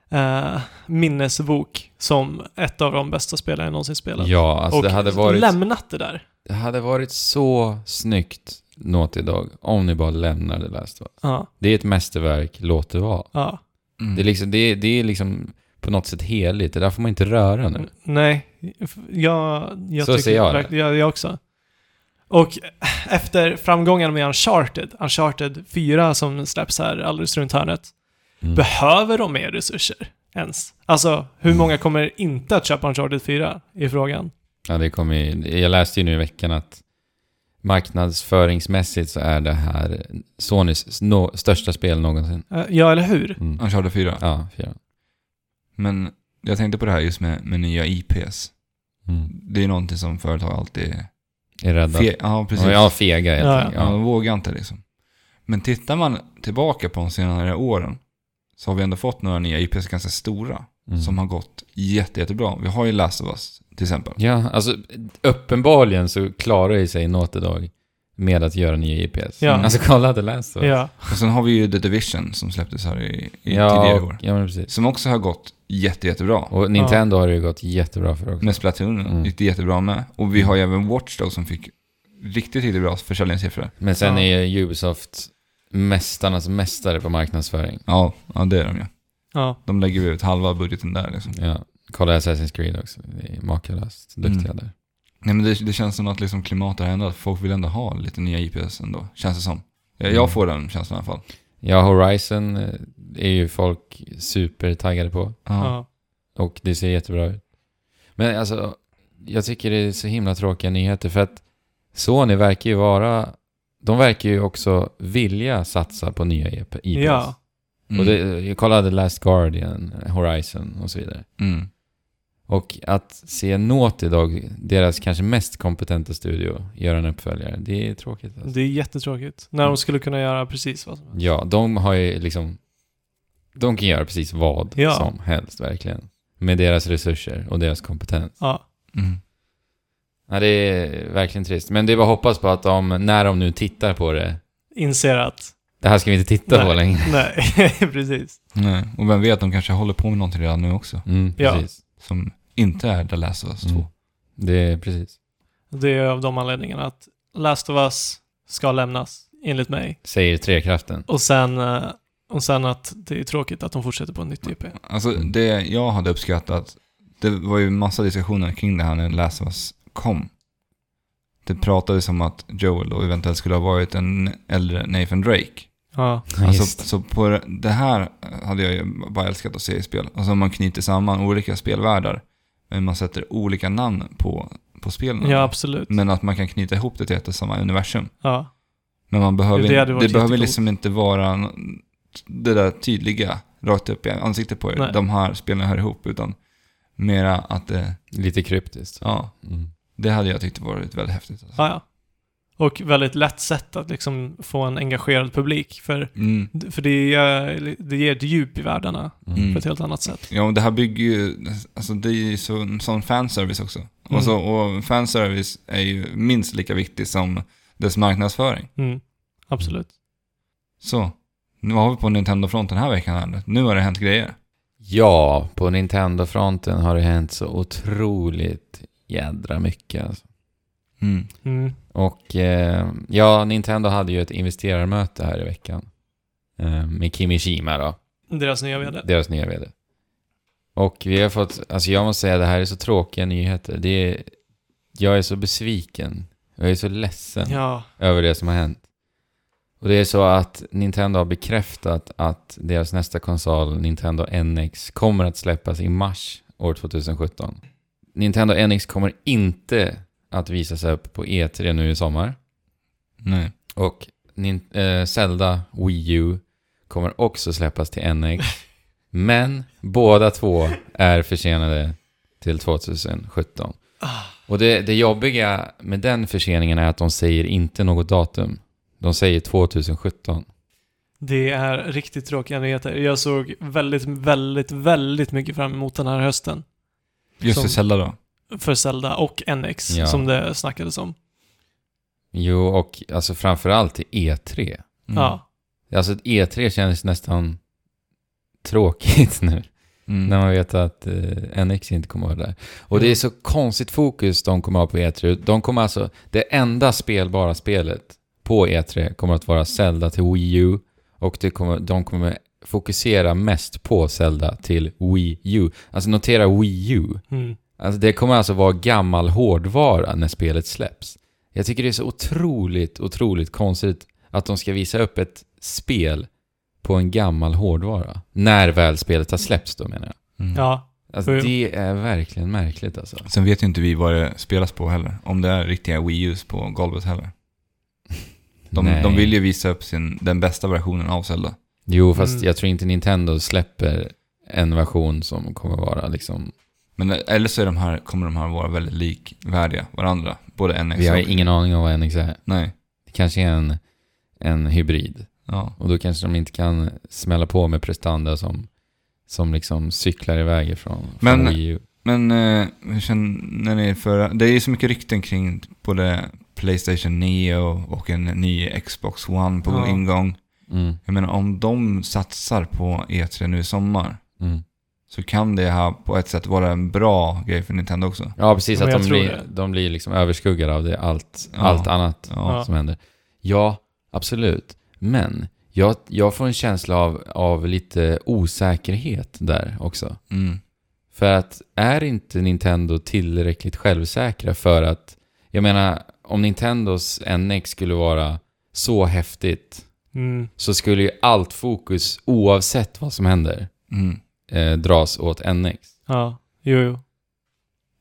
Speaker 3: eh, minnesbok som ett av de bästa spelen jag någonsin spelat.
Speaker 2: Ja, alltså
Speaker 3: och
Speaker 2: det hade varit...
Speaker 3: lämnat det där.
Speaker 2: Det hade varit så snyggt Naughty Dog om ni bara lämnar The Last of Us.
Speaker 3: Ja,
Speaker 2: Det är ett mästerverk, låt det vara.
Speaker 3: ja.
Speaker 4: Mm.
Speaker 2: Det, är liksom, det, är, det är liksom på något sätt heligt, det där får man inte röra nu.
Speaker 3: Nej, jag, jag
Speaker 2: Så
Speaker 3: tycker
Speaker 2: ser jag det.
Speaker 3: verkligen- jag, jag också. Och efter framgången med Uncharted, Uncharted 4 som släpps här alldeles runt hörnet,
Speaker 2: Mm.
Speaker 3: behöver de mer resurser ens? Alltså, hur
Speaker 4: Mm.
Speaker 3: många kommer inte att köpa Uncharted 4 i frågan?
Speaker 2: Ja, det kommer ju, jag läste ju nu i veckan att marknadsföringsmässigt så är det här Sonys no, största spel någonsin.
Speaker 3: Eh, Ja, eller hur?
Speaker 2: Mm.
Speaker 4: Uncharted 4.
Speaker 2: Ja, fyra.
Speaker 4: Men jag tänkte på det här just med, med nya IPs.
Speaker 2: Mm.
Speaker 4: Det är någonting som företag alltid...
Speaker 2: Är rädda.
Speaker 4: Fe- ja, precis.
Speaker 2: Ja, Ja, fega helt
Speaker 3: Ja,
Speaker 2: enkelt.
Speaker 4: Ja,
Speaker 2: Ja.
Speaker 4: de vågar inte liksom. Men tittar man tillbaka på de senare åren så har vi ändå fått några nya IPs, ganska stora,
Speaker 2: Mm.
Speaker 4: som har gått jätte, jättebra. Vi har ju Last of Us till exempel.
Speaker 2: Ja, alltså uppenbarligen så klarar ju sig Naughty Dog med att göra nya IPs.
Speaker 3: Ja.
Speaker 2: Alltså kolla The Last of Us.
Speaker 3: Ja,
Speaker 4: Och sen har vi ju The Division som släpptes här i, i
Speaker 2: ja,
Speaker 4: tidigare
Speaker 2: och,
Speaker 4: år.
Speaker 2: ja, men precis.
Speaker 4: Som också har gått jätte, jättebra.
Speaker 2: Och Nintendo har det ju gått jättebra för också.
Speaker 4: Med Splatoon
Speaker 2: Mm.
Speaker 4: gick det jättebra med. Och vi har ju även Watch Dogs som fick riktigt, riktigt bra försäljningssiffror.
Speaker 2: Men sen
Speaker 3: Ja.
Speaker 2: är ju Ubisoft mästarnas mästare på marknadsföring.
Speaker 4: Ja, ja, det är de ju.
Speaker 3: ja.
Speaker 4: De lägger ut halva budgeten där liksom.
Speaker 2: Ja. Kolla Assassin's Creed också, det är makalöst
Speaker 4: Mm.
Speaker 2: duktiga där.
Speaker 4: Nej men det, det känns som att liksom klimatet har ändrat. Folk vill ändå ha lite nya IPS ändå, känns det som. Eh, Jag,
Speaker 2: Mm.
Speaker 4: jag får den känslan i alla fall.
Speaker 2: Ja, Horizon eh, är ju folk supertaggade på
Speaker 4: Ja.
Speaker 3: ja.
Speaker 2: och det ser jättebra ut. Men alltså, jag tycker det är så himla tråkiga nyheter för att Sony verkar ju vara, de verkar ju också vilja satsa på nya E IPs.
Speaker 3: Ja.
Speaker 4: Mm.
Speaker 2: Och det, jag kollade Last Guardian, Horizon och så vidare.
Speaker 4: mm.
Speaker 2: Och att se Naughty Dog, deras kanske mest kompetenta studio, göra en uppföljare, det är tråkigt. Alltså.
Speaker 3: Det är jättetråkigt. När de skulle kunna göra precis vad som helst.
Speaker 2: Ja, de har ju liksom... De kan göra precis vad
Speaker 3: Ja.
Speaker 2: som helst, verkligen. Med deras resurser och deras kompetens.
Speaker 3: Ja.
Speaker 4: Mm.
Speaker 2: Ja, det är verkligen trist. Men det är bara att hoppas på att de, när de nu tittar på det,
Speaker 3: Inser att...
Speaker 2: det här ska vi inte titta på
Speaker 3: nej,
Speaker 2: längre.
Speaker 3: Nej, precis.
Speaker 4: Nej. Och vem vet, de kanske håller på med någonting redan nu också.
Speaker 2: Mm,
Speaker 3: Ja.
Speaker 2: precis.
Speaker 4: Som inte är The Last of Us 2.
Speaker 2: Mm. Det är precis.
Speaker 3: Det är av de anledningarna att Last of Us ska lämnas, enligt mig.
Speaker 2: Säger trekraften.
Speaker 3: Och sen, eh, och sen att det är tråkigt att de fortsätter på en nytt IP.
Speaker 4: Alltså
Speaker 2: Mm.
Speaker 4: det jag hade uppskattat, det var ju massa diskussioner kring det här när Last of Us kom. Det pratades om att Joel då eventuellt skulle ha varit en äldre Nathan Drake.
Speaker 3: Ja.
Speaker 4: Alltså,
Speaker 2: Just.
Speaker 4: så på det- det här hade jag ju bara älskat att se i spel. Alltså om man knyter samman olika spelvärldar, men man sätter olika namn på, på spelen.
Speaker 3: ja, absolut.
Speaker 4: Mm. Men att man kan knyta ihop det till ett och samma universum.
Speaker 3: Ja.
Speaker 4: Men man behöver,
Speaker 3: Jo, det hade
Speaker 4: det
Speaker 3: varit
Speaker 4: behöver
Speaker 3: jättecoolt.
Speaker 4: liksom inte vara nå- det där tydliga rakt upp i ansiktet på er.
Speaker 3: Nej.
Speaker 4: De här spelen hör ihop, utan mera att det,
Speaker 2: Lite kryptiskt.
Speaker 4: ja,
Speaker 2: Mm.
Speaker 4: det hade jag tyckt varit väldigt häftigt. Alltså.
Speaker 3: Ja, ja. Och väldigt lätt sätt att liksom få en engagerad publik, för,
Speaker 4: Mm.
Speaker 3: för det, gör, det ger ett djup i världarna
Speaker 2: Mm.
Speaker 3: på ett helt annat sätt.
Speaker 4: Ja, och det här bygger ju, alltså det är ju så, en sån fanservice också.
Speaker 3: Mm.
Speaker 4: Och, så, och fanservice är ju minst lika viktig som dess marknadsföring.
Speaker 3: Mm. Absolut.
Speaker 4: Så, nu har vi på Nintendo-fronten den här veckan här. Nu har det hänt grejer.
Speaker 2: Ja, på Nintendo-fronten har det hänt så otroligt jädra mycket. Alltså.
Speaker 4: Mm.
Speaker 3: Mm.
Speaker 2: Och eh, ja, Nintendo hade ju ett investerarmöte här i veckan. Eh, med Kimishima då,
Speaker 3: Deras nya vd.
Speaker 2: deras nya vd. Och vi har fått, alltså jag måste säga det här är så tråkiga nyheter. Det är, jag är så besviken. Jag är så ledsen
Speaker 3: Ja.
Speaker 2: över det som har hänt. Och det är så att Nintendo har bekräftat att deras nästa konsol, Nintendo NX, kommer att släppas i mars år 2017. Nintendo NX kommer inte att visas upp på E3 nu i sommar.
Speaker 4: Nej.
Speaker 2: Och nin- eh, Zelda Wii U kommer också släppas till NX. Men båda två är försenade till 2017. Och det, det jobbiga med den förseningen är att de säger inte något datum. De säger 2017.
Speaker 3: Det är riktigt tråkiga nyheter. Jag såg väldigt, väldigt, väldigt mycket fram emot den här hösten.
Speaker 4: Just
Speaker 3: Som-
Speaker 4: för Zelda då. Mm.
Speaker 3: För Zelda och NX,
Speaker 2: Ja.
Speaker 3: som det snackades om.
Speaker 2: Jo, och alltså framförallt till E3.
Speaker 4: Mm.
Speaker 3: Ja.
Speaker 2: Alltså E3 känns nästan tråkigt nu.
Speaker 4: Mm.
Speaker 2: När man vet att eh, NX inte kommer att vara där. Och det är så konstigt fokus de kommer att ha på E3. De kommer alltså, det enda spelbara spelet på E3 kommer att vara Zelda till Wii U. Och det kommer, de kommer fokusera mest på Zelda till Wii U. Alltså notera Wii U.
Speaker 3: Mm.
Speaker 2: Alltså det kommer alltså vara gammal hårdvara när spelet släpps. Jag tycker det är så otroligt, otroligt konstigt att de ska visa upp ett spel på en gammal hårdvara. När väl spelet har släppts då menar jag.
Speaker 4: Mm.
Speaker 3: Ja.
Speaker 2: Alltså,
Speaker 3: Jo, jo.
Speaker 2: det är verkligen märkligt alltså.
Speaker 4: Sen vet ju inte vi vad det spelas på heller. Om det är riktiga Wii U's på golvet heller. De,
Speaker 2: Nej.
Speaker 4: de vill ju visa upp sin, den bästa versionen av Zelda.
Speaker 2: Jo, fast
Speaker 3: Mm.
Speaker 2: jag tror inte Nintendo släpper en version som kommer vara liksom...
Speaker 4: Men eller så är de här, kommer de här vara väldigt likvärdiga varandra. Både NX
Speaker 2: Vi har
Speaker 4: och...
Speaker 2: ingen aning om vad NX är.
Speaker 4: Nej.
Speaker 2: Det kanske är en, en hybrid.
Speaker 4: Ja.
Speaker 2: Och då kanske de inte kan smälla på med prestanda som, som liksom cyklar iväg ifrån från
Speaker 4: Men-
Speaker 2: Wii U.
Speaker 4: Men eh, hur känner ni för... Det är ju så mycket rykten kring både Playstation Neo och en ny Xbox One på
Speaker 3: Ja.
Speaker 4: ingång.
Speaker 2: Mm.
Speaker 4: Jag menar om de satsar på E3 nu i sommar
Speaker 2: Mm.
Speaker 4: så kan det här på ett sätt vara en bra grej för Nintendo också.
Speaker 2: Ja, precis.
Speaker 3: Ja, men
Speaker 2: att
Speaker 3: jag
Speaker 2: de
Speaker 3: tror
Speaker 2: blir,
Speaker 3: det.
Speaker 2: de blir liksom överskuggade av det, allt,
Speaker 4: Ja.
Speaker 2: allt annat
Speaker 4: Ja.
Speaker 3: Ja.
Speaker 2: som händer. Ja, absolut. Men jag, jag får en känsla av, av lite osäkerhet där också.
Speaker 4: Mm.
Speaker 2: För att är inte Nintendo tillräckligt självsäkra för att... Jag menar, om Nintendos NX skulle vara så häftigt
Speaker 3: Mm.
Speaker 2: så skulle ju allt fokus, oavsett vad som händer,
Speaker 4: Mm.
Speaker 2: eh, dras åt NX.
Speaker 3: Ja. Jo, jo.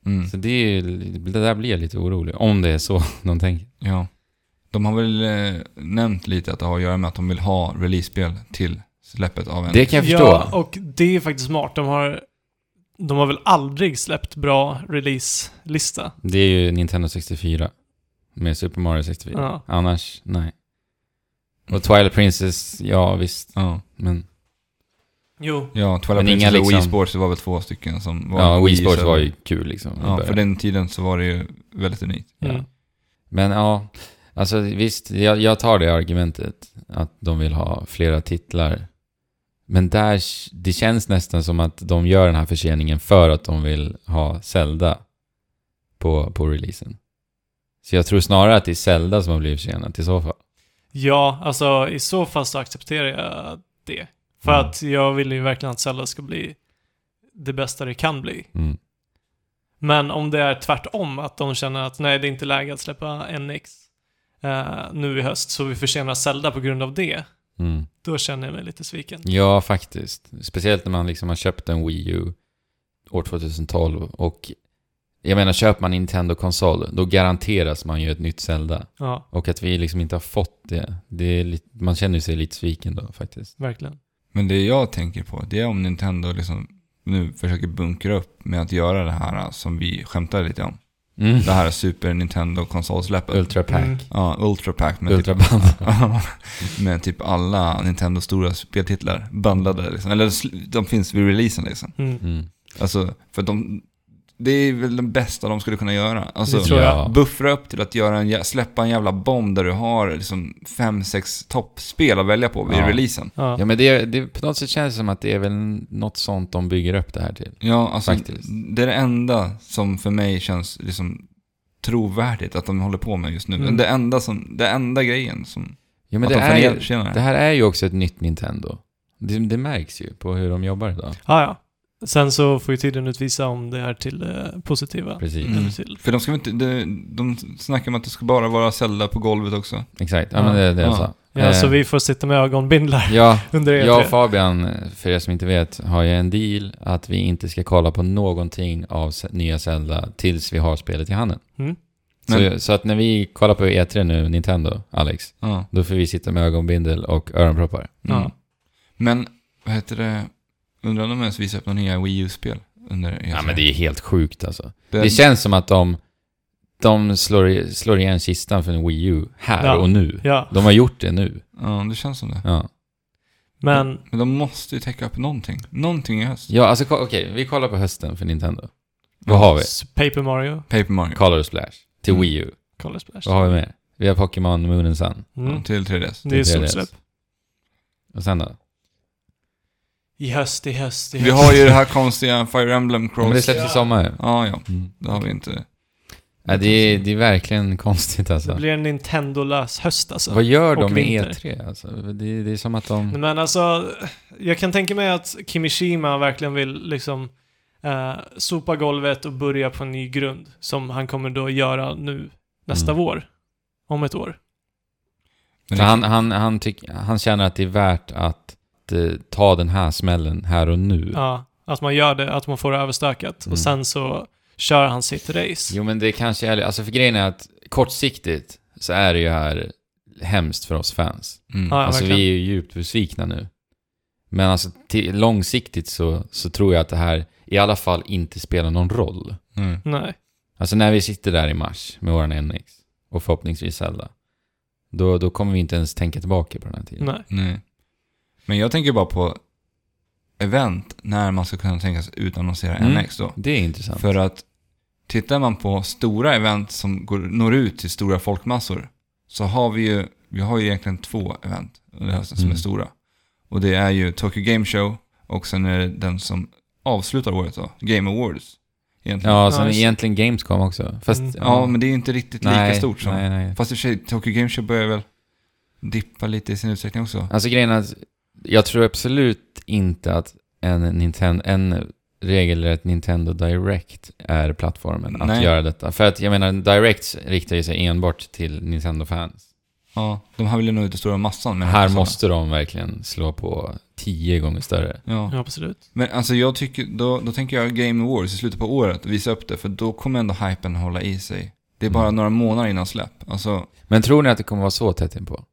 Speaker 4: Mm.
Speaker 2: Så det, är ju, det där blir jag lite orolig, om det är så de tänker.
Speaker 4: Ja. De har väl eh, nämnt lite att det har att göra med att de vill ha release-spel till släppet av en...
Speaker 2: Det kan jag förstå.
Speaker 3: Ja, och det är faktiskt smart. De har, de har väl aldrig släppt bra release-lista?
Speaker 2: Det är ju Nintendo 64. Med Super Mario 64.
Speaker 3: Ja.
Speaker 2: Annars, nej. Och Twilight Princess, ja visst.
Speaker 4: Ja.
Speaker 2: Men
Speaker 3: Jo.
Speaker 4: Ja, Twilight
Speaker 2: Men inga
Speaker 4: Princess och Wii
Speaker 2: liksom-
Speaker 4: Sports det var väl två stycken som var...
Speaker 2: ja, Wii Sports
Speaker 4: Wii-server.
Speaker 2: var ju kul liksom. i
Speaker 4: Ja,
Speaker 2: början.
Speaker 4: för den tiden så var det ju väldigt unikt.
Speaker 3: Mm.
Speaker 2: Men ja, alltså visst, jag, jag tar det argumentet. Att de vill ha flera titlar. Men där, det känns nästan som att de gör den här förseningen för att de vill ha Zelda på, på releasen. Så jag tror snarare att det är Zelda som har blivit försenat i så fall.
Speaker 3: Ja, alltså i så fall så accepterar jag det. För
Speaker 2: Mm.
Speaker 3: att jag vill ju verkligen att Zelda ska bli det bästa det kan bli.
Speaker 2: Mm.
Speaker 3: Men om det är tvärtom, att de känner att nej, det är inte läge att släppa NX eh, nu i höst, så vi försenar Zelda på grund av det,
Speaker 2: Mm.
Speaker 3: då känner jag mig lite sviken.
Speaker 2: Ja, faktiskt. Speciellt när man liksom har köpt en Wii U år 2012 och jag menar, köper man Nintendo-konsol, då garanteras man ju ett nytt Zelda.
Speaker 3: Ja,
Speaker 2: Och att vi liksom inte har fått det, det är lite, man känner sig lite sviken då faktiskt.
Speaker 3: verkligen.
Speaker 4: Men det jag tänker på, det är om Nintendo liksom nu försöker bunkra upp med att göra det här som vi skämtade lite om.
Speaker 2: Mm.
Speaker 4: Det här Super Nintendo konsolsläppet.
Speaker 2: Ultra Pack.
Speaker 3: Mm.
Speaker 4: ja, Ultra Pack med,
Speaker 2: Ultra
Speaker 4: typ,
Speaker 2: Band.
Speaker 4: med typ alla Nintendo stora speltitlar bundlade. Liksom. Eller sl- de finns vid releasen liksom.
Speaker 3: Mm.
Speaker 2: Mm.
Speaker 4: Alltså, för de, det är väl det bästa de skulle kunna göra. Alltså,
Speaker 3: Det tror jag.
Speaker 2: Ja.
Speaker 4: Buffra upp till att göra en, jä- släppa en jävla bomb där du har liksom fem, sex toppspel att välja på vid
Speaker 2: Ja.
Speaker 4: releasen.
Speaker 3: Ja.
Speaker 2: Ja, men det, det, på något sätt känns det som att det är väl något sånt de bygger upp det här till.
Speaker 4: Ja, alltså
Speaker 2: Faktiskt.
Speaker 4: det är det enda som för mig känns liksom trovärdigt att de håller på med just nu.
Speaker 3: Mm.
Speaker 4: Det enda som, det enda grejen som...
Speaker 2: Ja, men
Speaker 4: att de
Speaker 2: det, är ju,
Speaker 4: förtjänar det.
Speaker 2: det här är ju också ett nytt Nintendo. Det, det märks ju på hur de jobbar idag.
Speaker 3: Ja, ja. Sen så får ju tiden utvisa om det är till eh, positiva.
Speaker 2: Precis,
Speaker 4: Mm.
Speaker 3: Eller till.
Speaker 4: För de ska väl inte, de, de snackar om att det ska bara vara Zelda på golvet också.
Speaker 2: exakt. Ja, men det är det jag
Speaker 4: Ja.
Speaker 2: sa.
Speaker 3: Ja,
Speaker 2: Eh,
Speaker 3: så vi får sitta med ögonbindlar
Speaker 2: ja,
Speaker 3: under E E3.
Speaker 2: jag och Fabian, för er som inte vet, har ju en deal att vi inte ska kolla på någonting av se- nya Zelda tills vi har spelet i handen.
Speaker 3: Mm.
Speaker 2: Så,
Speaker 4: Men-
Speaker 2: så att när vi kollar på E3 nu, Nintendo, Alex,
Speaker 4: Ja.
Speaker 2: då får vi sitta med ögonbindel och öronproppar.
Speaker 4: Mm.
Speaker 3: Ja.
Speaker 4: Men, vad heter det, undrar om de ens visar upp några nya Wii U-spel under E3?
Speaker 2: Ja, men det är helt sjukt alltså.
Speaker 4: Det-
Speaker 2: Det känns som att de, de slår, i- slår igen kistan för en Wii U här
Speaker 3: Ja.
Speaker 2: och nu.
Speaker 3: Ja,
Speaker 2: De har gjort det nu.
Speaker 4: Ja, det känns som det.
Speaker 2: Ja,
Speaker 3: men
Speaker 4: Men de måste ju täcka upp någonting. Någonting i höst.
Speaker 2: ja alltså ko- okej, vi kollar på hösten för Nintendo. Vad har vi?
Speaker 3: s- Paper Mario,
Speaker 4: Paper Mario.
Speaker 2: Color Splash till
Speaker 4: Mm.
Speaker 2: Wii U.
Speaker 3: Color Splash.
Speaker 2: Vad har vi mer? Vi har Pokémon Moon and Sun.
Speaker 3: Mm.
Speaker 4: Till 3DS.
Speaker 3: Det är
Speaker 2: 3DS.
Speaker 3: solsläpp.
Speaker 2: Och sen då?
Speaker 3: I höst, i höst, i höst.
Speaker 4: Vi har ju det här konstiga Fire Emblem
Speaker 2: Ja, men det
Speaker 4: Cross.
Speaker 2: släpps i sommar. ju.
Speaker 4: Ja, ja.
Speaker 2: Mm.
Speaker 4: Det har vi inte.
Speaker 2: Ja, det, är, det är verkligen konstigt
Speaker 3: Det
Speaker 2: alltså.
Speaker 3: blir en Nintendo-lös höst alltså.
Speaker 2: Vad gör
Speaker 3: och
Speaker 2: de med
Speaker 3: vinter.
Speaker 2: E3 alltså? Det, det är som att
Speaker 3: Nej,
Speaker 2: de...
Speaker 3: Men alltså, jag kan tänka mig att Kimishima verkligen vill liksom eh, sopa golvet och börja på en ny grund. Som han kommer då göra nu nästa
Speaker 2: Mm.
Speaker 3: vår. Om ett år.
Speaker 4: Men
Speaker 2: För han, han, han, tyck, han känner att det är värt att eh, ta den här smällen här och nu.
Speaker 3: Ja, att man gör det, att man får det överstökat.
Speaker 2: Mm.
Speaker 3: Och sen så kör han sitt race.
Speaker 2: Jo, men det kanske är... Alltså för grejen är att kortsiktigt så är det ju här hemskt för oss fans.
Speaker 4: Mm.
Speaker 3: Ja, ja,
Speaker 2: alltså
Speaker 3: verkligen.
Speaker 2: vi är ju djupt besvikna nu. Men alltså till, långsiktigt så, så tror jag att det här i alla fall inte spelar någon roll.
Speaker 4: Mm.
Speaker 3: Nej.
Speaker 2: Alltså när vi sitter där i mars med våran NX och förhoppningsvis Zelda, då, då kommer vi inte ens tänka tillbaka på den här tiden.
Speaker 3: Nej.
Speaker 4: Nej. Men jag tänker bara på event när man ska kunna tänkas utannonsera
Speaker 2: Mm.
Speaker 4: NX då.
Speaker 2: Det är intressant.
Speaker 4: För att tittar man på stora event som går, når ut till stora folkmassor så har vi ju, vi har ju egentligen två event under hösten som
Speaker 2: Mm.
Speaker 4: är stora. Och det är ju Tokyo Game Show och sen är det den som avslutar året då, Game Awards. Egentligen.
Speaker 2: ja, sen
Speaker 3: Ja, just-
Speaker 2: egentligen Gamescom också. Fast,
Speaker 3: Mm.
Speaker 4: ja, men det är inte riktigt
Speaker 2: nej,
Speaker 4: lika stort som...
Speaker 2: Nej, nej.
Speaker 4: Fast i och för sig, Tokyo Game Show börjar väl dippa lite i sin utsträckning också.
Speaker 2: Alltså grejen är att jag tror absolut inte att en, Nintendo, en regelrätt Nintendo Direct är plattformen att
Speaker 4: Nej.
Speaker 2: göra detta. För att jag menar, Directs riktar ju sig enbart till Nintendo-fans.
Speaker 4: Ja, de här vill ju nå ut till stora massan. med den
Speaker 2: Här
Speaker 4: konsolen.
Speaker 2: måste de verkligen slå på tio gånger större.
Speaker 4: Ja.
Speaker 3: Ja, absolut.
Speaker 4: Men alltså jag tycker, då, då tänker jag Game Awards i slutet på året och visa upp det, för då kommer ändå hypen hålla i sig. Det är bara
Speaker 2: Mm.
Speaker 4: några månader innan släpp. Alltså,
Speaker 2: Men tror ni att det kommer vara så tätt inpå?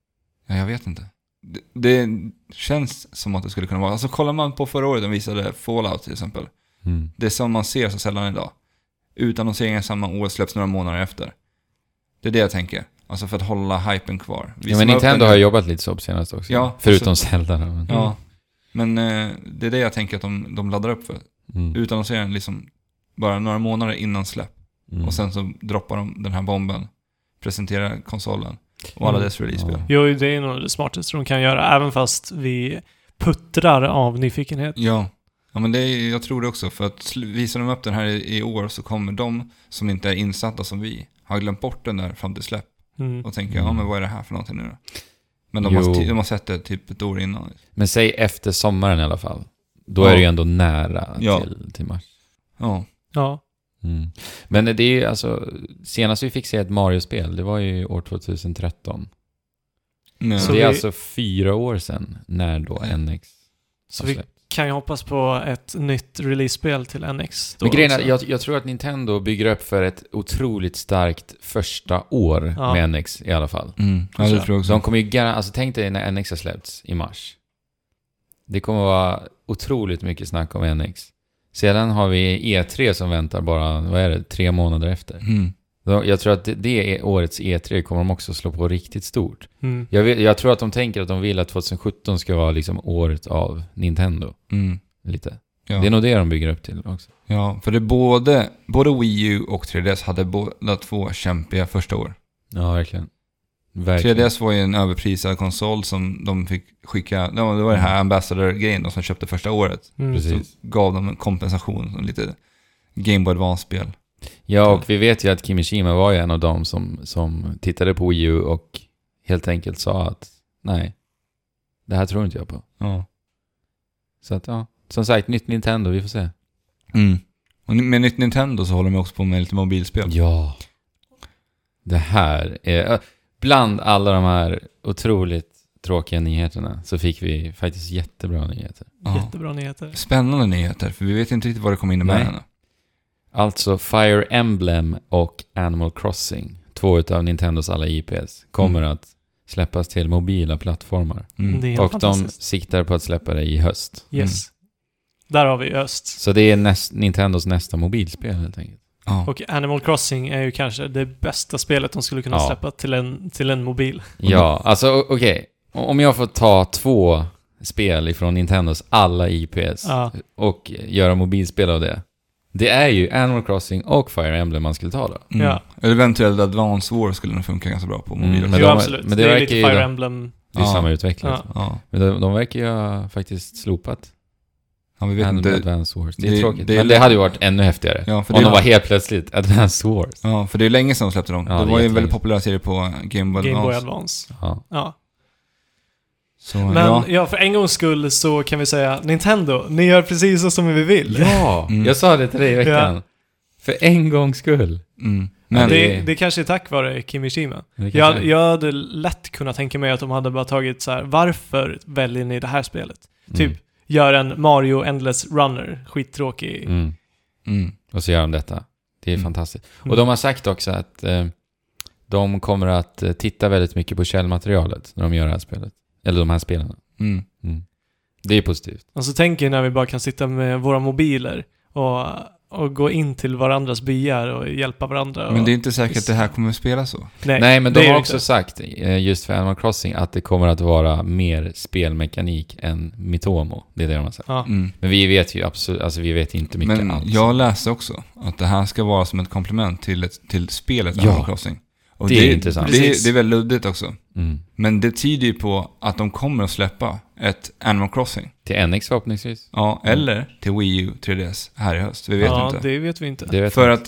Speaker 4: ja, jag vet inte. Det, det känns som att det skulle kunna vara. Alltså kollar man på förra året, de visade Fallout till exempel.
Speaker 2: Mm.
Speaker 4: Det är som man ser så sällan idag. Utannonseringen samma år släpps några månader efter. Det är det jag tänker. Alltså för att hålla hypen kvar.
Speaker 2: Ja,
Speaker 4: Visa
Speaker 2: men
Speaker 4: upp
Speaker 2: Nintendo
Speaker 4: den-
Speaker 2: har Mm. jobbat lite så på senaste också.
Speaker 4: Ja,
Speaker 2: Förutom Zelda då. men-
Speaker 4: Ja. Men eh, det är det jag tänker att de, de laddar upp för.
Speaker 2: Mm.
Speaker 4: Utannonseringen liksom bara några månader innan släpp.
Speaker 2: Mm.
Speaker 4: Och sen så droppar de den här bomben, presenterar konsolen och alla
Speaker 3: Mm.
Speaker 4: dess release-spel.
Speaker 2: Ja.
Speaker 4: Ja.
Speaker 3: Jo, det är nog det smartaste de kan göra, även fast vi puttrar av nyfikenhet.
Speaker 4: ja. men det är, jag tror det också. För att sl- visar de upp den här i, i år så kommer de som inte är insatta som vi har glömt bort den där fram till släpp
Speaker 3: Mm.
Speaker 4: och tänker
Speaker 2: Mm.
Speaker 4: ja men vad är det här för någonting nu då? Men de
Speaker 2: Jo.
Speaker 4: har, de har sett det typ ett år innan.
Speaker 2: Men säg efter sommaren i alla fall. Då är
Speaker 4: Ja.
Speaker 2: det ju ändå nära
Speaker 4: Ja.
Speaker 2: till, till mars.
Speaker 4: Ja,
Speaker 3: Ja.
Speaker 2: Mm. Men det är ju alltså, senast vi fick se ett Mario-spel, det var ju år 2013.
Speaker 4: men,
Speaker 2: Så
Speaker 3: Mm.
Speaker 2: det
Speaker 3: Så
Speaker 2: är
Speaker 3: vi- Mm.
Speaker 2: alltså fyra år sedan, när då NX
Speaker 3: Så
Speaker 2: har
Speaker 3: vi
Speaker 2: släppts.
Speaker 3: kan ju hoppas på ett nytt release-spel till NX. då
Speaker 2: Men grejen är,
Speaker 3: också.
Speaker 2: jag, jag tror att Nintendo bygger upp för ett otroligt starkt första år
Speaker 3: Ja.
Speaker 2: med NX i alla fall.
Speaker 4: mm, ja, det tror jag
Speaker 2: De
Speaker 4: också.
Speaker 2: kommer ju gar- alltså tänk dig när NX har släppts i mars. Det kommer vara otroligt mycket snack om NX. Sedan har vi E3 som väntar bara, vad är det, tre månader efter.
Speaker 4: Mm.
Speaker 2: Då- Jag tror att det- det är årets E3 kommer de också slå på riktigt stort.
Speaker 3: Mm.
Speaker 2: Jag, vet, jag tror att de tänker att de vill att 2017 ska vara liksom året av Nintendo.
Speaker 4: Mm.
Speaker 2: Lite.
Speaker 4: Ja.
Speaker 2: Det är nog det de bygger upp till också.
Speaker 4: Ja, för det både, både Wii U och 3DS hade båda två kämpiga första år.
Speaker 2: Ja, verkligen.
Speaker 4: 3DS var ju en överprisad konsol som de fick skicka, det var det var den här Ambassador-grejen då som köpte första året.
Speaker 3: Mm.
Speaker 2: Precis.
Speaker 4: Gav dem en kompensation, och lite Game Boy Advance-spel.
Speaker 2: Ja, och vi vet ju att Kimishima var ju en av dem som, som tittade på Wii U och helt enkelt sa att nej, det här tror inte jag på.
Speaker 4: Ja.
Speaker 2: Så att ja, som sagt, nytt Nintendo, vi får se.
Speaker 4: Mm. Och med nytt Nintendo så håller de också på med lite mobilspel.
Speaker 2: Ja. Det här är... Bland alla de här otroligt tråkiga nyheterna så fick vi faktiskt jättebra nyheter.
Speaker 4: Ja.
Speaker 3: Jättebra nyheter.
Speaker 4: Spännande nyheter, för vi vet inte riktigt vad det kommer innebära
Speaker 2: Nej.
Speaker 4: ännu.
Speaker 2: Alltså Fire Emblem och Animal Crossing, två utav Nintendos alla IPs, kommer
Speaker 3: Mm.
Speaker 2: att släppas till mobila plattformar.
Speaker 4: Mm.
Speaker 3: Det är helt
Speaker 2: Och de mm.
Speaker 3: fantastiskt.
Speaker 2: siktar på att släppa det i höst.
Speaker 3: Yes. Där har vi Öst.
Speaker 2: Så det är näst, Nintendos nästa mobilspel helt enkelt.
Speaker 4: Ja.
Speaker 3: Och Animal Crossing är ju kanske det bästa spelet de skulle kunna
Speaker 2: Ja.
Speaker 3: släppa till en, till en mobil.
Speaker 2: Ja, alltså o- okej. Om jag får ta två spel ifrån Nintendos alla IPs
Speaker 3: Ja.
Speaker 2: och göra mobilspel av det. Det är ju Animal Crossing och Fire Emblem man skulle ta då.
Speaker 4: Mm.
Speaker 3: Ja.
Speaker 4: Eller eventuellt Advance War skulle nog funka ganska bra på mobil
Speaker 2: Mm,
Speaker 4: också.
Speaker 2: men
Speaker 3: jo,
Speaker 2: de-
Speaker 3: absolut.
Speaker 2: men det
Speaker 3: det, är
Speaker 2: verkar
Speaker 3: lite
Speaker 2: ju
Speaker 3: Fire
Speaker 2: då-
Speaker 3: Emblem.
Speaker 2: Det är ju
Speaker 4: Ja.
Speaker 2: samma utvecklare.
Speaker 3: Ja.
Speaker 4: Ja.
Speaker 2: Men de, de verkar ju ha faktiskt slopat
Speaker 4: ja, vi vet
Speaker 2: Animal
Speaker 4: inte.
Speaker 2: Advance Wars. Det är
Speaker 4: det-
Speaker 2: tråkigt.
Speaker 4: det är
Speaker 2: men det
Speaker 4: lite-
Speaker 2: hade ju varit ännu häftigare.
Speaker 4: Ja, för
Speaker 2: om
Speaker 4: det-
Speaker 2: de var helt plötsligt Advance Wars.
Speaker 4: Ja, för det är länge sedan de släppte dem.
Speaker 2: Ja,
Speaker 4: det
Speaker 2: det
Speaker 4: var
Speaker 2: är
Speaker 4: ju en
Speaker 2: jättelänge.
Speaker 4: väldigt populär serie på Game Boy
Speaker 3: Game Boy
Speaker 4: Advance.
Speaker 3: Advance.
Speaker 2: Ja.
Speaker 3: Ja.
Speaker 4: Så,
Speaker 3: Men ja.
Speaker 4: ja.
Speaker 3: för en gångs skull så kan vi säga Nintendo, ni gör precis så som vi vill.
Speaker 2: Ja,
Speaker 4: Mm.
Speaker 2: jag sa det till dig i veckan. För en gångs skull.
Speaker 4: Mm. Men,
Speaker 3: det, det kanske är tack vare Kimishima. Jag, jag hade lätt kunnat tänka mig att de hade bara tagit så här: varför väljer ni det här spelet?
Speaker 2: Mm,
Speaker 3: Typ, gör en Mario Endless Runner, skittråkig.
Speaker 2: Mm. Mm.
Speaker 4: Mm.
Speaker 2: Och så gör de detta. Det är
Speaker 4: Mm.
Speaker 2: fantastiskt.
Speaker 3: Mm.
Speaker 2: Och de har sagt också att eh, de kommer att eh, titta väldigt mycket på källmaterialet när de gör det här spelet. Eller de här spelen.
Speaker 4: Mm.
Speaker 2: Mm. Det är positivt.
Speaker 3: Och så tänker jag när vi bara kan sitta med våra mobiler och, och gå in till varandras byar och hjälpa varandra.
Speaker 4: men
Speaker 3: och,
Speaker 4: det är inte säkert att det här kommer att spela så.
Speaker 3: nej,
Speaker 2: Nej, men
Speaker 3: det
Speaker 2: de
Speaker 3: är
Speaker 2: har
Speaker 3: det
Speaker 2: också
Speaker 3: inte.
Speaker 2: sagt, eh, just för Animal Crossing, att det kommer att vara mer spelmekanik än Mitomo. Det är det de har sagt.
Speaker 3: Ja.
Speaker 4: Mm.
Speaker 2: Men vi vet ju absolut, alltså vi vet inte mycket
Speaker 4: Men
Speaker 2: alls.
Speaker 4: jag läste också att det här ska vara som ett komplement till, ett, till spelet
Speaker 2: Ja.
Speaker 4: Animal Crossing. Och
Speaker 2: Det är intressant.
Speaker 4: Det,
Speaker 3: Precis.
Speaker 4: det är väldigt luddigt också.
Speaker 2: Mm.
Speaker 4: Men det tyder ju på att de kommer att släppa ett Animal Crossing.
Speaker 2: Till NX förhoppningsvis.
Speaker 4: Ja, eller till Wii U 3DS här i höst. Vi vet
Speaker 3: Mm. ja,
Speaker 4: inte.
Speaker 3: det vet vi inte.
Speaker 2: Det vet
Speaker 4: För
Speaker 2: jag.
Speaker 4: att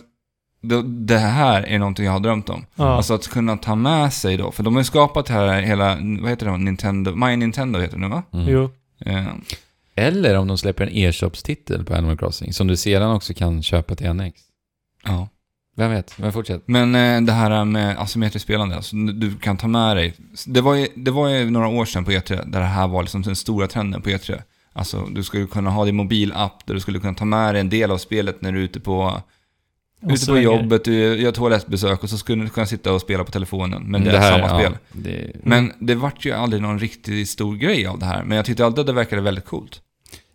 Speaker 4: det, det här är någonting jag har drömt om.
Speaker 3: ja.
Speaker 4: Alltså att kunna ta med sig då, för de har ju skapat det här hela, vad heter det, Nintendo, My Nintendo heter det nu va?
Speaker 2: Mm.
Speaker 3: Jo.
Speaker 4: Eh,
Speaker 2: Eller om de släpper en e-shopstitel på Animal Crossing som du sedan också kan köpa till NX.
Speaker 4: ja.
Speaker 2: Vem vet? Men fortsätt.
Speaker 4: Men eh, det här med asymmetriskt spelande, alltså du- du kan ta med dig. Det var, ju, det var ju några år sedan på E3, där det här var liksom den stora trenden på E3. Alltså du skulle kunna ha din mobilapp där du skulle kunna ta med dig en del av spelet när du är ute på,
Speaker 3: Och
Speaker 4: ute på
Speaker 3: svänger.
Speaker 4: jobbet, du gör toalettbesök och så skulle du kunna sitta och spela på telefonen. Men
Speaker 2: Mm,
Speaker 4: det, är samma
Speaker 2: ja,
Speaker 4: spel.
Speaker 2: Det,
Speaker 4: Men det vart ju aldrig någon riktigt stor grej av det här. Men jag tyckte alltid att det verkade väldigt coolt.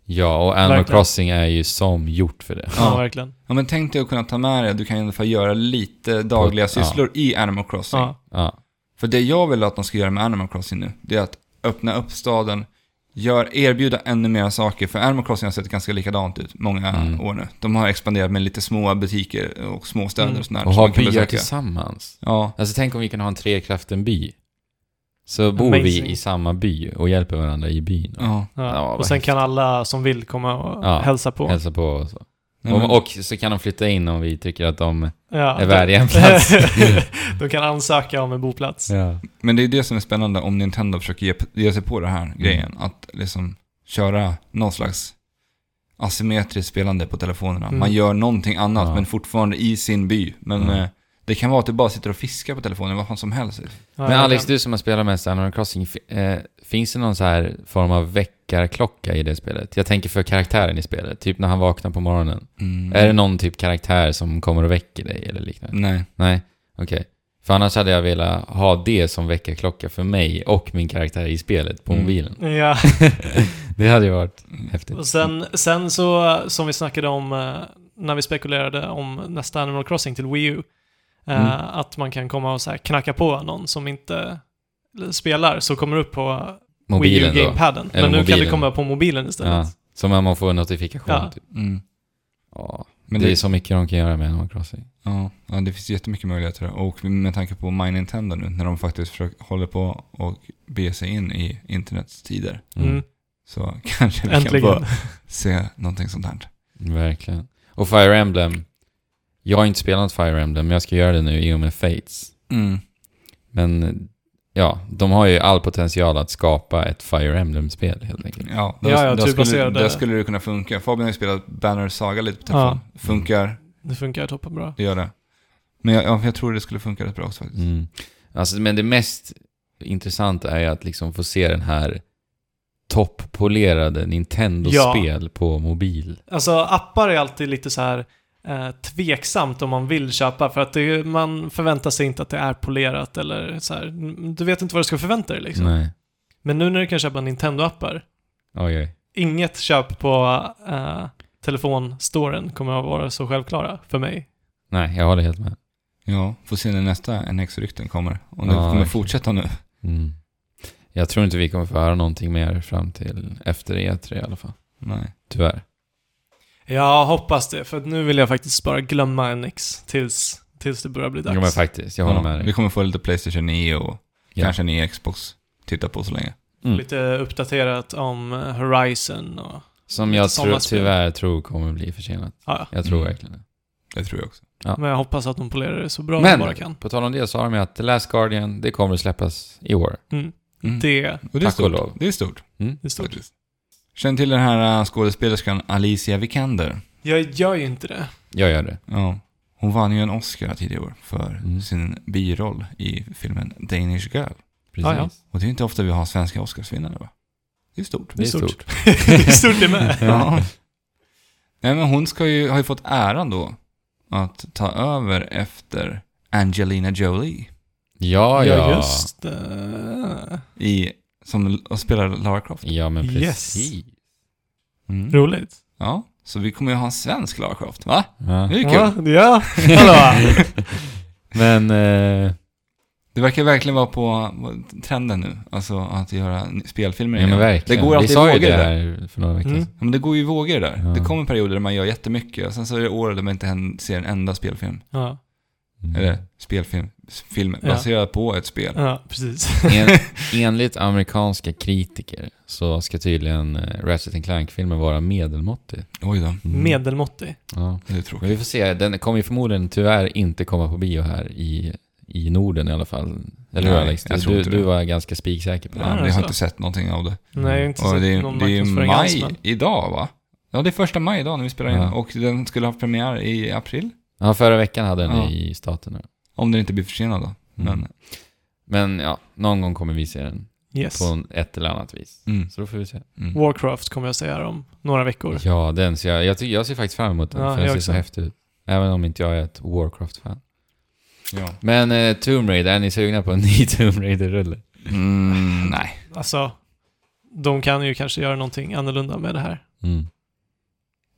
Speaker 2: ja, och Animal
Speaker 3: Verkligen.
Speaker 2: Crossing är ju som gjort för det.
Speaker 3: Ja,
Speaker 4: Ja.
Speaker 3: verkligen.
Speaker 4: Ja men tänk dig att kunna ta med dig, du kan i alla fall göra lite dagliga
Speaker 2: ja.
Speaker 4: sysslor i Animal Crossing.
Speaker 3: Ja.
Speaker 2: Ja,
Speaker 4: För det jag vill att de ska göra med Animal Crossing nu, det är att öppna upp staden, gör, erbjuda ännu mer saker. För Animal Crossing har sett ganska likadant ut många
Speaker 2: Mm.
Speaker 4: år nu. De har expanderat med lite små butiker och små städer
Speaker 3: Mm.
Speaker 4: och sånt där.
Speaker 2: och
Speaker 4: som
Speaker 2: ha
Speaker 4: man kan
Speaker 2: byar
Speaker 4: besöka.
Speaker 2: tillsammans.
Speaker 4: Ja,
Speaker 2: Alltså tänk om vi kan ha en Trekraften-by. Så bor vi
Speaker 3: Amazing.
Speaker 2: i samma by och hjälper varandra i byn. Och
Speaker 4: ja.
Speaker 3: Ja.
Speaker 2: Ja,
Speaker 3: och sen kan alla som vill komma och
Speaker 2: Ja.
Speaker 3: hälsa på.
Speaker 2: Hälsa på och så.
Speaker 4: Nej, men-
Speaker 2: och, och så kan de flytta in om vi tycker att de
Speaker 3: Ja,
Speaker 2: är värdiga en plats.
Speaker 3: de kan ansöka om en boplats.
Speaker 2: ja.
Speaker 4: Men det är det som är spännande om Nintendo försöker ge, ge sig på den
Speaker 2: Mm.
Speaker 4: här grejen. Att liksom köra någon slags asymmetriskt spelande på telefonerna.
Speaker 3: Mm.
Speaker 4: Man gör någonting annat
Speaker 2: Ja.
Speaker 4: men fortfarande i sin by. Men
Speaker 2: Mm.
Speaker 4: eh, det kan vara att du bara sitter och fiskar på telefonen, vad fan som helst.
Speaker 3: Ja,
Speaker 2: Men Alex,
Speaker 3: verkligen.
Speaker 2: du som har spelat mest Animal Crossing, fi- eh, finns det någon så här form av väckarklocka i det spelet? Jag tänker för karaktären i spelet, typ när han vaknar på morgonen.
Speaker 4: Mm.
Speaker 2: Är det någon typ karaktär som kommer och väcker dig eller liknande?
Speaker 4: Nej.
Speaker 2: Nej, okej. För annars hade jag velat ha det som väckarklocka för mig och min karaktär i spelet på
Speaker 4: Mm.
Speaker 2: mobilen.
Speaker 3: Ja,
Speaker 2: Det hade ju varit häftigt.
Speaker 3: Och sen, sen så, som vi snackade om eh, när vi spekulerade om nästa Animal Crossing till Wii U, eh,
Speaker 4: Mm.
Speaker 3: att man kan komma och så här knacka på någon som inte spelar, så kommer det upp på
Speaker 2: Mobilen
Speaker 3: Wii
Speaker 2: då.
Speaker 3: U-gamepaden. Men
Speaker 2: Eller
Speaker 3: nu kan det
Speaker 2: mobilen.
Speaker 3: komma på mobilen istället.
Speaker 2: Ja, som om man får en notifikation.
Speaker 3: Ja.
Speaker 2: Typ.
Speaker 4: Mm.
Speaker 2: Ja,
Speaker 4: Men
Speaker 2: det,
Speaker 4: det-
Speaker 2: är så mycket de kan göra med Animal Crossing.
Speaker 4: Ja, ja, det finns jättemycket möjligheter. där. Och med tanke på My Nintendo nu, när de faktiskt försöker, håller på och bege sig in i internets tider,
Speaker 2: Mm.
Speaker 3: Mm.
Speaker 4: så kanske vi kan
Speaker 3: Äntligen.
Speaker 4: få se någonting sånt här.
Speaker 2: Mm. Verkligen. Och Fire Emblem. Jag har inte spelat Fire Emblem, men jag ska göra det nu i och med Fates.
Speaker 4: Mm.
Speaker 2: Men ja, de har ju all potential att skapa ett Fire Emblem-spel helt enkelt.
Speaker 4: Ja,
Speaker 3: Ja, typ ja,
Speaker 4: skulle,
Speaker 3: turbaserade.
Speaker 4: där skulle det kunna funka. Fabian har ju spelat Banner Saga lite på telefon. Funkar,
Speaker 3: Det funkar toppen bra.
Speaker 4: det gör det. Men jag, ja, jag tror det skulle funka rätt bra också faktiskt.
Speaker 2: Mm. Alltså, men det mest intressanta är ju att liksom få se den här toppolerade Nintendo-spel på mobil.
Speaker 3: Alltså appar är alltid lite så här eh, tveksamt om man vill köpa för att det, man förväntar sig inte att det är polerat eller så här. Du vet inte vad du ska förvänta dig liksom.
Speaker 2: Nej.
Speaker 3: Men nu när du kan köpa Nintendo-appar,
Speaker 2: Oj, oj.
Speaker 3: inget köp på eh, telefonstoren kommer att vara så självklara för mig.
Speaker 2: Nej, jag håller helt med.
Speaker 4: Ja, får se när nästa NX-rykten kommer. Och det
Speaker 2: Ja,
Speaker 4: kommer
Speaker 2: verkligen.
Speaker 4: fortsätta nu.
Speaker 2: Mm. Jag tror inte vi kommer få höra någonting mer fram till efter E3 i alla fall.
Speaker 4: Nej.
Speaker 2: Tyvärr.
Speaker 3: Jag hoppas det, för att nu vill jag faktiskt bara glömma NX tills, tills det börjar bli
Speaker 2: Ja, men
Speaker 3: dags.
Speaker 2: faktiskt, jag håller
Speaker 4: Ja,
Speaker 2: med dig.
Speaker 4: Vi kommer få lite Playstation 9 och
Speaker 2: Ja.
Speaker 4: kanske en ny Xbox. Titta på så länge.
Speaker 2: Mm.
Speaker 3: Lite uppdaterat om eh, Horizon och...
Speaker 2: Som jag
Speaker 3: sådana
Speaker 2: tror,
Speaker 3: spel.
Speaker 2: tyvärr tror kommer bli försenat.
Speaker 3: Ja, ja.
Speaker 2: Jag tror
Speaker 4: Mm.
Speaker 2: verkligen det.
Speaker 4: Det tror jag också.
Speaker 3: Men jag hoppas att de polerar det så bra de
Speaker 2: Men,
Speaker 3: bara kan.
Speaker 2: på tal om det så har de ju att The Last Guardian, det kommer släppas i år.
Speaker 3: Mm.
Speaker 4: Mm.
Speaker 3: Det
Speaker 4: och det är
Speaker 2: tack och
Speaker 4: stort.
Speaker 2: lov.
Speaker 4: Det är stort.
Speaker 3: är stort.
Speaker 4: Faktiskt. Känn till den här äh, skådespelerskan Alicia Vikander.
Speaker 3: Jag gör ju inte det.
Speaker 2: Jag gör det.
Speaker 4: Ja. Hon vann ju en Oscar tidigare i år för
Speaker 2: Mm.
Speaker 4: sin biroll i filmen Danish Girl.
Speaker 2: Precis.
Speaker 3: Ja, ja.
Speaker 4: Och det är inte ofta vi har svenska Oscarsvinnare va? Det är stort.
Speaker 2: Det är stort.
Speaker 3: det är stort det med.
Speaker 4: Ja. Nej men hon ska ju, har ju fått äran då att ta över efter Angelina Jolie
Speaker 2: Ja, ja.
Speaker 3: Ja, just det.
Speaker 4: i, som och spelar Lara Croft.
Speaker 2: Ja, men
Speaker 3: Yes.
Speaker 2: precis.
Speaker 4: Mm.
Speaker 3: Roligt.
Speaker 4: Ja, så vi kommer ju ha en svensk Lara Croft va?
Speaker 2: Ja.
Speaker 4: Det är ju kul.
Speaker 3: Ja, ja. Hallå.
Speaker 2: Men, eh,
Speaker 4: Det verkar verkligen vara på på trenden nu, alltså att göra spelfilmer
Speaker 2: ja,
Speaker 4: igen.
Speaker 2: men verkligen.
Speaker 4: Det går
Speaker 2: Vi
Speaker 4: alltid i
Speaker 2: sa ju
Speaker 4: vågor
Speaker 2: det
Speaker 4: där.
Speaker 2: här för några veckor
Speaker 3: Mm.
Speaker 2: sedan.
Speaker 4: Ja, men det går ju i vågor där.
Speaker 2: Ja.
Speaker 4: Det kommer perioder där man gör jättemycket och sen så är det år där man inte hän- ser en enda spelfilm.
Speaker 3: Ja,
Speaker 2: Mm.
Speaker 4: Eller spelfilm, film
Speaker 3: Ja.
Speaker 4: baserad på ett spel.
Speaker 3: ja, precis.
Speaker 2: En, enligt amerikanska kritiker så ska tydligen eh, Ratchet Clank-filmen vara medelmåttig.
Speaker 4: Oj då,
Speaker 2: Mm.
Speaker 3: Medelmåttig.
Speaker 2: Ja.
Speaker 4: det är
Speaker 2: Men
Speaker 4: tråkigt.
Speaker 2: vi får se, den kommer ju förmodligen tyvärr inte komma på bio här i, i Norden i alla fall. Eller hur
Speaker 4: Nej,
Speaker 2: Alex?
Speaker 4: jag
Speaker 2: Du,
Speaker 4: tror
Speaker 2: du,
Speaker 4: inte det.
Speaker 2: du var ganska spiksäker på det.
Speaker 4: Ja,
Speaker 3: är
Speaker 4: vi
Speaker 3: så.
Speaker 4: har inte sett någonting av det.
Speaker 3: Nej, jag har inte
Speaker 4: Mm. Och det,
Speaker 3: sett
Speaker 4: är-
Speaker 3: någon
Speaker 4: det är ju
Speaker 3: marknadsföring alls.
Speaker 4: maj
Speaker 3: Men...
Speaker 4: idag va? Ja, det är första maj idag när vi spelar in.
Speaker 2: Ja.
Speaker 4: Och den skulle ha premiär i april.
Speaker 2: Ja, förra veckan hade den
Speaker 4: Ja.
Speaker 2: i staten. Mm.
Speaker 4: Om den inte blir försenad då. Men,
Speaker 2: Men ja, någon gång kommer vi se den
Speaker 3: Yes.
Speaker 2: på en- ett eller annat vis.
Speaker 4: mm,
Speaker 2: Så då får vi se.
Speaker 4: mm.
Speaker 3: Warcraft kommer jag säga om några veckor.
Speaker 2: Ja, den ser jag, jag, tycker, jag ser faktiskt fram emot den
Speaker 3: Ja,
Speaker 2: för den
Speaker 3: jag
Speaker 2: ser
Speaker 3: också.
Speaker 2: så häftig ut. Även om inte jag är ett Warcraft-fan.
Speaker 4: Ja.
Speaker 2: Men eh, Tomb Raider, är ni sugna på en ny Tomb Raider-rulle?
Speaker 4: Mm, nej.
Speaker 3: Alltså, de kan ju kanske göra någonting annorlunda med det här.
Speaker 2: Mm.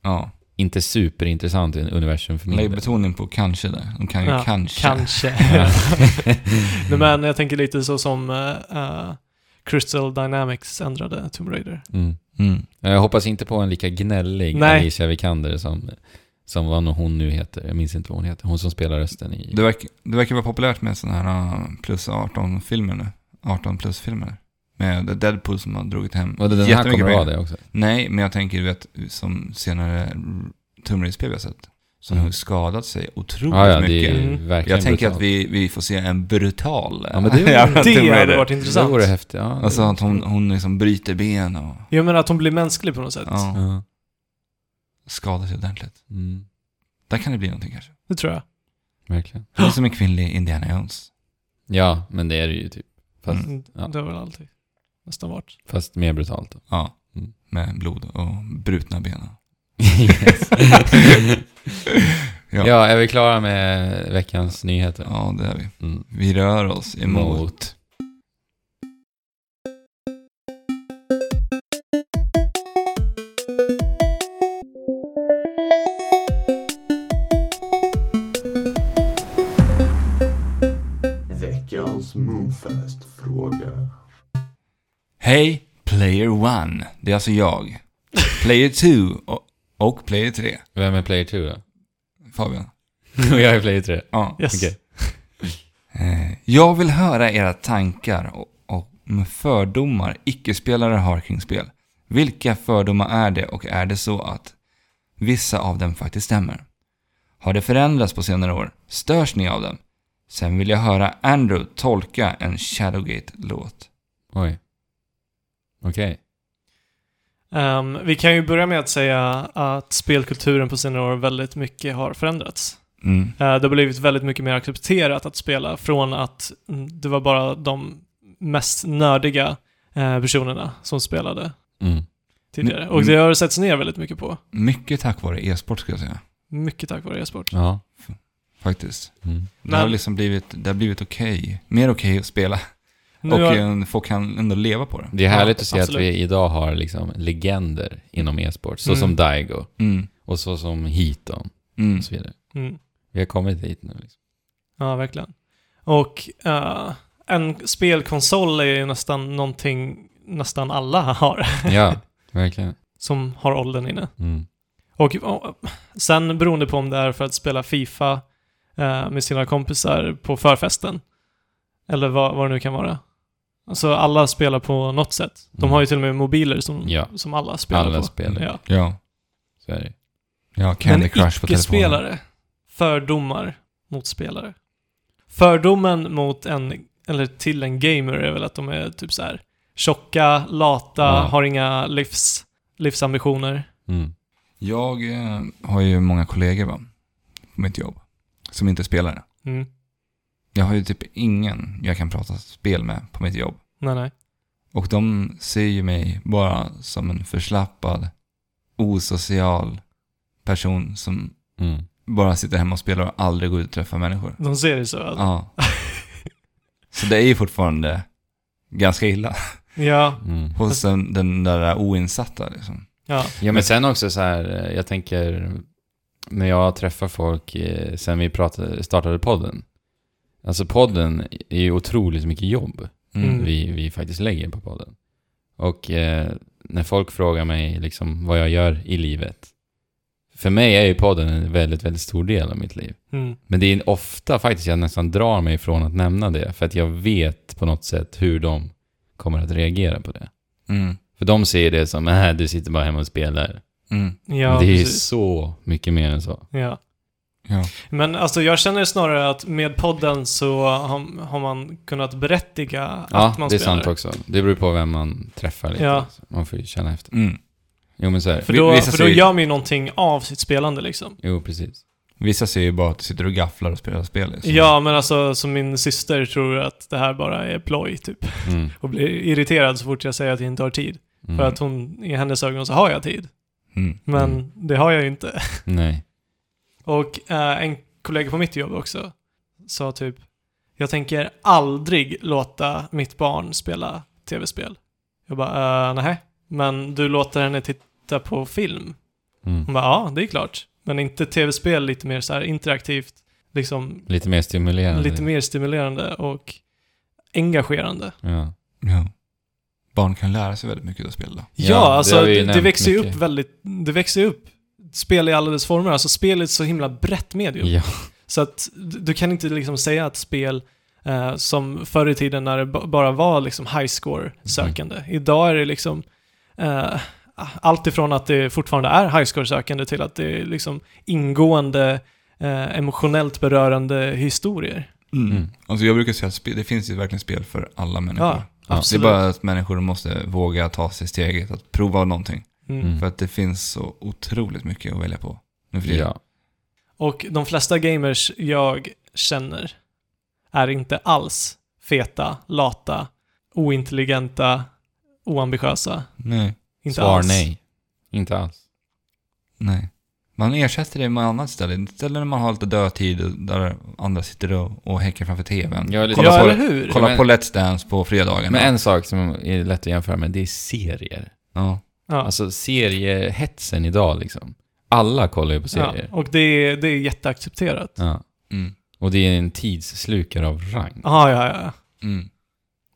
Speaker 4: Ja.
Speaker 2: Inte superintressant i en universum för min
Speaker 4: Lägg
Speaker 2: del.
Speaker 4: betoning på kanske där. De kan ju
Speaker 3: Ja,
Speaker 4: kanske.
Speaker 3: Kanske. Nej, men jag tänker lite så som eh, eh, Crystal Dynamics ändrade Tomb Raider.
Speaker 2: Mm.
Speaker 4: Mm.
Speaker 2: Jag hoppas inte på en lika gnällig
Speaker 3: Nej.
Speaker 2: Alicia Vikander som, som vad hon nu heter. Jag minns inte vad hon heter. Hon som spelar rösten i...
Speaker 4: Det, verk, det verkar vara populärt med sådana här uh, plus 18-filmer nu. 18 plus-filmer. Med Deadpool som har dragit hem
Speaker 2: Och den här
Speaker 4: jättemycket
Speaker 2: kommer att vara
Speaker 4: pengar.
Speaker 2: det också.
Speaker 4: Nej, men jag tänker du vet, som senare Tomb Raider-spel vi har sett. Som
Speaker 2: Mm. Ah,
Speaker 4: har skadat sig otroligt
Speaker 2: Ja, ja, det är
Speaker 4: mycket.
Speaker 2: ju
Speaker 3: Mm.
Speaker 2: verkligen
Speaker 4: Jag tänker
Speaker 2: brutalt.
Speaker 4: att vi, vi får se en brutal
Speaker 2: Ja, men det-
Speaker 4: jävla
Speaker 3: Mm, Det
Speaker 4: Tomb
Speaker 3: hade
Speaker 4: Raider.
Speaker 3: varit
Speaker 2: Det
Speaker 3: intressant.
Speaker 2: vore häftigt. Ja, det
Speaker 4: Alltså
Speaker 2: vore-
Speaker 4: att hon, hon liksom bryter ben och
Speaker 3: Jag menar att hon blir mänsklig på något sätt.
Speaker 4: ja,
Speaker 2: Ja.
Speaker 4: skadar sig ordentligt.
Speaker 2: Mm.
Speaker 4: Där kan det bli någonting kanske.
Speaker 3: Det tror jag.
Speaker 2: Verkligen.
Speaker 4: Det är som en kvinnlig Indiana Jones.
Speaker 2: Ja, men det är det ju typ. Fast,
Speaker 4: Mm.
Speaker 2: ja.
Speaker 3: Det har väl alltid nästan varit.
Speaker 2: fast mer brutalt. Då.
Speaker 4: Ja,
Speaker 2: Mm.
Speaker 4: med blod och brutna ben.
Speaker 2: Yes.
Speaker 4: Ja.
Speaker 2: ja. är vi klara med veckans nyheter?
Speaker 4: Ja, det är vi.
Speaker 2: Mm.
Speaker 4: Vi rör oss emot...
Speaker 2: Mot.
Speaker 5: veckans Moonfest-fråga.
Speaker 4: Hej, Player One. Det är alltså jag. Player Two och, och Player Tre.
Speaker 2: Vem är player 2 då?
Speaker 4: Fabian.
Speaker 2: Och jag är player 3.
Speaker 4: Ja.
Speaker 3: Yes.
Speaker 2: Okej.
Speaker 4: Eh, Jag vill höra era tankar och- och om fördomar icke-spelare har kring spel. Vilka fördomar är det och är det så att vissa av dem faktiskt stämmer? Har det förändrats på senare år? Störs ni av dem? Sen vill jag höra Andrew tolka en Shadowgate-låt.
Speaker 2: Oj. Okej.
Speaker 3: Ehm, vi kan ju börja med att säga att spelkulturen på senare år väldigt mycket har förändrats.
Speaker 4: Mm.
Speaker 3: Eh, det har blivit väldigt mycket mer accepterat att spela från att mm, det var bara de mest nördiga eh, personerna som spelade
Speaker 2: Mm.
Speaker 3: tidigare.
Speaker 4: Men-
Speaker 3: Och det har setts ner väldigt mycket på.
Speaker 4: Mycket tack vare e-sport ska jag säga,
Speaker 3: Mycket tack vare e-sport.
Speaker 2: Ja.
Speaker 4: faktiskt.
Speaker 2: Mm.
Speaker 4: Det har
Speaker 3: Men-
Speaker 4: liksom blivit, det har blivit okej. Mer okej att spela.
Speaker 3: Nu
Speaker 4: och
Speaker 3: har-
Speaker 4: eh, folk kan ändå leva på det.
Speaker 2: Det är härligt att se att
Speaker 3: absolut.
Speaker 2: vi idag har liksom legender inom e-sport. Så
Speaker 3: Mm.
Speaker 2: som Daigo
Speaker 4: Mm.
Speaker 2: och så som Heaton
Speaker 4: Mm.
Speaker 2: och så vidare.
Speaker 3: Mm.
Speaker 2: Vi har kommit hit nu. Liksom.
Speaker 3: Ja, verkligen. Och eh, en spelkonsol är ju nästan någonting nästan alla har
Speaker 2: Ja, verkligen.
Speaker 3: som har åldern inne.
Speaker 2: Mm.
Speaker 3: Och ja, sen beroende på om det är för att spela Fifa eh, med sina kompisar på förfesten. Eller vad, vad det nu kan vara. Alltså alla spelar på något sätt. De
Speaker 2: Mm.
Speaker 3: har ju till och med mobiler som,
Speaker 2: Ja.
Speaker 3: som alla spelar
Speaker 2: Alla
Speaker 3: på.
Speaker 2: spelar.
Speaker 3: Ja.
Speaker 4: Ja.
Speaker 2: Så är det.
Speaker 4: Ja,
Speaker 3: Men
Speaker 4: Candy Crush på telefonen.
Speaker 3: icke-spelare, fördomar mot spelare. Fördomen mot en, eller till en gamer är väl att de är typ så här tjocka, lata,
Speaker 2: Ja.
Speaker 3: har inga livs, livsambitioner.
Speaker 2: Mm.
Speaker 4: Jag eh, har ju många kollegor va, på mitt jobb som inte är spelare.
Speaker 3: Mm.
Speaker 4: Jag har ju typ ingen jag kan prata spel med på mitt jobb.
Speaker 3: Nej, nej.
Speaker 4: Och de ser ju mig bara som en förslappad, osocial person som
Speaker 2: Mm.
Speaker 4: bara sitter hemma och spelar och aldrig går ut och träffar människor.
Speaker 3: De ser det så. Alltså.
Speaker 4: Ja. Så det är ju fortfarande ganska illa
Speaker 3: Ja,
Speaker 2: Mm.
Speaker 4: hos den, den där oinsatta liksom.
Speaker 3: ja.
Speaker 2: Ja, men sen också så här, eh, jag tänker, när jag träffar folk eh, sen vi pratade, startade podden. Alltså podden är ju otroligt mycket jobb
Speaker 3: Mm.
Speaker 2: vi, vi faktiskt lägger på podden. Och eh, när folk frågar mig liksom vad jag gör i livet. För mig är ju podden en väldigt, väldigt stor del av mitt liv.
Speaker 3: Mm.
Speaker 2: Men det är ofta faktiskt jag nästan drar mig ifrån att nämna det. För att jag vet på något sätt hur de kommer att reagera på det.
Speaker 4: Mm.
Speaker 2: För de ser det som, äh, du sitter bara hemma och spelar.
Speaker 4: Mm.
Speaker 3: Ja,
Speaker 2: det är ju
Speaker 3: precis.
Speaker 2: så mycket mer än så.
Speaker 3: Ja.
Speaker 4: Ja.
Speaker 3: Men alltså jag känner snarare att med podden så har, har man kunnat berättiga
Speaker 2: Ja,
Speaker 3: att man
Speaker 2: det är
Speaker 3: spelar.
Speaker 2: sant också. Det beror på vem man träffar lite.
Speaker 3: Ja.
Speaker 2: Så Man får ju känna efter.
Speaker 4: Mm.
Speaker 2: Jo, men så är det.
Speaker 3: För då,
Speaker 4: Vissa
Speaker 3: för då
Speaker 4: ser ju-
Speaker 3: gör man ju någonting av sitt spelande liksom.
Speaker 2: Jo, precis.
Speaker 4: Vissa ser ju bara att du sitter och gafflar och spelar spel. Liksom.
Speaker 3: Ja, men alltså som min syster tror att det här bara är ploj typ.
Speaker 2: Mm.
Speaker 3: Och blir irriterad så fort jag säger att jag inte har tid.
Speaker 2: Mm.
Speaker 3: För att hon, i hennes ögon så har jag tid.
Speaker 4: Mm.
Speaker 3: Men
Speaker 2: Mm.
Speaker 3: det har jag ju inte.
Speaker 2: Nej.
Speaker 3: Och eh, en kollega på mitt jobb också sa typ Jag tänker aldrig låta mitt barn spela tv-spel. Jag bara, eh, nej. Men du låter henne titta på film.
Speaker 2: Mm.
Speaker 3: Hon bara, ja, det är klart. Men inte tv-spel lite mer så här interaktivt, liksom
Speaker 2: Lite mer stimulerande.
Speaker 3: lite mer stimulerande och engagerande.
Speaker 2: Ja.
Speaker 4: Ja. Barn kan lära sig väldigt mycket av spel då.
Speaker 3: Ja,
Speaker 2: Ja, det
Speaker 3: alltså
Speaker 2: har vi ju
Speaker 3: det, det
Speaker 2: nämnt
Speaker 3: växer ju upp
Speaker 2: mycket.
Speaker 3: väldigt, det växer ju upp spel i alla dess former. Alltså spel är ett så himla brett medium.
Speaker 2: Ja.
Speaker 3: Så att d- du kan inte liksom säga att spel eh, som förr i tiden när det ba- bara var liksom high
Speaker 4: Mhm.
Speaker 3: score-sökande. Idag är det liksom eh, allt ifrån att det fortfarande är high score-sökande till att det är liksom ingående, eh, emotionellt berörande historier.
Speaker 2: Mm.
Speaker 4: Alltså jag brukar säga att spe- det finns ju verkligen spel för alla människor.
Speaker 3: Ja,
Speaker 4: det är
Speaker 3: absolut.
Speaker 4: bara att människor måste våga ta sig steget att prova någonting.
Speaker 3: Mm.
Speaker 2: Mm.
Speaker 4: För att det finns så otroligt mycket att välja på nu för tiden.
Speaker 2: Ja.
Speaker 3: Och de flesta gamers jag känner är inte alls feta, lata, ointelligenta, oambitiösa.
Speaker 4: Nej,
Speaker 3: Inte
Speaker 2: Svar
Speaker 3: alls.
Speaker 2: nej. Inte alls.
Speaker 4: nej. Man ersätter det med annat ställe. Istället när man har lite dödtid och där andra sitter och, och häckar framför tvn.
Speaker 2: Ja, lite-
Speaker 4: kolla
Speaker 3: Ja,
Speaker 4: på,
Speaker 3: eller hur?
Speaker 4: kolla
Speaker 2: Men-
Speaker 4: på Let's Dance på fredagarna.
Speaker 2: Men en sak som är lätt att jämföra med, det är serier.
Speaker 4: ja.
Speaker 3: Ja.
Speaker 2: Alltså seriehetsen idag liksom. Alla kollar ju på
Speaker 3: Ja,
Speaker 2: serier.
Speaker 3: och det är, det är jätteaccepterat.
Speaker 2: Ja.
Speaker 4: Mm.
Speaker 2: Och det är en tidsslukare av rang.
Speaker 3: Ja, ja, ja.
Speaker 4: Mm.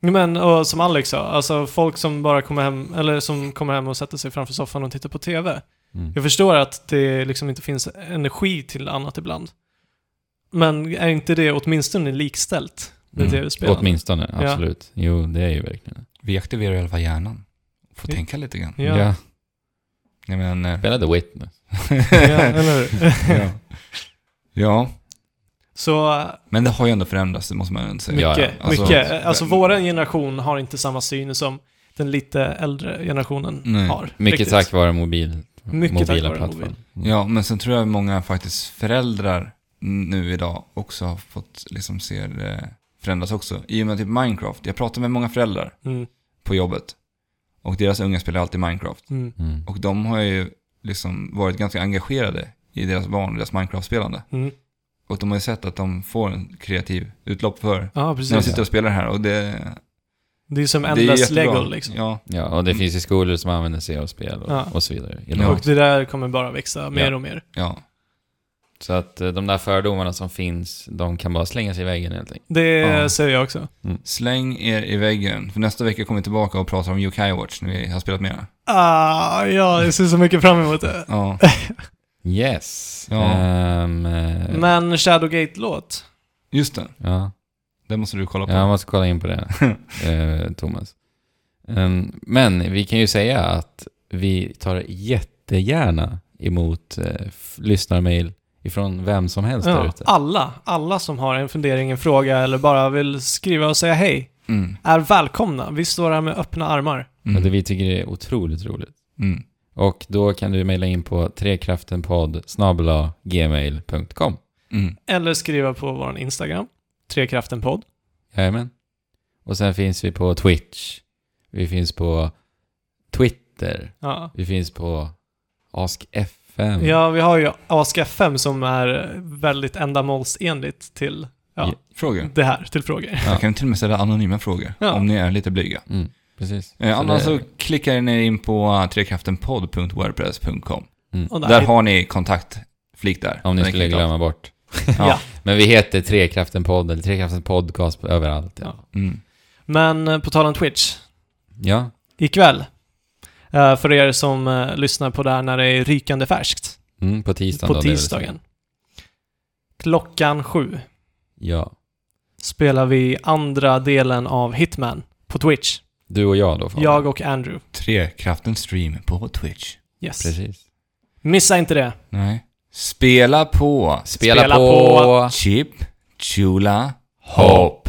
Speaker 3: Jo, Men, och som Alex sa, alltså folk som bara kommer hem, eller som kommer hem och sätter sig framför soffan och tittar på TV.
Speaker 2: Mm.
Speaker 3: Jag förstår att det liksom inte finns energi till annat ibland. Men är inte det åtminstone likställt med
Speaker 2: Mm.
Speaker 3: TV-spelande?
Speaker 2: Åtminstone,
Speaker 3: Ja.
Speaker 2: absolut. Jo, det är ju verkligen
Speaker 4: Vi aktiverar i alla fall hjärnan. Får
Speaker 3: Ja.
Speaker 4: tänka lite grann.
Speaker 3: Ja, ja.
Speaker 2: Ja.
Speaker 4: Nej, men, eh,
Speaker 2: Spela The Witness.
Speaker 3: eller hur?
Speaker 4: ja. ja,
Speaker 3: Så
Speaker 4: men det har ju ändå förändrats, det måste man ändå säga.
Speaker 2: Ja,
Speaker 3: mycket,
Speaker 4: ja. Alltså-
Speaker 3: mycket. Alltså vår generation har inte samma syn som den lite äldre generationen
Speaker 4: Nej.
Speaker 3: har.
Speaker 2: Mycket
Speaker 3: riktigt.
Speaker 2: tack vare mobil,
Speaker 3: Mycket tack
Speaker 2: mobila
Speaker 3: vare mobil.
Speaker 2: plattformar.
Speaker 4: Ja, men sen tror jag många faktiskt föräldrar nu idag också har fått liksom se det förändras också. I och med typ Minecraft. Jag pratar med många föräldrar
Speaker 3: Mm,
Speaker 4: på jobbet och deras unga spelar alltid Minecraft.
Speaker 3: mm,
Speaker 2: Mm.
Speaker 4: Och de har ju liksom varit ganska engagerade i deras barn och deras Minecraft-spelande.
Speaker 3: mm.
Speaker 4: Och de har ju sett att de får en kreativ utlopp för
Speaker 3: Ja,
Speaker 4: när de
Speaker 2: alltså,
Speaker 3: precis.
Speaker 4: sitter och spelar här. Och det,
Speaker 3: Det är som
Speaker 4: det är
Speaker 3: Endless
Speaker 4: jättebra.
Speaker 3: Lego liksom.
Speaker 4: Ja,
Speaker 2: Ja, och det finns ju skolor som använder sig av spel och,
Speaker 3: Ja.
Speaker 2: och så vidare. i
Speaker 4: Ja.
Speaker 2: lag.
Speaker 3: Och det där kommer bara växa mer
Speaker 2: Ja.
Speaker 3: och mer.
Speaker 4: ja.
Speaker 2: Så att eh, de där fördomarna som finns, de kan bara slänga sig i väggen helt enkelt.
Speaker 3: Det
Speaker 4: Ja.
Speaker 3: säger jag också.
Speaker 4: Släng er i väggen, för nästa vecka kommer vi tillbaka och pratar om Yokai Watch när vi har spelat mera.
Speaker 3: Ah, ja, jag ser så mycket fram emot det.
Speaker 4: Ja,
Speaker 2: Yes.
Speaker 4: Ja.
Speaker 2: Ehm, eh,
Speaker 3: Men Shadowgate-låt?
Speaker 4: just det.
Speaker 2: ja.
Speaker 4: Det måste du kolla på.
Speaker 2: ja, jag måste kolla in på det, eh, Thomas. Ehm, men vi kan ju säga att vi tar jättegärna emot eh, f- lyssnarmail ifrån vem som helst där
Speaker 3: Ja,
Speaker 2: ute.
Speaker 3: alla, alla som har en fundering, en fråga eller bara vill skriva och säga hej
Speaker 4: Mm.
Speaker 3: är välkomna. Vi står här med öppna armar.
Speaker 4: Mm.
Speaker 2: Och det vi tycker är otroligt roligt.
Speaker 4: Mm.
Speaker 2: Och då kan du mejla in på trekraftenpodd gmail.com.
Speaker 4: Mm.
Speaker 3: Eller skriva på vår Instagram, Trekraften-podd.
Speaker 2: Jajamän. Och sen finns vi på Twitch. Vi finns på Twitter.
Speaker 3: Ja.
Speaker 2: Vi finns på AskFM.
Speaker 3: ja, vi har ju Ask FM som är väldigt ändamålsenligt till ja,
Speaker 4: Frågor?
Speaker 3: det här, till frågor.
Speaker 4: Jag kan till och med ställa anonyma frågor
Speaker 3: Ja.
Speaker 4: om ni är lite blyga.
Speaker 2: Mm, precis.
Speaker 4: Eh, annars
Speaker 2: det-
Speaker 4: så klickar ni in på eh, trekraftenpodd.wordpress.com.
Speaker 2: mm.
Speaker 3: Och
Speaker 4: Där har ni kontaktflik där.
Speaker 2: Om ni
Speaker 4: Där ni
Speaker 2: skulle
Speaker 4: klickar.
Speaker 2: glömma bort.
Speaker 3: ja.
Speaker 2: Men vi heter Trekraften Podd, eller Trekraften Podcast överallt. Ja.
Speaker 3: Ja.
Speaker 4: Mm.
Speaker 3: Men eh, på tal om Twitch,
Speaker 2: ja.
Speaker 3: ikväll. Eh, För er som eh, lyssnar på det här när det är rykande färskt.
Speaker 2: Mm, på tisdagen.
Speaker 3: På
Speaker 2: då, det vill
Speaker 3: tisdagen.
Speaker 2: säga.
Speaker 3: Klockan sju
Speaker 2: Ja.
Speaker 3: spelar vi andra delen av Hitman på Twitch.
Speaker 2: Du och jag då. Fabian.
Speaker 3: Jag och Andrew.
Speaker 4: Trekraften stream på Twitch.
Speaker 3: Yes.
Speaker 2: Precis.
Speaker 3: Missa inte det.
Speaker 4: Nej. Spela på.
Speaker 2: Spela,
Speaker 3: Spela
Speaker 2: på...
Speaker 3: på-
Speaker 4: Chip, Chula, Hopp.
Speaker 2: Hopp.